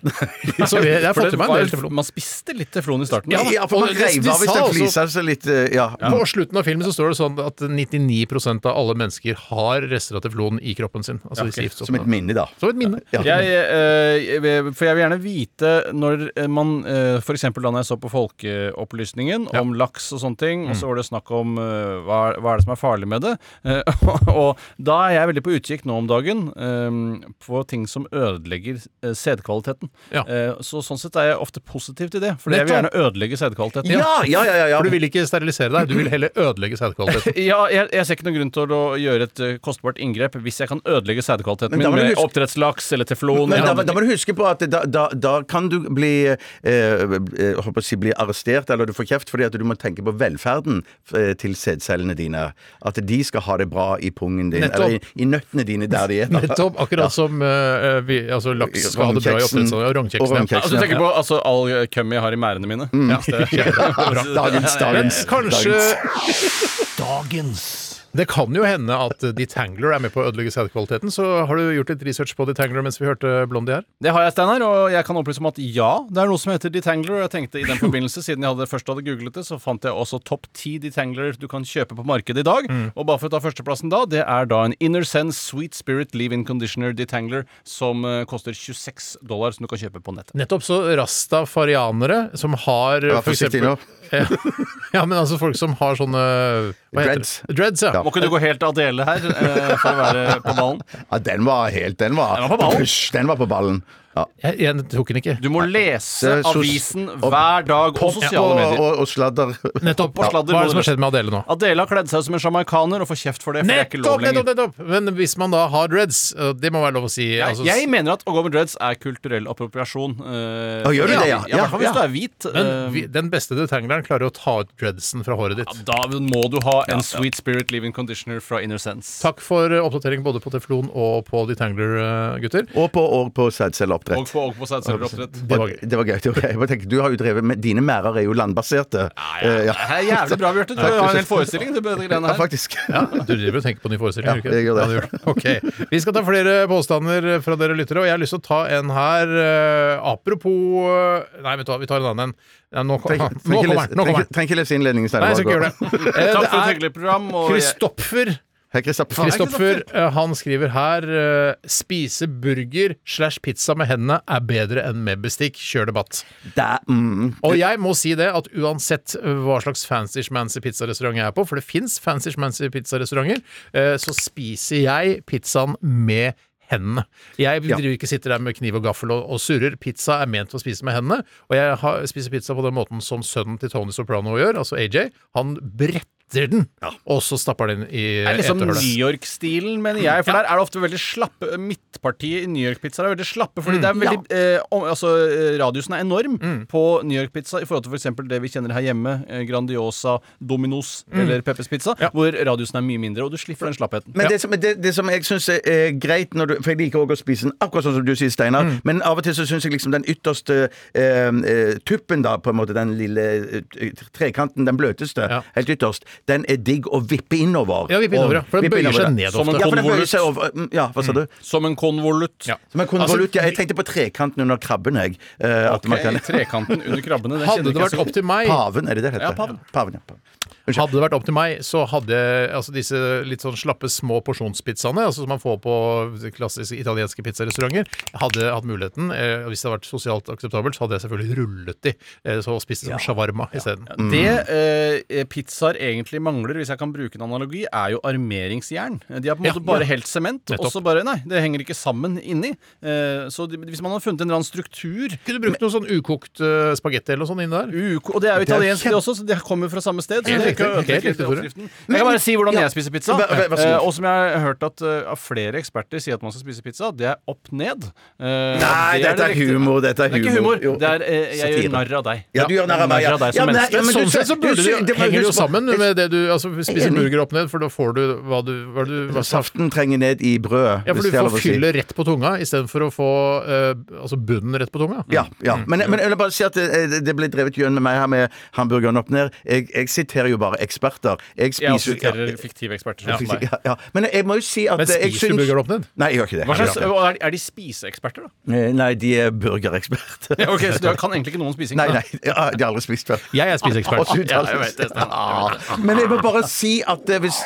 [SPEAKER 4] så vi, jeg har
[SPEAKER 5] For
[SPEAKER 4] fått
[SPEAKER 5] det
[SPEAKER 4] i meg en del
[SPEAKER 5] var-
[SPEAKER 4] teflon.
[SPEAKER 5] Man spiste litt teflon i starten.
[SPEAKER 6] Ja,
[SPEAKER 5] da.
[SPEAKER 6] ja, for man
[SPEAKER 4] og det-
[SPEAKER 6] reiv
[SPEAKER 4] de
[SPEAKER 6] av hvis
[SPEAKER 4] sa
[SPEAKER 6] den
[SPEAKER 4] også-
[SPEAKER 6] flisa seg litt eh, Ja.
[SPEAKER 4] På slutten av filmen så står det sånn at 99 av alle mennesker har rester av teflon i kroppen sin. Altså disse
[SPEAKER 6] Som et
[SPEAKER 4] giftstoffene.
[SPEAKER 6] minne, da.
[SPEAKER 4] Som et minne.
[SPEAKER 6] Ja.
[SPEAKER 5] Jeg, eh, jeg- for jeg vil gjerne vite når man eh, For eksempel da når jeg så på Folkeopplysningen om laks og sånne ting, og så var det snakk om eh, hva, er- hva er det som er farlig med det. Eh, og da er jeg veldig på utkikk nå om dagen eh, på ting som ødelegger eh, sædkvaliteten.
[SPEAKER 4] Ja.
[SPEAKER 5] Eh, så sånn sett er jeg ofte positiv til det, for jeg vil gjerne
[SPEAKER 4] Nettopp.
[SPEAKER 5] ødelegge sædkvaliteten.
[SPEAKER 6] Ja, ja, ja, ja, ja.
[SPEAKER 4] For du vil ikke sterilisere deg, du vil heller ødelegge sædkvaliteten.
[SPEAKER 5] Ja, jeg, jeg ser ikke noen grunn til å gjøre et eh, kostbart inngrep hvis jeg kan ødelegge sædkvaliteten
[SPEAKER 6] Men da
[SPEAKER 5] min
[SPEAKER 6] må du
[SPEAKER 5] med
[SPEAKER 6] huske-
[SPEAKER 5] oppdrettslaks eller teflon.
[SPEAKER 6] Men
[SPEAKER 5] eller
[SPEAKER 6] da,
[SPEAKER 5] andre
[SPEAKER 6] da må du huske på at da, da, da kan du bli eh, eh, håper å si, bli arrestert eller du får kjeft fordi at du må tenke på velferden eh, til sædcellene dine. At de skal ha det bra i pungen din,
[SPEAKER 4] Nettopp.
[SPEAKER 6] eller i, i nøttene dine der de er.
[SPEAKER 4] Nettopp, akkurat som eh, vi, altså, laks skal ha det bra i
[SPEAKER 6] Rognkjeksen.
[SPEAKER 4] oppdrettsanlegg. Og
[SPEAKER 6] Og
[SPEAKER 4] rognkjeksen.
[SPEAKER 6] rognkjeksen,
[SPEAKER 5] Altså, du
[SPEAKER 6] ja.
[SPEAKER 5] tenker på altså, all køm jeg har i mærene mine? Ja, det er-
[SPEAKER 6] Dagens,
[SPEAKER 4] eh, Men
[SPEAKER 6] dagens.
[SPEAKER 4] kanskje
[SPEAKER 6] dagens.
[SPEAKER 4] Det kan jo hende at Detangler er med på å ødelegge sædkvaliteten. Så har du gjort litt research på Detangler mens vi hørte Blondie her?
[SPEAKER 5] Det har jeg, Steinar, og jeg kan opplyse om at ja, det er noe som heter detangler. Og jeg tenkte i den forbindelse, siden jeg hadde, først hadde googlet det, så fant jeg også topp ti detangler du kan kjøpe på markedet i dag. Og bare for å ta førsteplassen da, det er da en Inner Sense Sweet Spirit Leave-In Conditioner Detangler som eh, koster 26 dollar, som du kan kjøpe på nettet.
[SPEAKER 4] Nettopp så rastafarianere som har
[SPEAKER 6] Ja,
[SPEAKER 4] for
[SPEAKER 6] forsiktig
[SPEAKER 4] eksempel- ja, men altså folk som har sånne hva heter
[SPEAKER 6] Dreads.
[SPEAKER 4] Det? Dreads, ja.
[SPEAKER 6] Ja.
[SPEAKER 5] Må ikke du gå helt Adele her eh, for å være på ballen?
[SPEAKER 6] Ja, den var helt Den var,
[SPEAKER 5] Den var på ballen.
[SPEAKER 6] Hysj, den var på ballen. Ja.
[SPEAKER 4] Jeg, jeg tok den ikke.
[SPEAKER 5] Du må lese
[SPEAKER 6] Det er sos-
[SPEAKER 5] avisen hver dag og sosiale
[SPEAKER 6] Og,
[SPEAKER 5] medier.
[SPEAKER 6] og, og sladder.
[SPEAKER 4] Nettopp.
[SPEAKER 5] Opp og
[SPEAKER 4] Hva
[SPEAKER 5] sladder må
[SPEAKER 4] er det som
[SPEAKER 5] du-
[SPEAKER 4] har skjedd med Adele nå?
[SPEAKER 5] Adele har kledd seg ut som en sjamarkaner og får kjeft for det. For det er ikke lov
[SPEAKER 4] Nettopp,
[SPEAKER 5] lenger.
[SPEAKER 4] nettopp, nettopp! Men hvis man da har dreads, øh, det må være lov å si
[SPEAKER 5] Jeg,
[SPEAKER 4] altså,
[SPEAKER 5] jeg mener at å gå med dreads er kulturell appropriasjon. eh,
[SPEAKER 6] Å, gjør du
[SPEAKER 5] ja,
[SPEAKER 6] det, ja?
[SPEAKER 5] I hvert fall hvis
[SPEAKER 6] Ja,
[SPEAKER 5] du
[SPEAKER 6] ja.
[SPEAKER 5] er hvit.
[SPEAKER 4] Men
[SPEAKER 5] eh,
[SPEAKER 4] vi, den beste detangleren klarer å ta ut dreadsen fra håret ditt.
[SPEAKER 5] da må du ha en Sweet Spirit Leaving Conditioner fra Inner Sense.
[SPEAKER 4] Takk for øh, oppdatering både på Teflon og på Detangler, øh, gutter.
[SPEAKER 6] Og på, og på sædcelleoppdrett.
[SPEAKER 5] Og på, og på sædcelleoppdrett.
[SPEAKER 4] Det var gøy.
[SPEAKER 6] Det var gøy. det var gøy. Jeg bare tenkte, du har jo drevet med, Dine merder er jo landbaserte. Eh, ja.
[SPEAKER 5] Det er jævlig bra, Bjarte. Du har en hel forestilling til dette greiene
[SPEAKER 6] Ja,
[SPEAKER 5] her.
[SPEAKER 6] faktisk.
[SPEAKER 4] Du driver og tenker på ny forestilling?
[SPEAKER 6] Ja,
[SPEAKER 4] gjør du
[SPEAKER 6] jeg gjør det.
[SPEAKER 4] du gjør det. Ok. Vi skal ta flere påstander fra dere lyttere, og jeg har lyst til å ta en her eh, Apropos eh, Nei, vet du hva, vi tar en annen en. Ja, nå, kom,
[SPEAKER 6] Trenger
[SPEAKER 4] nå kommer den! Nå kommer den.
[SPEAKER 6] trenger ikke lese innledningen. Steinar.
[SPEAKER 4] Nei, jeg skal ikke gjøre det. Eh,
[SPEAKER 5] Takk for et
[SPEAKER 4] det er
[SPEAKER 5] hyggelig program. Og jeg,
[SPEAKER 4] Kristoffer.
[SPEAKER 6] Hei, Kristoffer.
[SPEAKER 4] Kristoffer eh, han skriver her eh, Spise burger slash pizza med hendene er bedre enn med bestikk. Kjør debatt.
[SPEAKER 6] Da- mm.
[SPEAKER 4] Og jeg må si det at uansett eh, hva slags fancy-schmancy pizzarestaurant jeg er på, for det fins fancy-schmancy pizzarestauranter, eh, så spiser jeg pizzaen med hendene. Jeg
[SPEAKER 6] Ja.
[SPEAKER 4] driver ikke sitter der med kniv og gaffel og, og surrer. Pizza er ment for å spise med hendene, og jeg har, spiser pizza på den måten som sønnen til Tony Soprano gjør, altså AJ. Han bretter den, og så stapper den i
[SPEAKER 5] det er liksom
[SPEAKER 4] etehølet.
[SPEAKER 5] New York-stilen, mener jeg. For der er det ofte veldig slappe Midtpartiet i New York-pizzaer er veldig slappe, fordi det er veldig eh, om, Altså, eh, radiusen er enorm på New York-pizza i forhold til f.eks. eksempel det vi kjenner her hjemme. eh, Grandiosa, Dominos eller Peppers Pizza, hvor radiusen er mye mindre, og du slipper den slappheten.
[SPEAKER 6] Men det som, det, det som jeg syns er, er greit når du, For jeg liker også å spise den akkurat sånn som du sier, Steinar.
[SPEAKER 4] Mm.
[SPEAKER 6] Men av og til så syns jeg liksom den ytterste eh, eh, tuppen, da, på en måte, den lille eh, trekanten, den bløteste,
[SPEAKER 4] Ja.
[SPEAKER 6] helt ytterst, den er digg å vippe innover.
[SPEAKER 4] Ja, vipp innover, ja. For den
[SPEAKER 6] Vippe
[SPEAKER 4] bøyer seg
[SPEAKER 6] innover,
[SPEAKER 4] ned
[SPEAKER 5] Som
[SPEAKER 4] ofte.
[SPEAKER 5] en
[SPEAKER 6] Ja, for den
[SPEAKER 5] Konvolutt.
[SPEAKER 6] bøyer seg over mm, Ja, hva sa du?
[SPEAKER 5] Som en konvolutt.
[SPEAKER 4] Ja.
[SPEAKER 6] Som en
[SPEAKER 4] Altså,
[SPEAKER 6] konvolutt, ja. Jeg tenkte på trekanten under krabben, jeg. Eh, at man kan,
[SPEAKER 5] Ok, Trekanten under krabbene. Det
[SPEAKER 4] Hadde det vært opp til meg
[SPEAKER 6] paven, er det det det heter?
[SPEAKER 5] Ja, paven.
[SPEAKER 6] paven, ja, paven. Unnskyld.
[SPEAKER 4] Hadde det vært opp til meg, så hadde altså, disse litt sånn slappe små porsjonspizzaene, altså, som man får på klassiske italienske pizzarestauranter, hadde hatt muligheten. Eh, og hvis det hadde vært sosialt akseptabelt, så hadde jeg selvfølgelig rullet de eh, så og spist det som shawarma isteden.
[SPEAKER 6] Mm.
[SPEAKER 5] Det eh, pizzaer egentlig mangler, hvis jeg kan bruke en analogi, er jo armeringsjern. De har på en
[SPEAKER 4] Ja,
[SPEAKER 5] måte bare
[SPEAKER 4] ja.
[SPEAKER 5] helt sement, og
[SPEAKER 4] Nettopp.
[SPEAKER 5] så bare Nei, det henger ikke sammen inni. Eh, så de, hvis man hadde funnet en eller annen struktur
[SPEAKER 4] Kunne du brukt noe sånn ukokt eh, spagetti eller noe sånt inni der?
[SPEAKER 5] uko- Og det er jo
[SPEAKER 6] Det er jo
[SPEAKER 5] italiensk, det
[SPEAKER 6] kjempe-
[SPEAKER 5] også, så de kommer fra samme sted. Så
[SPEAKER 4] Helt
[SPEAKER 5] det er ikke å
[SPEAKER 4] riktig, helt
[SPEAKER 5] ødelegge
[SPEAKER 4] riktig, Tore.
[SPEAKER 5] oppskriften. Jeg kan bare si hvordan
[SPEAKER 6] Ja.
[SPEAKER 5] jeg spiser pizza.
[SPEAKER 6] Vær- vær- vær så god.
[SPEAKER 5] Eh, og som jeg har hørt at eh, av flere eksperter sier at man skal spise pizza, det er opp ned. Eh,
[SPEAKER 6] Nei,
[SPEAKER 5] det er
[SPEAKER 6] dette
[SPEAKER 5] det
[SPEAKER 6] er
[SPEAKER 5] riktige.
[SPEAKER 6] humor. Dette er
[SPEAKER 5] Det er ikke humor.
[SPEAKER 6] Jo.
[SPEAKER 5] Det er, eh, jeg
[SPEAKER 6] Satire.
[SPEAKER 5] gjør narr av deg.
[SPEAKER 6] Ja, du gjør narr av meg, ja.
[SPEAKER 5] deg som
[SPEAKER 6] Ja, men det er-
[SPEAKER 5] menneske.
[SPEAKER 6] ja, men du
[SPEAKER 4] Sånn sett så
[SPEAKER 6] ser-
[SPEAKER 4] burde
[SPEAKER 6] du
[SPEAKER 4] det,
[SPEAKER 6] ser- det var-
[SPEAKER 4] henger det jo
[SPEAKER 6] husk på-
[SPEAKER 4] sammen med det du altså, Spiser
[SPEAKER 6] Enig.
[SPEAKER 4] burger opp ned, for da får du hva du, hva du hva saft
[SPEAKER 6] Saften trenger ned i brødet.
[SPEAKER 4] Ja, for
[SPEAKER 6] hvis
[SPEAKER 4] du
[SPEAKER 6] det er lov
[SPEAKER 4] får
[SPEAKER 6] å si.
[SPEAKER 4] fyllet rett på tunga istedenfor å få eh, altså bunnen rett på tunga.
[SPEAKER 6] Ja, ja.
[SPEAKER 5] Mm.
[SPEAKER 6] Men, men jeg vil bare si at eh, det, det- det ble drevet gjøn med meg her med hamburgeren opp ned. Jeg, jeg siterer jo bare eksperter. Jeg
[SPEAKER 5] Jeg
[SPEAKER 6] spiser jo-
[SPEAKER 5] aksepterer fiktive eksperter.
[SPEAKER 6] ja,
[SPEAKER 5] Sånn som meg.
[SPEAKER 6] ja, ja. Men jeg må jo si at
[SPEAKER 4] Men
[SPEAKER 6] jeg
[SPEAKER 4] spiser du burgeren opp ned?
[SPEAKER 6] Nei, jeg gjør ikke det.
[SPEAKER 5] Hva slags,
[SPEAKER 6] Jeg gjør ikke
[SPEAKER 5] og er, er de spiseeksperter, da?
[SPEAKER 6] det. Eh, Nei, de er burgereksperter.
[SPEAKER 5] Ja, ok, Så du kan egentlig ikke noen spising?
[SPEAKER 6] Nei, nei, ja, de har aldri spist før.
[SPEAKER 4] Jeg er
[SPEAKER 6] Og
[SPEAKER 4] spiseekspert.
[SPEAKER 6] du-
[SPEAKER 5] Ja, jeg vet det, Stein.
[SPEAKER 6] Ah, Men jeg må bare si at eh, hvis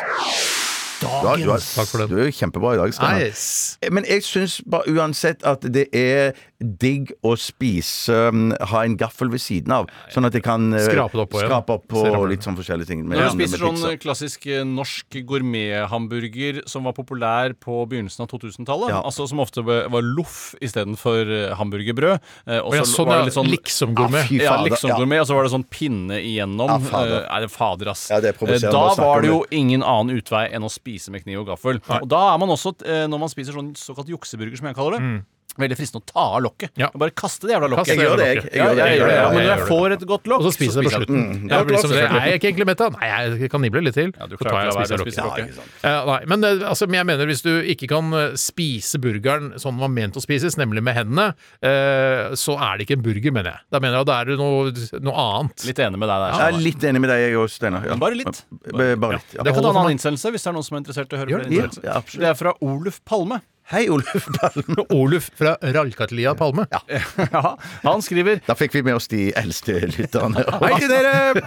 [SPEAKER 6] Ja, du, er,
[SPEAKER 4] Takk for den.
[SPEAKER 6] du er jo kjempebra i dag, Steinar.
[SPEAKER 4] Nice.
[SPEAKER 6] Men jeg syns bare uansett at det er digg å spise um, Ha en gaffel ved siden av, sånn at jeg kan uh,
[SPEAKER 4] Skrape det oppå igjen.
[SPEAKER 6] skrape opp på
[SPEAKER 4] Ser det.
[SPEAKER 6] litt sånn forskjellige ting.
[SPEAKER 5] Når
[SPEAKER 6] med-
[SPEAKER 5] du
[SPEAKER 6] med
[SPEAKER 5] spiser sånn
[SPEAKER 6] pizza.
[SPEAKER 5] eh, klassisk eh, norsk gourmethamburger som var populær på begynnelsen av 2000-tallet,
[SPEAKER 6] Ja.
[SPEAKER 5] altså som ofte be- var loff istedenfor eh, hamburgerbrød eh, og
[SPEAKER 4] Å ja,
[SPEAKER 5] så
[SPEAKER 4] sånn,
[SPEAKER 5] var det
[SPEAKER 4] ja.
[SPEAKER 5] litt sånn
[SPEAKER 4] Liksom-gourmet.
[SPEAKER 6] Ah, fy
[SPEAKER 5] Ja,
[SPEAKER 6] fader,
[SPEAKER 5] liksom
[SPEAKER 6] ja.
[SPEAKER 5] gourmet, og så var det sånn pinne igjennom.
[SPEAKER 6] Ja, fader.
[SPEAKER 5] Eh, Nei, det er fader, ass.
[SPEAKER 6] Ja, det er
[SPEAKER 5] Eh,
[SPEAKER 6] provoserende å
[SPEAKER 5] da
[SPEAKER 6] snakke om
[SPEAKER 5] var det jo
[SPEAKER 6] det.
[SPEAKER 5] ingen annen utvei enn å spise med kniv og gaffel. Og da er man også, eh, når man spiser sånn såkalt jukseburger, som jeg kaller det Veldig fristende å ta av lokket.
[SPEAKER 4] Mm. Ja.
[SPEAKER 5] Og Bare kaste det jævla lokket.
[SPEAKER 4] Jeg gjør det,
[SPEAKER 6] jeg. Jeg gjør det, jeg gjør det, Mm,
[SPEAKER 5] Ja,
[SPEAKER 6] jeg
[SPEAKER 5] men
[SPEAKER 4] gjør
[SPEAKER 5] når jeg
[SPEAKER 4] det.
[SPEAKER 5] får et godt lokk,
[SPEAKER 4] Og så spiser jeg på slutten. Ja, det blir som
[SPEAKER 6] sånn.
[SPEAKER 4] det. Er jeg ikke egentlig mett, da? Nei, jeg kan nible litt til.
[SPEAKER 5] Ja, du
[SPEAKER 4] Så tar
[SPEAKER 5] klarer
[SPEAKER 4] jeg og
[SPEAKER 5] ikke å la være
[SPEAKER 4] spiser
[SPEAKER 5] å spise
[SPEAKER 4] lokket.
[SPEAKER 5] lokket.
[SPEAKER 4] Eh, nei, men eh, altså, men jeg mener hvis du ikke kan eh, spise burgeren sånn som den var ment å spises, nemlig med hendene, eh, så er det ikke en burger, mener jeg. Da mener jeg at da er det noe, noe annet.
[SPEAKER 5] Litt enig med deg der.
[SPEAKER 6] Jeg er litt enig med deg, jeg òg, Steinar. Ja.
[SPEAKER 5] Men bare litt.
[SPEAKER 6] B- Bare litt. Ja.
[SPEAKER 5] Jeg kan
[SPEAKER 4] holder
[SPEAKER 5] ta en
[SPEAKER 4] for
[SPEAKER 5] annen innsendelse hvis det er noen som er interessert i å høre
[SPEAKER 6] Gjør
[SPEAKER 5] flere
[SPEAKER 6] det. Ja,
[SPEAKER 5] innsendelser.
[SPEAKER 6] ja, absolutt.
[SPEAKER 5] det er fra Oluf Palme.
[SPEAKER 6] Hei, Oluf Palme.
[SPEAKER 4] Oluf fra Rallkatlia Palme.
[SPEAKER 5] Ja, han skriver
[SPEAKER 6] Da fikk vi med oss de eldste lytterne.
[SPEAKER 5] Hei til dere!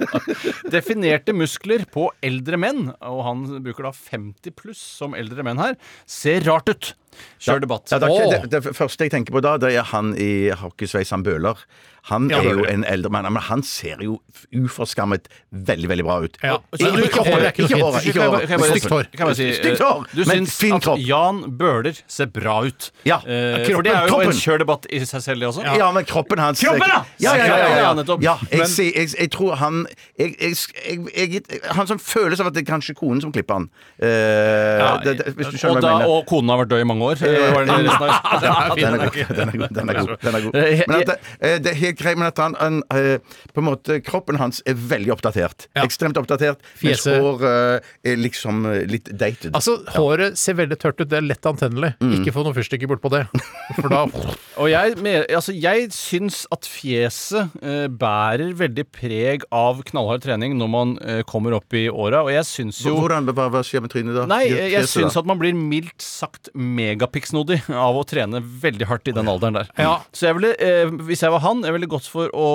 [SPEAKER 5] Definerte muskler på eldre menn, og han bruker da 50 pluss som eldre menn her, ser rart ut. Kjør debatt.
[SPEAKER 6] Ja, det, er
[SPEAKER 4] Åh.
[SPEAKER 6] ikke, det, det første jeg tenker på da, det er han i hockeysveis, han Bøhler. Han er jo en eldre mann, men han ser jo uforskammet veldig, veldig bra ut.
[SPEAKER 4] Ja.
[SPEAKER 6] Ikke
[SPEAKER 4] Men du-
[SPEAKER 6] ikke håret, ikke håret.
[SPEAKER 5] Kan
[SPEAKER 6] Ikke
[SPEAKER 5] jeg bare-
[SPEAKER 6] håret.
[SPEAKER 5] kan jeg bare-
[SPEAKER 4] Stygt hår.
[SPEAKER 5] kan jeg bare si, eh,
[SPEAKER 6] Stygt hår,
[SPEAKER 5] Du
[SPEAKER 6] men
[SPEAKER 5] syns
[SPEAKER 6] fin
[SPEAKER 5] at
[SPEAKER 6] kropp.
[SPEAKER 5] Jan Bøhler ser bra ut.
[SPEAKER 6] Ja,
[SPEAKER 5] Eh, for
[SPEAKER 6] kroppen,
[SPEAKER 5] det er jo en
[SPEAKER 6] kroppen.
[SPEAKER 5] kjørdebatt i seg selv, det også.
[SPEAKER 6] Ja, men kroppen hans
[SPEAKER 5] Kroppen, da!
[SPEAKER 6] Ja, ja, ja, ja,
[SPEAKER 5] Ja,
[SPEAKER 6] ja,
[SPEAKER 5] nettopp.
[SPEAKER 6] ja jeg,
[SPEAKER 5] Men-
[SPEAKER 6] sier- jeg, jeg tror han jeg, jeg, jeg, jeg, Han som føles av at det er kanskje konen som klipper han. Eh, det, det, hvis du skjønner
[SPEAKER 5] og,
[SPEAKER 6] hva jeg
[SPEAKER 5] da,
[SPEAKER 6] mener.
[SPEAKER 5] og konen har vært død i mange år. eh, var det resten av-
[SPEAKER 6] Den er god. Den er god. Den er god. Den er god. Men at det, eh, det er helt greit, men at han, han eh, på en måte, Kroppen hans er veldig oppdatert. Ekstremt oppdatert. Mens
[SPEAKER 4] Fjeset.
[SPEAKER 6] hår eh, er liksom eh, litt dated.
[SPEAKER 4] Altså, håret ser veldig tørt ut. Det er lett antennelig.
[SPEAKER 5] Mm.
[SPEAKER 4] Ikke få noen fyrstikker bortpå det. For da
[SPEAKER 5] Og jeg, me- altså, jeg syns at fjeset eh, bærer veldig preg av knallhard trening når man eh, kommer opp i åra, og jeg syns jo
[SPEAKER 6] Hvordan, hva, hva skjer med trynet da?
[SPEAKER 5] Nei,
[SPEAKER 6] Gjør
[SPEAKER 5] jeg, jeg
[SPEAKER 6] fjeset
[SPEAKER 5] syns
[SPEAKER 6] da?
[SPEAKER 5] at man blir mildt sagt megapiksnodig av å trene veldig hardt i den alderen der. Så jeg ville, eh, hvis jeg var han, jeg ville gått for å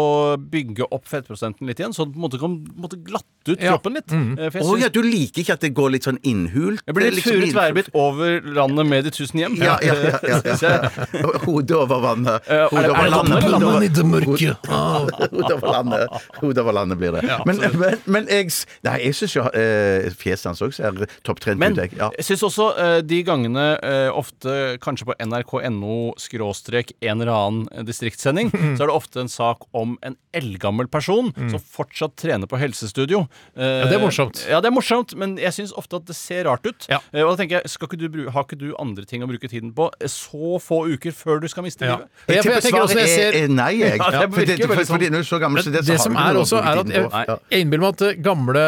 [SPEAKER 5] bygge opp fettprosenten litt igjen, så det på en måte kan på en måte glatte ut
[SPEAKER 4] Ja.
[SPEAKER 5] kroppen litt. Eh, For
[SPEAKER 6] Mm. Å
[SPEAKER 5] jeg, synes,
[SPEAKER 6] ja, du liker ikke at det går litt sånn innhult?
[SPEAKER 5] jeg blir litt
[SPEAKER 6] Liksom
[SPEAKER 5] furet
[SPEAKER 6] innhult.
[SPEAKER 5] værbitt over landet med de tusen hjem.
[SPEAKER 6] Ja, ja, ja, ja,
[SPEAKER 5] Så jeg-
[SPEAKER 6] ja. Hodet over vannet.
[SPEAKER 5] Eh, er det- er
[SPEAKER 6] Hodet
[SPEAKER 5] det
[SPEAKER 6] over
[SPEAKER 5] vannet
[SPEAKER 6] landet.
[SPEAKER 5] eller
[SPEAKER 6] Hodet over-
[SPEAKER 4] det mørke.
[SPEAKER 6] Hodet over landet. Hodet over landet blir det. men, men, men jeg s- Nei, jeg syns jo eh, fjeset hans òg ser topptrent
[SPEAKER 5] Men
[SPEAKER 6] ut. jeg. Ja.
[SPEAKER 5] jeg syns også eh, de gangene, eh, ofte kanskje på nrk.no skråstrek en eller annen eh, distriktssending, så er det ofte en sak om en eldgammel person som fortsatt trener på helsestudio. Eh,
[SPEAKER 4] Ja, det er morsomt.
[SPEAKER 5] Ja, det er morsomt, men jeg syns ofte at det ser rart ut.
[SPEAKER 4] Ja.
[SPEAKER 5] Eh, og da tenker jeg, skal ikke du bru- Har ikke du andre ting å bruke tiden på eh, så få uker før du skal miste
[SPEAKER 4] Ja.
[SPEAKER 5] livet?
[SPEAKER 4] Jeg, jeg tenker også når jeg
[SPEAKER 6] er,
[SPEAKER 4] ser
[SPEAKER 6] er nei, jeg.
[SPEAKER 5] Ja, det
[SPEAKER 6] Ja,
[SPEAKER 5] virker
[SPEAKER 6] fordi,
[SPEAKER 5] veldig
[SPEAKER 6] fordi,
[SPEAKER 5] sånn.
[SPEAKER 6] fordi når du er så gammel som det, så
[SPEAKER 4] det
[SPEAKER 6] har
[SPEAKER 4] som
[SPEAKER 6] du ikke
[SPEAKER 4] er
[SPEAKER 6] noe
[SPEAKER 4] også,
[SPEAKER 6] å bruke
[SPEAKER 4] er at
[SPEAKER 6] tiden
[SPEAKER 4] jeg,
[SPEAKER 6] på. Ja.
[SPEAKER 4] jeg innbiller meg at eh, gamle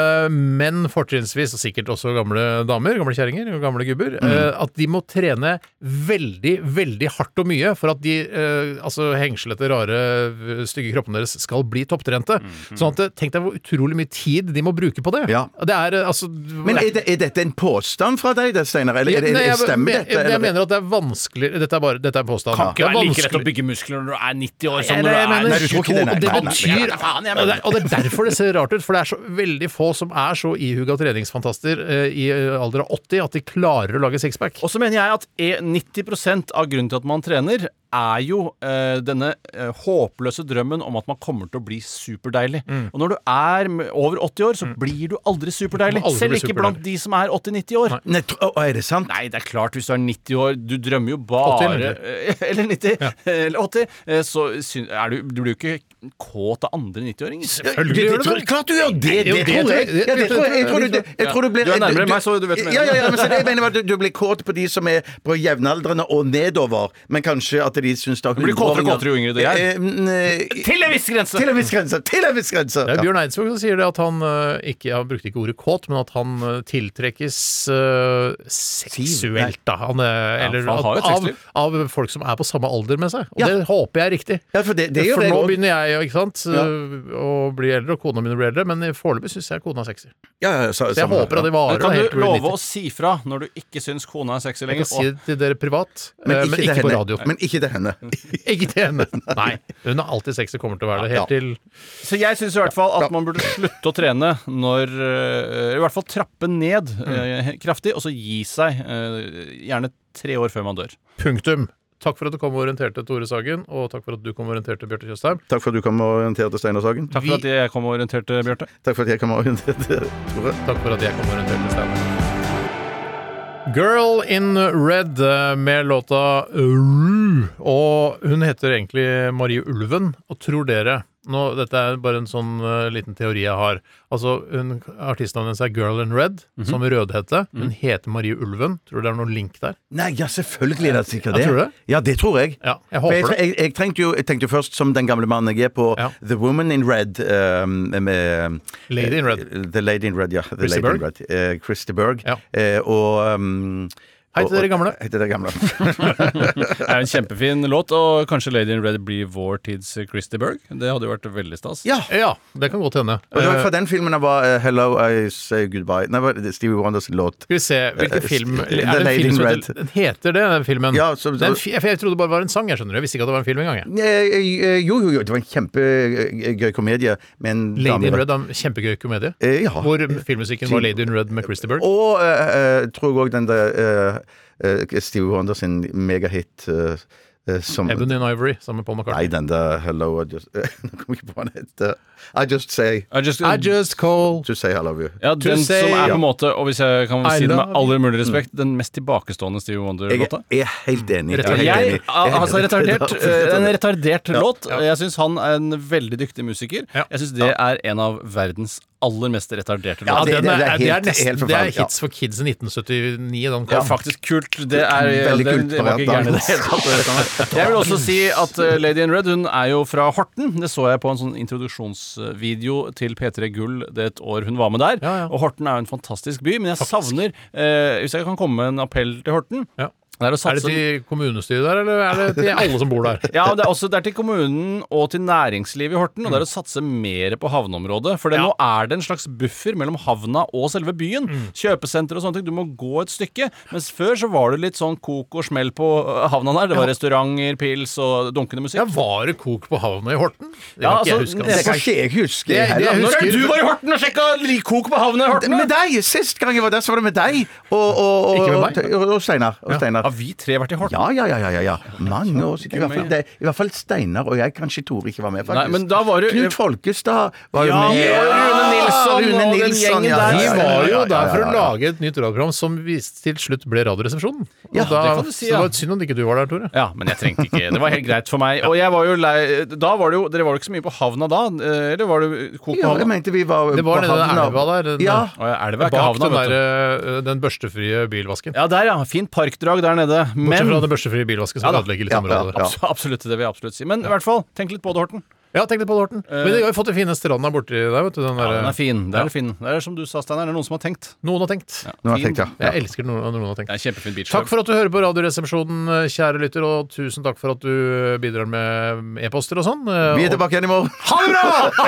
[SPEAKER 4] menn, fortrinnsvis, og sikkert også gamle damer, gamle kjerringer og gamle gubber,
[SPEAKER 6] Mm.
[SPEAKER 4] eh, at de må trene veldig, veldig hardt og mye for at de eh, altså, hengslete, rare, eh, stygge kroppene deres skal bli topptrente. Sånn at eh, tenk deg hvor utrolig mye tid de må bruke på det.
[SPEAKER 6] Mhm. Ja.
[SPEAKER 4] Det er eh, altså
[SPEAKER 6] Men er, det, er dette en påstand fra deg, det, Steinar? Eller er det,
[SPEAKER 4] Nei, jeg,
[SPEAKER 6] stemmer
[SPEAKER 4] jeg,
[SPEAKER 6] dette?
[SPEAKER 4] jeg,
[SPEAKER 6] eller?
[SPEAKER 4] mener at det er vanskeligere Dette er bare dette er påstanden. da. Det er
[SPEAKER 5] Kan ikke være like lett å
[SPEAKER 4] vanskeligere-
[SPEAKER 5] bygge muskler når du er 90 år
[SPEAKER 4] Nei,
[SPEAKER 5] som når
[SPEAKER 4] det
[SPEAKER 5] du
[SPEAKER 4] mener
[SPEAKER 5] er
[SPEAKER 6] Nei, du tror ikke det, nei.
[SPEAKER 4] Og det
[SPEAKER 6] Nei, nei, nei,
[SPEAKER 4] betyr
[SPEAKER 5] nei, faen, jeg mener-
[SPEAKER 4] og det, og det er derfor det ser rart ut, for det er så veldig få som er så ihuga treningsfantaster eh, i eh, alder av 80 at de klarer å lage sixpack.
[SPEAKER 5] Og så mener jeg at e- 90 av grunnen til at man trener, er jo eh, denne eh, håpløse drømmen om at man kommer til å bli superdeilig. Og når du er m- over 80 år, så blir du aldri superdeilig.
[SPEAKER 4] Du må aldri
[SPEAKER 5] Selv
[SPEAKER 4] bli
[SPEAKER 5] ikke
[SPEAKER 4] superdeilig.
[SPEAKER 5] blant de som er 80-90 år. Nei.
[SPEAKER 6] Nei, tro- å, er det sant?
[SPEAKER 5] det er klart, hvis du er 90 år Du drømmer jo bare
[SPEAKER 4] 80 eller
[SPEAKER 5] Eller 90. Eller 80. eh, Så syn- er du, du blir jo ikke kåt av andre 90-åringer.
[SPEAKER 4] Selvfølgelig
[SPEAKER 6] Det,
[SPEAKER 4] gjør
[SPEAKER 6] det
[SPEAKER 4] det
[SPEAKER 6] tror,
[SPEAKER 4] det.
[SPEAKER 6] klart du gjør det! Det,
[SPEAKER 4] Jo, det
[SPEAKER 6] tror
[SPEAKER 4] tror
[SPEAKER 6] jeg.
[SPEAKER 4] jeg. Det-
[SPEAKER 6] Ja, det tror jeg. Jeg tror du, det- jeg tror du blir
[SPEAKER 5] Du er nærmere meg, så du vet hva jeg
[SPEAKER 6] Ja, ja,
[SPEAKER 5] mener.
[SPEAKER 6] ja, men så det jeg mener var at du, du blir kåt på de som er på jevnaldrende og nedover, men kanskje at de syns det er
[SPEAKER 5] Du blir kåtere og
[SPEAKER 6] hundreåringer.
[SPEAKER 5] kåtere jo yngre du er.
[SPEAKER 6] Eh, mm, eh,
[SPEAKER 5] Til en viss grense!
[SPEAKER 6] Til en viss grense! Til en viss grense!
[SPEAKER 4] Det er
[SPEAKER 6] Ja.
[SPEAKER 4] Bjørn Eidsvåg som sier det at han eh, ikke Han brukte ikke ordet kåt, men at han eh, tiltrekkes eh, seksuelt, da. Han, eh, eller,
[SPEAKER 5] for han har jo et
[SPEAKER 4] av,
[SPEAKER 5] sexliv.
[SPEAKER 4] av folk som er på samme alder med seg. Og
[SPEAKER 6] Ja.
[SPEAKER 4] det håper jeg er riktig.
[SPEAKER 6] Ja, for det, det gjør
[SPEAKER 4] for
[SPEAKER 6] jeg
[SPEAKER 4] nå
[SPEAKER 6] også.
[SPEAKER 4] begynner jeg jo, ikke sant,
[SPEAKER 6] Ja.
[SPEAKER 4] eh, å bli eldre, og kona mine blir eldre, men foreløpig syns jeg kona er sexy.
[SPEAKER 6] Ja, ja, ja, sa-
[SPEAKER 4] Så jeg
[SPEAKER 6] samme-
[SPEAKER 4] håper at de
[SPEAKER 5] Men
[SPEAKER 4] varer
[SPEAKER 5] kan
[SPEAKER 4] da, helt
[SPEAKER 5] du
[SPEAKER 4] til vi blir 90.
[SPEAKER 5] love å si fra når du ikke syns kona er sexy
[SPEAKER 4] Jeg
[SPEAKER 5] lenger?
[SPEAKER 4] kan si det til dere privat,
[SPEAKER 6] Men
[SPEAKER 4] eh,
[SPEAKER 6] ikke,
[SPEAKER 4] men
[SPEAKER 6] til
[SPEAKER 4] ikke på
[SPEAKER 6] henne.
[SPEAKER 4] radio.
[SPEAKER 6] Men ikke til henne.
[SPEAKER 4] Ikke til henne. Nei. Hun er alltid sexy, kommer til å være det helt
[SPEAKER 6] Ja.
[SPEAKER 4] til
[SPEAKER 5] Så jeg syns i hvert fall at man burde slutte å trene når eh, I hvert fall trappe ned eh, kraftig, og så gi seg. eh, gjerne tre år før man dør.
[SPEAKER 4] punktum. Takk for at du kom og orienterte, Tore Sagen, og takk for at du kom og orienterte, Bjarte Tjøstheim.
[SPEAKER 6] Takk for at du kom og orienterte, Steinar Sagen.
[SPEAKER 5] Takk for at jeg kom og orienterte, Bjarte.
[SPEAKER 6] Takk for at jeg kom og orienterte, Tore.
[SPEAKER 4] Takk for at jeg kom og orienterte, Steinar. Girl in Red eh, med låta Rue. Og hun heter egentlig Marie Ulven. Og tror dere nå, Dette er bare en sånn eh, liten teori jeg har. Altså, hun, Artistnavnet hennes er Girl in Red,
[SPEAKER 6] Mhm.
[SPEAKER 4] som Rødhette. Hun heter Marie Ulven. Tror du det er noen link der?
[SPEAKER 6] Nei, ja, selvfølgelig er det sikkert
[SPEAKER 4] Ja,
[SPEAKER 6] det.
[SPEAKER 4] tror du det?
[SPEAKER 6] Ja, det tror jeg.
[SPEAKER 4] Ja, jeg
[SPEAKER 6] For
[SPEAKER 4] håper det.
[SPEAKER 6] Jeg, jeg, tenkte jo, jeg tenkte jo først, som den gamle mannen jeg er, på
[SPEAKER 4] Ja.
[SPEAKER 6] The Woman in Red. eh, med,
[SPEAKER 4] Lady in Red.
[SPEAKER 6] eh, The Lady in Red, ja. The
[SPEAKER 4] Christy
[SPEAKER 6] Lady in
[SPEAKER 4] Berg.
[SPEAKER 6] Red. Eh, Christy Berg.
[SPEAKER 4] Ja.
[SPEAKER 6] Eh, og um,
[SPEAKER 4] Hei til
[SPEAKER 6] og-
[SPEAKER 4] dere gamle.
[SPEAKER 6] Hei til dere gamle.
[SPEAKER 5] Det er jo en kjempefin låt, og kanskje Lady in Red blir vår tids Christy Berg. Det hadde jo vært veldig stas.
[SPEAKER 6] ja.
[SPEAKER 4] Ja, det kan godt hende.
[SPEAKER 6] Og det var
[SPEAKER 4] Eh,
[SPEAKER 6] fra den filmen det var eh, 'Hello, I Say Goodbye'. Nei, det var Stevie Wonders låt.
[SPEAKER 4] Skal vi se hvilken
[SPEAKER 6] Eh,
[SPEAKER 4] film
[SPEAKER 6] The
[SPEAKER 4] Er det en
[SPEAKER 6] Lady
[SPEAKER 4] film
[SPEAKER 6] in
[SPEAKER 4] som
[SPEAKER 6] Red.
[SPEAKER 4] heter, den heter det, den filmen?
[SPEAKER 6] Ja, så-
[SPEAKER 4] Den fi- jeg, jeg trodde det bare var en sang, jeg skjønner. Jeg visste ikke at det var en film engang. jeg.
[SPEAKER 6] Eh, eh, Jo, jo, jo. Det var en kjempegøy komedie med en dame-
[SPEAKER 4] Lady in Red er en kjempegøy komedie.
[SPEAKER 6] Eh, ja.
[SPEAKER 4] Hvor filmmusikken var Lady in Red med Christy Berg.
[SPEAKER 6] Og eh, eh, tror jeg òg den der eh, eh, Stevie Wonder sin megahit eh, eh, som
[SPEAKER 4] Ebony and Ivory sammen med Paul
[SPEAKER 6] Nei,
[SPEAKER 4] McCartney.
[SPEAKER 6] den der Hello, I just Nå kom jeg ikke på hva den heter. I just say
[SPEAKER 5] I just,
[SPEAKER 4] I just call
[SPEAKER 6] To say I love you.
[SPEAKER 5] ja,
[SPEAKER 4] to
[SPEAKER 5] den
[SPEAKER 4] say-
[SPEAKER 5] som er
[SPEAKER 4] ja.
[SPEAKER 5] på en måte, og hvis jeg kan
[SPEAKER 4] I
[SPEAKER 5] si det
[SPEAKER 4] love
[SPEAKER 5] med aller mulig respekt, den mest tilbakestående Stevie
[SPEAKER 6] Jeg
[SPEAKER 5] Wonder-låta.
[SPEAKER 6] er helt enig. Jeg er helt
[SPEAKER 5] Jeg,
[SPEAKER 6] enig.
[SPEAKER 5] altså retardert, eh, En retardert låt.
[SPEAKER 4] Ja.
[SPEAKER 5] Jeg syns han er en veldig dyktig musiker.
[SPEAKER 4] Ja.
[SPEAKER 5] Jeg syns det er en av verdens aller mest retarderte
[SPEAKER 6] Ja,
[SPEAKER 5] låter.
[SPEAKER 4] det,
[SPEAKER 6] det- det er
[SPEAKER 4] er, det, er
[SPEAKER 6] helt-
[SPEAKER 4] nesten,
[SPEAKER 6] helt
[SPEAKER 4] det er
[SPEAKER 6] forferdelig, ja.
[SPEAKER 4] hits for kids i 1979. Den
[SPEAKER 5] Det
[SPEAKER 4] kom.
[SPEAKER 5] er faktisk kult. Det er
[SPEAKER 6] Veldig
[SPEAKER 5] det-
[SPEAKER 6] kult
[SPEAKER 5] Det var
[SPEAKER 6] variant,
[SPEAKER 5] ikke
[SPEAKER 6] da.
[SPEAKER 5] gærent i det hele tatt. det kan jeg. Jeg vil også si at eh, Lady in Red hun er jo fra Horten. Det så jeg på en sånn introduksjonsvideo til P3 Gull det et år hun var med der.
[SPEAKER 4] Ja, ja.
[SPEAKER 5] Og Horten er jo en fantastisk by, men jeg savner eh, Hvis jeg kan komme med en appell til Horten
[SPEAKER 4] Ja.
[SPEAKER 5] det er å
[SPEAKER 4] Er det
[SPEAKER 5] satse
[SPEAKER 4] til kommunestyret der, eller er det til alle som bor der?
[SPEAKER 5] Ja, men det er også det er til kommunen og til næringslivet i Horten. Og det er å
[SPEAKER 4] Mm.
[SPEAKER 5] satse mer på havneområdet. For det, nå er det en slags buffer mellom havna og selve byen.
[SPEAKER 4] Mm.
[SPEAKER 5] Kjøpesenter og sånne ting. Du må gå et stykke. Mens før så var det litt sånn kok og smell på øh, havna der. Det var restauranter, pils og dunkende musikk.
[SPEAKER 4] Ja, Var det kok på havna i Horten? Det
[SPEAKER 5] Ja,
[SPEAKER 4] kan ikke jeg
[SPEAKER 5] altså,
[SPEAKER 4] huske.
[SPEAKER 6] Det
[SPEAKER 4] altså.
[SPEAKER 6] kan ikke jeg huske.
[SPEAKER 4] Det- det
[SPEAKER 6] heller.
[SPEAKER 4] husker-
[SPEAKER 5] Når er det du var i Horten og sjekka li- kok på havna i Horten?
[SPEAKER 6] Med
[SPEAKER 5] da?
[SPEAKER 6] deg! Sist gang jeg var der, så var det med deg og, og, og,
[SPEAKER 4] Ikke med
[SPEAKER 6] og,
[SPEAKER 4] meg.
[SPEAKER 6] og Steinar. Og Steinar.
[SPEAKER 5] Har vi tre vært i Horten?
[SPEAKER 6] Ja, ja, ja. ja, ja, ja. Mange år siden. I hvert fall, det, i hvert fall Steinar og jeg. Kanskje Tore ikke var med, faktisk.
[SPEAKER 5] Nei, men da var du-
[SPEAKER 6] Knut Folkestad var jo
[SPEAKER 5] Ja,
[SPEAKER 6] med.
[SPEAKER 5] og Rune Nilsson og den gjengen der.
[SPEAKER 4] De var jo der for
[SPEAKER 6] ja,
[SPEAKER 4] å
[SPEAKER 6] ja.
[SPEAKER 4] lage et nytt radioprogram som vist til slutt ble Radioresepsjonen. Og
[SPEAKER 6] Ja,
[SPEAKER 4] da,
[SPEAKER 5] det kan du si,
[SPEAKER 4] Så
[SPEAKER 5] ja.
[SPEAKER 4] det var synd at ikke du var der, Tore.
[SPEAKER 5] Ja, men jeg trengte ikke. Det var helt greit for meg. Og jeg var jo lei Da var det jo Dere var jo ikke så mye på havna da? eh, Eller var det kok på
[SPEAKER 6] Ja, jeg
[SPEAKER 5] havna?
[SPEAKER 6] mente vi var
[SPEAKER 4] Det var
[SPEAKER 6] på
[SPEAKER 4] nede ved
[SPEAKER 6] havna.
[SPEAKER 4] elva der. Den,
[SPEAKER 6] Ja.
[SPEAKER 5] Å, ja, elva er ikke
[SPEAKER 4] Bak
[SPEAKER 5] havna,
[SPEAKER 4] den,
[SPEAKER 5] vet du.
[SPEAKER 4] der, eh, den børstefrie bilvasken.
[SPEAKER 5] Ja, der, ja. Fint parkdrag der nede.
[SPEAKER 4] Bortsett
[SPEAKER 5] Men
[SPEAKER 4] fra den børstefrie bilvasken som
[SPEAKER 5] Ja da.
[SPEAKER 4] ødelegger litt
[SPEAKER 6] Ja,
[SPEAKER 4] området.
[SPEAKER 6] ja.
[SPEAKER 5] Abs- Absolutt, det vil jeg absolutt si. Men i hvert fall, tenk litt på det, Horten.
[SPEAKER 4] Ja, tenk deg på det, Horten. Men de har jo fått den fine stranda borti der, vet du. Den
[SPEAKER 5] Eh. Ja,
[SPEAKER 4] der,
[SPEAKER 5] den er fin. Det
[SPEAKER 4] Ja.
[SPEAKER 5] er fin. Det er som du sa, Steinar, det er noen som har tenkt.
[SPEAKER 4] Noen har tenkt.
[SPEAKER 6] Nå har jeg
[SPEAKER 5] Fin.
[SPEAKER 6] tenkt, ja.
[SPEAKER 4] Jeg elsker noen, noen har tenkt.
[SPEAKER 5] Det er en kjempefin beach.
[SPEAKER 4] Takk for at du hører på Radioresepsjonen, eh, kjære lytter, og tusen takk for at du eh, bidrar med e-poster og sånn. eh,
[SPEAKER 6] Vi er
[SPEAKER 4] og-
[SPEAKER 6] tilbake igjen i morgen.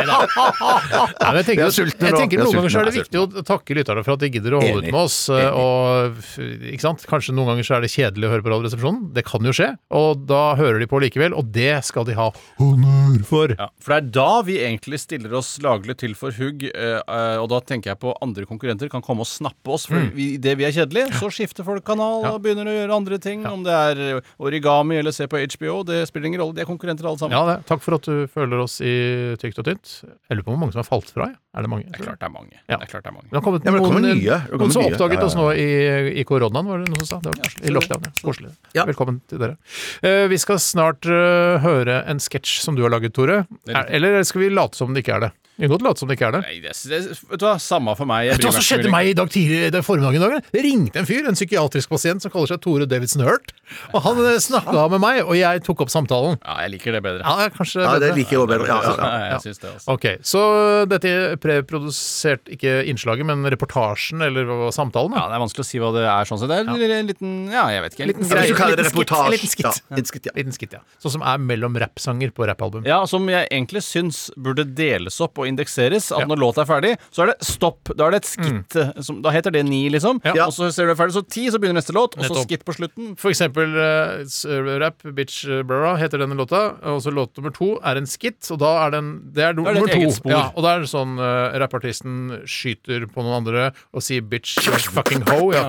[SPEAKER 4] Nei, men jeg
[SPEAKER 6] Vi
[SPEAKER 4] tenker,
[SPEAKER 6] er sultne
[SPEAKER 4] jeg
[SPEAKER 6] nå.
[SPEAKER 4] tenker
[SPEAKER 6] Vi er
[SPEAKER 4] Noen ganger så
[SPEAKER 6] sultne.
[SPEAKER 4] er det viktig å takke lytterne for at de gidder å holde
[SPEAKER 6] Enig.
[SPEAKER 4] ut med oss. eh, Og, f- ikke sant? Kanskje noen ganger så er det kjedelig å høre på Radioresepsjonen. Det kan jo skje. Og da hører de på likevel, og det skal de ha honnør for.
[SPEAKER 5] Ja, for det er da vi egentlig stiller oss laglig til for hugg, eh, eh, og da tenker jeg på andre konkurrenter kan komme og snappe oss. For vi, idet vi er kjedelige, så skifter folk kanal og begynner å gjøre andre ting. Om det er eh, origami eller se på HBO, det spiller ingen rolle. De er konkurrenter alle sammen.
[SPEAKER 4] Ja, det. Takk for at du følger oss i tykt og tynt. Jeg lurer på hvor mange som har falt fra. jeg. Er det mange?
[SPEAKER 5] Det er klart det er mange.
[SPEAKER 4] Ja.
[SPEAKER 5] Det er klart det er mange.
[SPEAKER 4] Det har kommet
[SPEAKER 6] Ja, men det
[SPEAKER 4] noen,
[SPEAKER 6] kommer nye. Det kommer
[SPEAKER 4] noen som
[SPEAKER 6] nye.
[SPEAKER 4] oppdaget
[SPEAKER 6] Ja, ja,
[SPEAKER 4] oss nå i, i koronaen, var det noen som sa? Det var, I lockdown. ja. Koselig. Velkommen til dere. Eh, vi skal snart eh, høre en sketsj som du har laget, Tore.
[SPEAKER 5] er riktig.
[SPEAKER 4] Er, eller skal vi late som det ikke er det? Vi kan godt late som det ikke er det.
[SPEAKER 5] Nei, det, det, vet du hva, samme for meg. Jeg
[SPEAKER 4] Vet du
[SPEAKER 5] bryr
[SPEAKER 4] hva som
[SPEAKER 5] ikke så
[SPEAKER 4] skjedde
[SPEAKER 5] mye.
[SPEAKER 4] meg i dag tidlig eh, den formiddagen? i dag, eller? Det ringte en fyr, en psykiatrisk pasient som kaller seg Tore Davidsen Hurt. Og han snakka med meg, og jeg tok opp samtalen.
[SPEAKER 5] Ja, jeg liker det bedre.
[SPEAKER 4] Ja, kanskje
[SPEAKER 6] Ja, det
[SPEAKER 4] bedre.
[SPEAKER 6] liker jeg også bedre. Ja, ja, ja.
[SPEAKER 5] Ja, jeg synes det, altså.
[SPEAKER 4] Ok, Så dette er preprodusert, ikke innslaget, men reportasjen eller hva- samtalen? Da.
[SPEAKER 5] Ja, det er vanskelig å si hva det er sånn sett. Det er en liten, ja, jeg vet ikke. En liten
[SPEAKER 6] Ja, Hvis du
[SPEAKER 5] greie.
[SPEAKER 6] kaller det
[SPEAKER 4] Liten skitt,
[SPEAKER 6] reportasje.
[SPEAKER 4] liten skitt.
[SPEAKER 6] Ja, en skitt, ja.
[SPEAKER 4] Liten skitt, ja. Sånn som er mellom rappsanger på rappalbum.
[SPEAKER 5] Ja, som jeg egentlig syns burde deles opp og indekseres. At når låta er ferdig, så er det stopp. Da er det et skitt. eh, Som, da heter det ni, liksom.
[SPEAKER 4] Ja.
[SPEAKER 5] Og så ser du det ferdig, så ti, så begynner neste låt, og så
[SPEAKER 4] Nettopp.
[SPEAKER 5] skitt på slutten.
[SPEAKER 4] For eksempel eh, s- rap, bitch eh, brara, heter denne låta. Og så låt nummer to er en skit, og da er den Det er, no-
[SPEAKER 5] Da er det et
[SPEAKER 4] nummer
[SPEAKER 5] eget
[SPEAKER 4] to.
[SPEAKER 5] spor.
[SPEAKER 4] Ja, og da er det sånn eh, rappartisten skyter på noen andre og sier bitch fucking ho. Ja.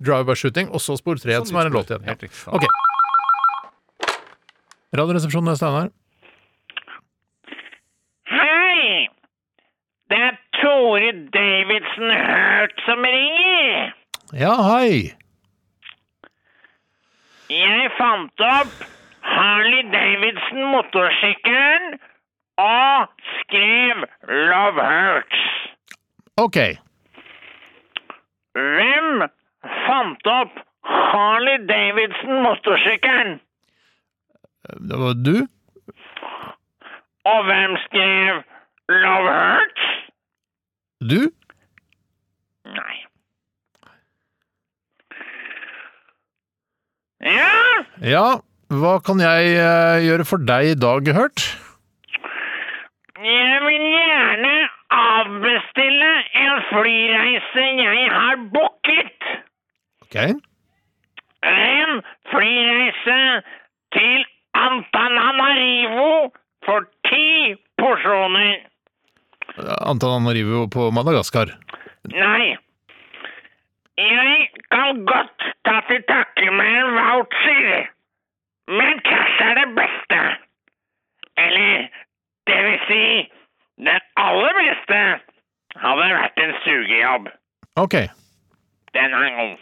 [SPEAKER 4] Drive-by-shooting, og så spor tre, som er en låt igjen.
[SPEAKER 5] Sånn Helt
[SPEAKER 4] Ja.
[SPEAKER 5] riktig.
[SPEAKER 4] Ok. Radioresepsjonen er Steinar.
[SPEAKER 10] Hei! Det er Tore Davidsen Hurt som ringer.
[SPEAKER 4] Ja, hei!
[SPEAKER 10] Jeg fant opp Harley Davidson motorsykkelen og skrev Love Hurts.
[SPEAKER 4] OK.
[SPEAKER 10] Hvem fant opp Harley Davidson-motorsykkelen?
[SPEAKER 4] Det var du?
[SPEAKER 10] Og hvem skrev Love Hurts?
[SPEAKER 4] Du?
[SPEAKER 10] Nei. Ja,
[SPEAKER 4] Ja, hva kan jeg eh, gjøre for deg i dag, Hørt?
[SPEAKER 10] jeg vil gjerne avbestille en flyreise jeg har booket.
[SPEAKER 4] OK.
[SPEAKER 10] En flyreise til Antananarivo for ti porsjoner.
[SPEAKER 4] Antananarivo på Madagaskar.
[SPEAKER 10] Nei. Jeg kan godt ta til takke med en voucher, men cash er det beste. Eller, det vil si, det aller beste hadde vært en sugejobb.
[SPEAKER 4] OK.
[SPEAKER 10] Den er god.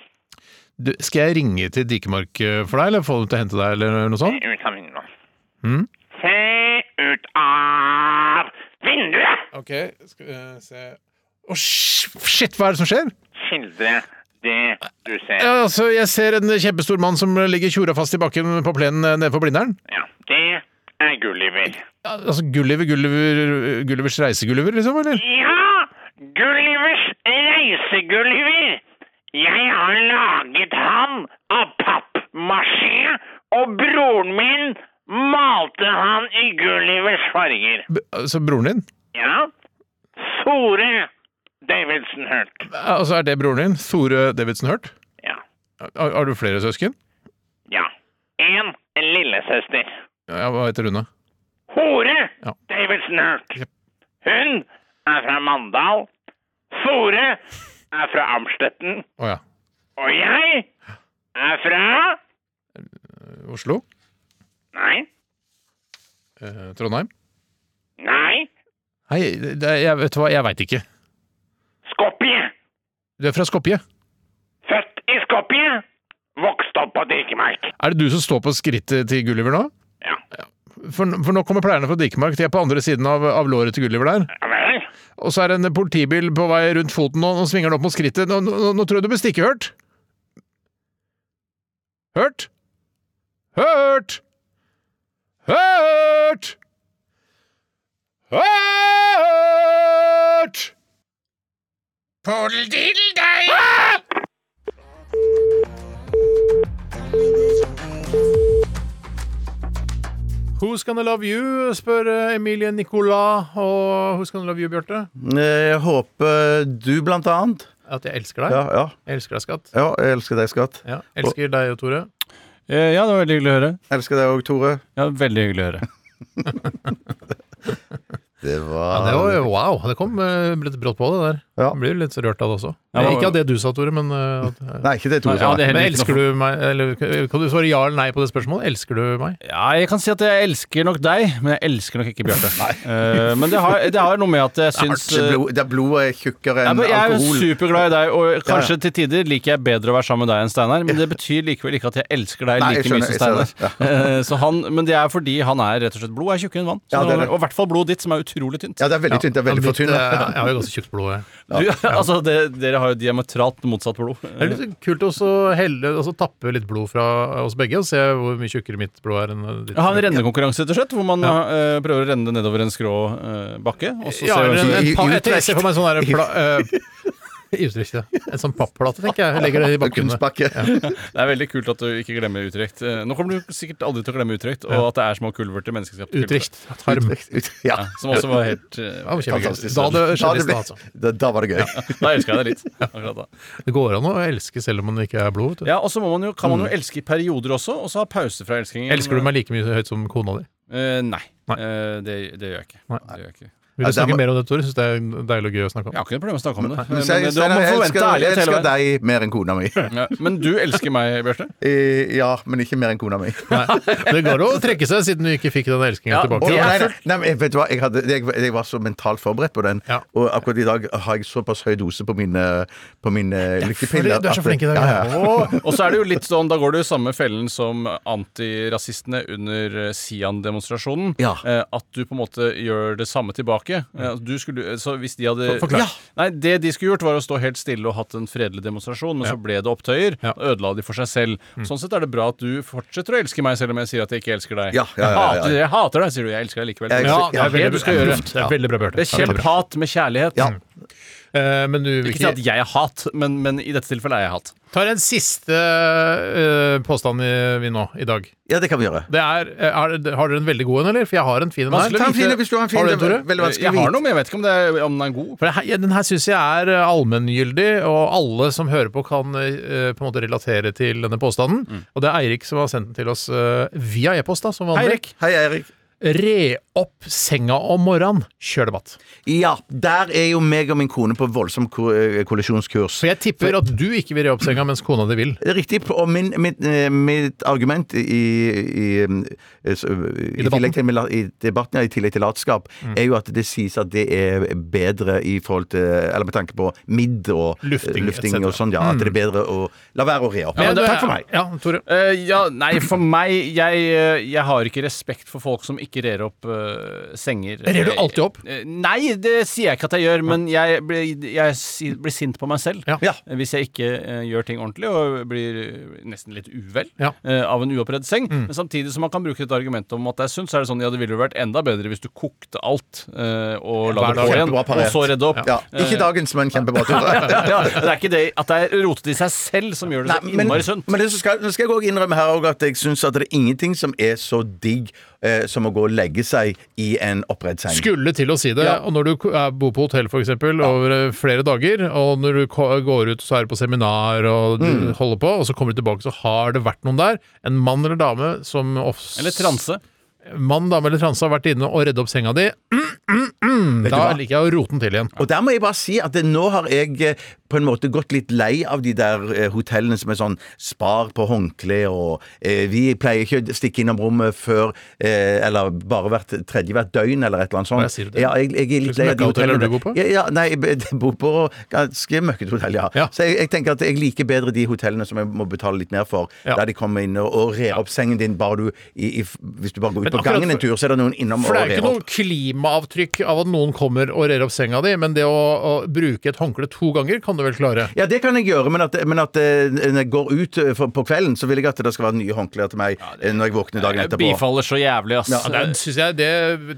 [SPEAKER 4] Du, skal jeg ringe til Dikemark eh, for deg, eller få dem til å hente deg, eller noe sånt?
[SPEAKER 10] Ut av vinduet.
[SPEAKER 4] Mm.
[SPEAKER 10] Se ut av vinduet!
[SPEAKER 4] OK, skal vi eh, se Å, shit, hva er det som skjer?
[SPEAKER 10] Skildre det du ser.
[SPEAKER 4] Ja, altså, jeg ser en kjempestor mann som ligger tjora fast i bakken på plenen eh, nede på Blindern.
[SPEAKER 10] Ja, det er Gulliver.
[SPEAKER 4] Ja, altså Gulliver, Gulliver, Gullivers reisegulliver, liksom, eller?
[SPEAKER 10] Ja, Gullivers reisegulliver. Jeg har laget han av pappmasjé, og broren min malte han i Gullivers farger.
[SPEAKER 4] B altså, broren din?
[SPEAKER 10] Ja, Sore Davidsen Hurt.
[SPEAKER 4] Altså, er det broren din? Tore Davidsen Hurt?
[SPEAKER 10] Ja.
[SPEAKER 4] Har, har du flere søsken?
[SPEAKER 10] ja. En lillesøster.
[SPEAKER 4] Ja, hva heter hun, da?
[SPEAKER 10] Hore
[SPEAKER 4] Ja.
[SPEAKER 10] Davidsen Hurt.
[SPEAKER 4] Jep.
[SPEAKER 10] Hun er fra Mandal. Sore er fra Amstetten.
[SPEAKER 4] Å ja.
[SPEAKER 10] Og jeg er fra
[SPEAKER 4] Oslo?
[SPEAKER 10] Nei.
[SPEAKER 4] Eh, Trondheim?
[SPEAKER 10] Nei.
[SPEAKER 4] Hei, det, det- jeg vet du hva, jeg veit ikke.
[SPEAKER 10] Skopje.
[SPEAKER 4] Du er fra Skopje.
[SPEAKER 10] Født i Skopje. Vokst opp på Dikemark.
[SPEAKER 4] Er det du som står på skrittet til Gulliver nå?
[SPEAKER 10] Ja.
[SPEAKER 4] For, for nå kommer pleierne fra Dikemark, de er på andre siden av, av låret til Gulliver der.
[SPEAKER 10] Ja vel.
[SPEAKER 4] Og så er det en politibil på vei rundt foten og, og svinger den opp mot skrittet. Nå, nå, nå tror jeg du blir stikkehørt. Hørt? Hørt! Hørt! Hørt! Ah! Who's gonna love you, spør eh, Emilie Nicolas. Og who's gonna love you, Bjarte?
[SPEAKER 6] Jeg håper du, blant annet.
[SPEAKER 4] At jeg elsker deg.
[SPEAKER 6] Ja, ja.
[SPEAKER 4] Jeg elsker deg, skatt.
[SPEAKER 6] ja jeg elsker deg, skatt.
[SPEAKER 4] Ja, elsker deg og Tore.
[SPEAKER 5] Eh, Ja, det var veldig hyggelig å høre.
[SPEAKER 6] Elsker deg òg, Tore.
[SPEAKER 5] Ja, veldig hyggelig å høre.
[SPEAKER 6] Det
[SPEAKER 4] Ja,
[SPEAKER 6] var
[SPEAKER 4] det var, wow, det kom eh, litt brått på det der.
[SPEAKER 6] Ja.
[SPEAKER 4] Jeg blir litt rørt av det også.
[SPEAKER 5] Ja,
[SPEAKER 4] Eh,
[SPEAKER 5] det var-
[SPEAKER 4] Ikke av det du sa, Tore, men eh, at,
[SPEAKER 6] Nei, ikke det Tore
[SPEAKER 5] Nei, ja,
[SPEAKER 6] sa.
[SPEAKER 5] det er
[SPEAKER 4] Men
[SPEAKER 5] helt
[SPEAKER 4] elsker du meg eller, Kan du svare ja eller nei på det spørsmålet? Elsker du meg?
[SPEAKER 5] Ja, jeg kan si at jeg elsker nok deg, men jeg elsker nok ikke Bjarte. Eh, men det har, det har noe med at jeg
[SPEAKER 6] Det er
[SPEAKER 5] syns
[SPEAKER 6] hardt. Blod, det er blodet er tjukkere
[SPEAKER 5] Ja,
[SPEAKER 6] enn
[SPEAKER 5] men jeg er
[SPEAKER 6] alkohol.
[SPEAKER 5] superglad i deg, og kanskje til tider liker jeg bedre å være sammen med deg enn Steinar, men det betyr likevel ikke at jeg elsker deg
[SPEAKER 6] Nei, jeg
[SPEAKER 5] like mye
[SPEAKER 6] skjønner,
[SPEAKER 5] som
[SPEAKER 6] jeg
[SPEAKER 5] Steinar.
[SPEAKER 6] ser
[SPEAKER 5] Eh, så han, men det er fordi han er rett og slett blod er tjukkere enn vann. Så,
[SPEAKER 6] Ja, det er det.
[SPEAKER 5] Og i hvert fall blodet ditt, som er utrolig tynt.
[SPEAKER 6] Ja, det er veldig tynt. Det er veldig
[SPEAKER 4] Ja, mitt,
[SPEAKER 6] for tynt.
[SPEAKER 4] eh, Jeg har jo ganske tjukt blod. Jeg.
[SPEAKER 5] Du, altså, det, dere har jo diametralt motsatt blod.
[SPEAKER 4] Det er litt kult også å helle, altså, tappe litt blod fra oss begge og se hvor mye tjukkere mitt blod er enn eh, ditt.
[SPEAKER 5] Jeg har en rennekonkurranse, rett og slett, hvor man eh, prøver å renne det nedover en skrå eh, bakke. Og så
[SPEAKER 4] Ja,
[SPEAKER 5] ser
[SPEAKER 4] eller
[SPEAKER 5] hvem
[SPEAKER 4] en,
[SPEAKER 5] som-
[SPEAKER 4] en,
[SPEAKER 6] I-
[SPEAKER 4] pa-
[SPEAKER 6] i
[SPEAKER 4] jeg tenker- jeg ser for meg en sånn der pla, eh, i Utrecht, ja. En sånn papplate, tenker jeg. Jeg legger det i bakken.
[SPEAKER 6] Kunstpakke.
[SPEAKER 5] Det er veldig kult at du ikke glemmer Utrecht. Eh, Nå kommer du sikkert aldri til å glemme Utrecht, og at det er små kulverter, menneskeskapte
[SPEAKER 4] Utrecht. Tarm.
[SPEAKER 6] Ja.
[SPEAKER 5] kulverter. Som også var helt eh,
[SPEAKER 4] Ja, kjempegøy.
[SPEAKER 5] fantastisk.
[SPEAKER 4] Da hadde
[SPEAKER 6] Da, det
[SPEAKER 4] skjedde i
[SPEAKER 6] ble,
[SPEAKER 4] stad, altså.
[SPEAKER 6] da, da var det gøy.
[SPEAKER 5] Da elska jeg deg litt. Akkurat da.
[SPEAKER 4] Det går an å elske selv om man ikke er blod. Vet du.
[SPEAKER 5] Ja, og så må man jo, kan
[SPEAKER 6] Mm.
[SPEAKER 5] man jo elske i perioder også, og så ha pause fra elskingen.
[SPEAKER 4] Elsker du meg like mye høyt som kona di?
[SPEAKER 5] Eh, nei.
[SPEAKER 4] Nei.
[SPEAKER 5] Eh, det, det gjør jeg ikke.
[SPEAKER 4] Nei.
[SPEAKER 5] Det gjør jeg ikke.
[SPEAKER 4] Vil
[SPEAKER 6] Ja,
[SPEAKER 4] du
[SPEAKER 6] det er
[SPEAKER 4] snakke
[SPEAKER 6] ma-
[SPEAKER 4] mer om det, Tore? Syns det er deilig og gøy å snakke
[SPEAKER 5] Jeg
[SPEAKER 4] om.
[SPEAKER 5] har ikke noe problem med å snakke om det. Men,
[SPEAKER 6] Men
[SPEAKER 5] men,
[SPEAKER 6] Steinar,
[SPEAKER 5] du må
[SPEAKER 6] jeg
[SPEAKER 5] forvente
[SPEAKER 6] elsker, jeg
[SPEAKER 5] ærlighet hele
[SPEAKER 6] elsker
[SPEAKER 5] veien.
[SPEAKER 6] deg mer enn kona mi.
[SPEAKER 5] Ja, men du elsker meg, Bjarte.
[SPEAKER 6] Eh, Ja, men ikke mer enn kona mi.
[SPEAKER 4] Det går å trekke seg, siden du ikke fikk den elskingen
[SPEAKER 5] Ja,
[SPEAKER 4] tilbake.
[SPEAKER 6] Å,
[SPEAKER 5] det er
[SPEAKER 6] nei, nei, nei, men jeg- vet du hva? Jeg, hadde, jeg, jeg var så mentalt forberedt på den,
[SPEAKER 4] Ja.
[SPEAKER 6] og akkurat i dag har jeg såpass høy dose på mine, på mine
[SPEAKER 4] fordi
[SPEAKER 6] lykkepiller.
[SPEAKER 4] du er så
[SPEAKER 6] at-
[SPEAKER 4] flink i dag,
[SPEAKER 6] Ja, ja.
[SPEAKER 5] Og så er det jo litt sånn, da går du i samme fellen som antirasistene under eh, Sian-demonstrasjonen.
[SPEAKER 6] Ja.
[SPEAKER 5] eh, At du på en måte gjør det samme tilbake. Eh, at Du skulle, eh, så hvis de hadde
[SPEAKER 4] For- forklar.
[SPEAKER 5] Ja. Nei, det de skulle gjort, var å stå helt stille og hatt en fredelig demonstrasjon, men så ble det opptøyer.
[SPEAKER 4] Ja.
[SPEAKER 5] Da Ødela de for seg selv. Sånn sett er det bra at du fortsetter å elske meg, selv om jeg sier at jeg ikke elsker deg.
[SPEAKER 6] Ja, ja, ja, ja, ja.
[SPEAKER 5] Jeg, hater, jeg hater deg, sier du. Jeg elsker deg likevel.
[SPEAKER 6] Jeg-
[SPEAKER 5] Ja,
[SPEAKER 6] Ja,
[SPEAKER 5] det er det du skal gjøre.
[SPEAKER 4] Det er veldig bra, Bjarte.
[SPEAKER 5] Det er
[SPEAKER 4] Ja, veldig bra.
[SPEAKER 5] kjempat med kjærlighet.
[SPEAKER 6] Ja.
[SPEAKER 4] Eh, Men du vil
[SPEAKER 5] Ikke si
[SPEAKER 4] ikke
[SPEAKER 5] at jeg er hat, men, men i dette tilfellet er jeg hat.
[SPEAKER 4] tar en siste eh, påstand vi- vi nå, i dag.
[SPEAKER 6] ja, det kan vi gjøre.
[SPEAKER 4] Det er, eh, er, Har dere en veldig god en, eller? For jeg har en fin en her.
[SPEAKER 5] Vanskelig å
[SPEAKER 6] Ta en
[SPEAKER 5] vite-
[SPEAKER 6] fin hvis du har en fin.
[SPEAKER 4] Har du
[SPEAKER 6] det
[SPEAKER 4] en,
[SPEAKER 6] er
[SPEAKER 4] Tore?
[SPEAKER 6] Veldig vanskelig å
[SPEAKER 5] Eh, Jeg har
[SPEAKER 6] vite.
[SPEAKER 5] noe, men jeg vet ikke om, det er, om den er god.
[SPEAKER 4] For det her, ja, den her syns jeg er eh, allmenngyldig, og alle som hører på, kan eh, på en måte relatere til denne påstanden. Og det er Eirik som har sendt den til oss eh, via e-post, da, som vanlig.
[SPEAKER 5] Eirik.
[SPEAKER 6] Hei, Eirik.
[SPEAKER 4] Re opp senga om morgenen. Kjør debatt.
[SPEAKER 6] Ja, der er jo meg og min kone på voldsom ko eh, kollisjonskurs.
[SPEAKER 4] For jeg tipper at du ikke vil re opp senga mens kona di vil.
[SPEAKER 6] Det er Riktig. Og min, mitt, eh, mitt argument i, i, eh, så- i,
[SPEAKER 4] debatten?
[SPEAKER 6] tillegg til, i debatten, ja, i tillegg til latskap,
[SPEAKER 5] Mm.
[SPEAKER 6] er jo at det sies at det er bedre i forhold til Eller med tanke på midd og eh,
[SPEAKER 4] Lufting,
[SPEAKER 6] lufting
[SPEAKER 4] et
[SPEAKER 6] og sånn, ja. At det er bedre å la være å re opp.
[SPEAKER 5] Mm. men
[SPEAKER 6] Men
[SPEAKER 5] det-
[SPEAKER 6] takk for meg.
[SPEAKER 4] Ja, Tore.
[SPEAKER 5] Eh, ja, nei, for meg jeg, eh, jeg har ikke respekt for folk som ikke rer opp eh, senger.
[SPEAKER 4] Rer du alltid opp?
[SPEAKER 5] Eh, nei, det sier jeg ikke at jeg gjør, men jeg blir, jeg si, blir sint på meg selv
[SPEAKER 4] Ja.
[SPEAKER 6] Ja.
[SPEAKER 5] hvis jeg ikke eh, gjør ting ordentlig og blir eh, nesten litt uvel
[SPEAKER 4] Ja. Mm.
[SPEAKER 5] eh, av en uoppredd seng. Men samtidig som man kan bruke et argument om at det er sunt, så er det sånn ja, det ville jo vært enda bedre hvis du kokte alt eh, og la
[SPEAKER 4] hver
[SPEAKER 5] det
[SPEAKER 4] dag.
[SPEAKER 5] gå igjen,
[SPEAKER 6] Kjempebra
[SPEAKER 5] og
[SPEAKER 6] parert.
[SPEAKER 5] så redde opp.
[SPEAKER 6] Ja. Ikke dagens, men kjempebra. Tore.
[SPEAKER 5] Ja, det er ikke det at det er rotet i seg selv som gjør det så
[SPEAKER 6] Nei, men,
[SPEAKER 5] innmari sunt.
[SPEAKER 6] men det som skal, nå skal jeg også innrømme her også at jeg syns at det er ingenting som er så digg eh, som å gå og legge seg i en oppredd seng.
[SPEAKER 4] Skulle til å si det.
[SPEAKER 6] Ja.
[SPEAKER 4] Og når du ko- er- bor på hotell for eksempel, over eh, flere dager, og når du ko- går ut så er du på seminar og du holder på, og så kommer du tilbake så har det vært noen der, en mann eller dame som ofte
[SPEAKER 5] Eller transe.
[SPEAKER 4] mann, dame eller transe har vært inne og redde opp senga di, mm, mm, mm, da liker jeg å rote den til igjen.
[SPEAKER 6] Og der må jeg bare si at det, nå har jeg eh, på en måte gått litt lei av de der eh, hotellene som er sånn spar på håndkle og eh, Vi pleier ikke å stikke innom rommet før eh, Eller bare hvert tredje hvert døgn eller et eller annet sånt.
[SPEAKER 4] Hva sier du det?
[SPEAKER 6] Ja, jeg, jeg er litt
[SPEAKER 4] Slags
[SPEAKER 6] lei av de
[SPEAKER 4] møkkahoteller
[SPEAKER 6] hotellene.
[SPEAKER 4] du bor på?
[SPEAKER 6] Ja, ja, nei, jeg b- jeg bor på ganske møkkete hotell, ja.
[SPEAKER 4] Ja.
[SPEAKER 6] Så jeg, jeg tenker at jeg liker bedre de hotellene som jeg må betale litt mer for.
[SPEAKER 4] Ja.
[SPEAKER 6] Der de kommer inn og, og rer opp sengen din bare du i, i, Hvis du bare går
[SPEAKER 4] Men
[SPEAKER 6] ut på
[SPEAKER 4] akkurat
[SPEAKER 6] gangen en
[SPEAKER 4] for-
[SPEAKER 6] tur, så er det noen innom og
[SPEAKER 4] For det er jo
[SPEAKER 6] rer
[SPEAKER 4] ikke
[SPEAKER 6] opp.
[SPEAKER 4] noe klimaavtrykk av at noen kommer og rer opp senga di, men det å, å bruke et håndkle to ganger kan du vel klare?
[SPEAKER 6] Ja, det kan jeg gjøre, men at, men at eh, når jeg går ut eh, for, på kvelden, så vil jeg at det skal være nye håndklær til meg eh, når jeg våkner dagen
[SPEAKER 5] Jeg
[SPEAKER 6] etterpå.
[SPEAKER 5] bifaller så jævlig, ass.
[SPEAKER 4] Ja, det er- synes jeg det,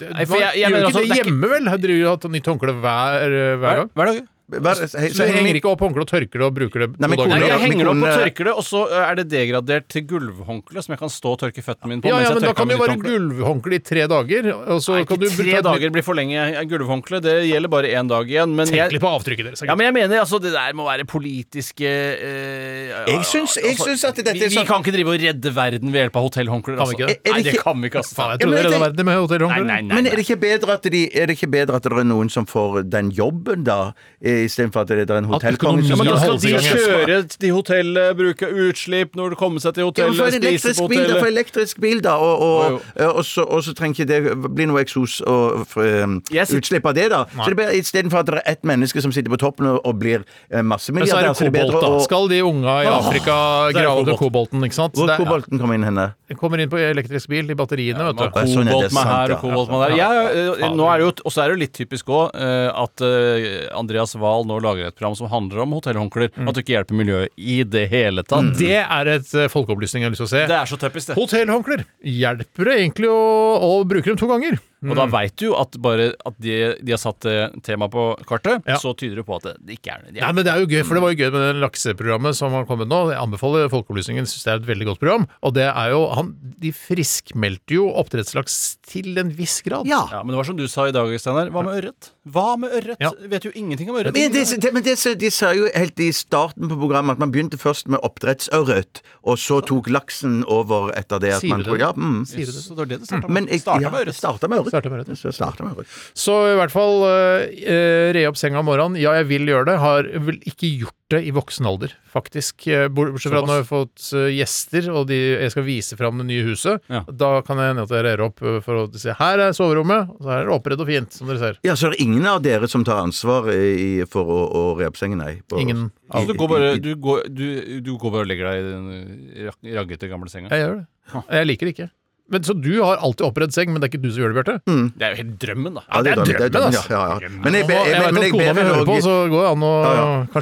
[SPEAKER 4] det
[SPEAKER 5] Nei, for jeg- jeg
[SPEAKER 4] Man
[SPEAKER 5] mener
[SPEAKER 4] gjør
[SPEAKER 5] altså,
[SPEAKER 4] ikke det
[SPEAKER 5] det er ikke-
[SPEAKER 4] hjemme, vel? Her driver du hatt nytt håndkle hver, hver gang.
[SPEAKER 5] Hver dag.
[SPEAKER 6] Hva er det- hei,
[SPEAKER 4] Så jeg henger ikke opp håndkle og tørker det og bruker det
[SPEAKER 6] Nei, men
[SPEAKER 4] to
[SPEAKER 5] Nei,
[SPEAKER 4] dager.
[SPEAKER 6] kone-
[SPEAKER 5] jeg
[SPEAKER 6] min
[SPEAKER 5] henger det opp og
[SPEAKER 6] kone-
[SPEAKER 5] tørker det, og så eh, er det degradert til gulvhåndkle som jeg kan stå og tørke føttene mine på.
[SPEAKER 4] Ja, ja, men
[SPEAKER 5] mens jeg
[SPEAKER 4] da kan det jo
[SPEAKER 5] tørker
[SPEAKER 4] være
[SPEAKER 5] med nytt håndkle.
[SPEAKER 4] gulvhåndkle i tre dager, og så
[SPEAKER 5] Nei,
[SPEAKER 4] kan du
[SPEAKER 5] ikke tre dager blir for lenge. eh, Gulvhåndkle det gjelder bare én dag igjen. Men
[SPEAKER 4] Tenk
[SPEAKER 5] jeg,
[SPEAKER 4] litt på avtrykket deres.
[SPEAKER 5] ja, men jeg mener altså det der må være politiske eh,
[SPEAKER 6] Jeg syns- jeg syns at dette er
[SPEAKER 5] vi, vi
[SPEAKER 6] sånn-
[SPEAKER 5] kan ikke drive og redde verden ved hjelp av hotellhåndklær.
[SPEAKER 4] Kan vi
[SPEAKER 5] Altså.
[SPEAKER 4] ikke det?
[SPEAKER 6] Er- er
[SPEAKER 5] Nei,
[SPEAKER 6] det
[SPEAKER 5] det
[SPEAKER 6] ikke-
[SPEAKER 5] kan vi ikke. ass.
[SPEAKER 4] Faen, jeg trodde
[SPEAKER 6] Ja,
[SPEAKER 4] det
[SPEAKER 6] men jeg
[SPEAKER 4] redda verden med
[SPEAKER 5] Nei,
[SPEAKER 4] hotellhåndklær.
[SPEAKER 5] nei, nei.
[SPEAKER 6] Men er
[SPEAKER 5] nei.
[SPEAKER 6] det, ikke bedre at de, er det ikke bedre at det er noen som får den jobben, da, eh, istedenfor at det er en hotellkonge
[SPEAKER 4] økonomien
[SPEAKER 5] Ja,
[SPEAKER 6] som
[SPEAKER 5] men da skal
[SPEAKER 4] holdes i
[SPEAKER 5] de
[SPEAKER 4] gang, ja.
[SPEAKER 5] kjøre til hotellet, bruke utslipp når du kommer seg til
[SPEAKER 6] Ja, men for
[SPEAKER 5] hotellet,
[SPEAKER 6] en
[SPEAKER 5] spise
[SPEAKER 6] elektrisk
[SPEAKER 5] på
[SPEAKER 6] bil, da, for
[SPEAKER 5] hotellet.
[SPEAKER 6] elektrisk bil, da,
[SPEAKER 5] Jo,
[SPEAKER 6] og, og, eh, og, så, og så trenger ikke det bli noe eksos og f- um,
[SPEAKER 5] Jeg sit-
[SPEAKER 6] utslipp av det, da. Så det blir Istedenfor at det er ett menneske som sitter på toppen og, og blir eh,
[SPEAKER 4] Men så er
[SPEAKER 6] massemilliardær,
[SPEAKER 4] det kobolt, da. Skal de unga i Afrika
[SPEAKER 5] det er jo
[SPEAKER 4] grave under
[SPEAKER 5] kobolt.
[SPEAKER 4] kobolten, ikke sant?
[SPEAKER 6] Hvor
[SPEAKER 4] Det er-
[SPEAKER 6] kobolten kommer inn henne?
[SPEAKER 4] Det kommer inn på elektrisk bil i batteriene,
[SPEAKER 5] Man
[SPEAKER 4] vet du.
[SPEAKER 6] Ja, sånn er det,
[SPEAKER 5] kobolt meg
[SPEAKER 6] sant,
[SPEAKER 5] her og
[SPEAKER 6] ja.
[SPEAKER 5] kobolt meg der. Jeg, eh, nå er det jo, og så er det jo litt typisk òg at eh, Andreas Wahl nå lager et program som handler om hotellhåndklær. At det ikke hjelper miljøet i det hele tatt.
[SPEAKER 6] Mm.
[SPEAKER 4] Mm.
[SPEAKER 5] Det,
[SPEAKER 4] Det er et eh, folkeopplysning jeg har lyst til å se.
[SPEAKER 5] det er så typisk, det.
[SPEAKER 4] Hotellhåndklær. Hjelper det egentlig å, å bruke dem to ganger?
[SPEAKER 5] Og da veit du jo at bare at de, de har satt eh, temaet på kartet,
[SPEAKER 4] Ja.
[SPEAKER 5] så tyder det på at det, det ikke er det. De
[SPEAKER 4] Nei,
[SPEAKER 5] er.
[SPEAKER 4] men Det er jo gøy, for det var jo gøy med det lakseprogrammet som har kommet nå. Jeg anbefaler Folkeopplysningen, syns det er et veldig godt program. Og det er jo han, De friskmeldte jo oppdrettslaks til en viss grad.
[SPEAKER 6] Ja.
[SPEAKER 5] Ja, men det var som du sa i dag, Steinar. Hva med ørret? Hva med ørret?
[SPEAKER 4] Ja.
[SPEAKER 5] Vet jo ingenting om ørret.
[SPEAKER 6] Men, det, det, men det, så- de sa jo helt i starten på programmet at man begynte først med oppdrettsørret, og så tok laksen over etter det at
[SPEAKER 4] Sier
[SPEAKER 6] man
[SPEAKER 4] du det?
[SPEAKER 6] Ja, mm.
[SPEAKER 4] Sier du det?
[SPEAKER 5] Så det var det det starta med.
[SPEAKER 6] Men jeg,
[SPEAKER 5] Starta
[SPEAKER 6] ja,
[SPEAKER 5] med
[SPEAKER 6] det
[SPEAKER 5] ørret.
[SPEAKER 6] starta med rødt.
[SPEAKER 4] Starter med rødt, ja.
[SPEAKER 6] Så jeg starter med rødt.
[SPEAKER 4] Så i hvert fall eh, eh, re opp senga om morgenen. Ja, jeg vil gjøre det. Har vel ikke gjort det i voksen alder, faktisk. Eh, bor- Bortsett fra når jeg har fått eh, gjester, og de, jeg skal vise fram det nye huset.
[SPEAKER 5] Ja.
[SPEAKER 4] Da kan jeg hende at jeg rer opp eh, for å si her er soverommet, og så her er det oppredd og fint, som dere ser.
[SPEAKER 6] Ja, så er det ingen av dere som tar ansvar i, for å, å re opp sengen, nei? På-
[SPEAKER 4] Ingen
[SPEAKER 5] Så
[SPEAKER 6] i-
[SPEAKER 5] Altså, du går bare,
[SPEAKER 6] i- i-
[SPEAKER 5] du går, du, du går bare og legger deg i den rak- raggete gamle senga?
[SPEAKER 4] Jeg gjør det. Jeg liker det ikke. Men, så du har alltid oppredd seng, men det er ikke du som gjør det, Bjarte?
[SPEAKER 6] Mm.
[SPEAKER 5] Det er jo helt drømmen, da.
[SPEAKER 6] Ja, det er drømmen, det er drømmen,
[SPEAKER 4] drømmen,
[SPEAKER 6] ja,
[SPEAKER 4] ass.
[SPEAKER 6] ja, ja. Men jeg,
[SPEAKER 4] Og
[SPEAKER 6] jeg,
[SPEAKER 4] jeg, vet
[SPEAKER 6] jeg, men jeg
[SPEAKER 4] at kona mi
[SPEAKER 6] ber
[SPEAKER 4] hører på,
[SPEAKER 6] henne
[SPEAKER 4] så går det an å
[SPEAKER 6] Ja,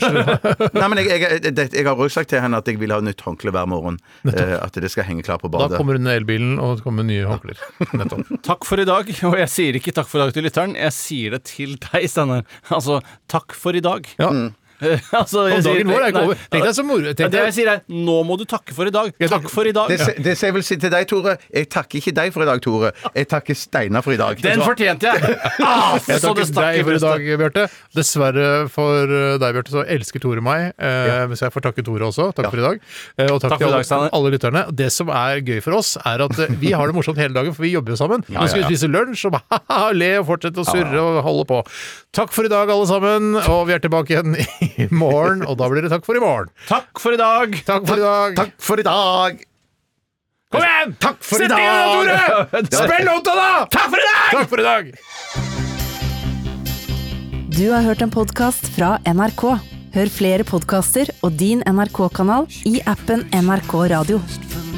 [SPEAKER 4] kanskje
[SPEAKER 6] Nei, men jeg, jeg, jeg, det- jeg har også sagt til henne at jeg vil ha nytt håndkle hver morgen. eh, At det skal henge klart på
[SPEAKER 4] Da
[SPEAKER 6] badet.
[SPEAKER 4] kommer hun med elbilen og det kommer nye håndklær. Nettopp.
[SPEAKER 5] Takk for i dag. Og jeg sier ikke takk for i dag til lytteren, jeg sier det til deg, Steinar. Altså, takk for i dag.
[SPEAKER 4] Ja.
[SPEAKER 5] Eh, altså, jeg
[SPEAKER 4] Og dagen
[SPEAKER 5] sier-
[SPEAKER 4] vår er ikke
[SPEAKER 5] Nei.
[SPEAKER 4] over. Tenk deg så moro.
[SPEAKER 5] Ja,
[SPEAKER 4] Tenk
[SPEAKER 5] Det jeg
[SPEAKER 4] deg.
[SPEAKER 5] sier er, nå må du takke for i dag.
[SPEAKER 4] Ja, takk.
[SPEAKER 5] Takk for i dag.
[SPEAKER 6] Det se- det sier jeg vel si til deg, Tore. Jeg takker ikke deg for i dag, Tore. Jeg takker Steinar for i dag.
[SPEAKER 5] Den fortjente jeg! Ah,
[SPEAKER 4] Jeg
[SPEAKER 5] så
[SPEAKER 4] takker
[SPEAKER 5] det stakk
[SPEAKER 4] deg for
[SPEAKER 5] i
[SPEAKER 4] i
[SPEAKER 5] brystet.
[SPEAKER 4] dag, Bjarte. Dessverre for eh, deg, Bjarte, så elsker Tore meg. Eh, Så jeg får takke Tore også. Takk for i dag. Eh, Og takk,
[SPEAKER 5] Takk for i dag,
[SPEAKER 4] til alle,
[SPEAKER 5] Steinar.
[SPEAKER 4] alle lytterne. Det som er gøy for oss, er at eh, vi har det morsomt hele dagen, for vi jobber jo sammen. Nå skal vi spise lunsj og bare le og fortsette å surre og holde på. Takk for i dag, alle sammen. Og vi er tilbake igjen i morgen, og da blir det takk for i morgen.
[SPEAKER 5] Takk for i dag!
[SPEAKER 4] Takk for i dag.
[SPEAKER 6] Takk for i dag!
[SPEAKER 4] Kom igjen! Takk
[SPEAKER 6] for i
[SPEAKER 4] Sett deg ned,
[SPEAKER 6] dag!
[SPEAKER 4] Tore! Spill låta, da! Takk for i dag! Takk for i dag!
[SPEAKER 1] Du har hørt en podkast fra NRK. Hør flere podkaster og din NRK-kanal i appen NRK Radio.
[SPEAKER 9] For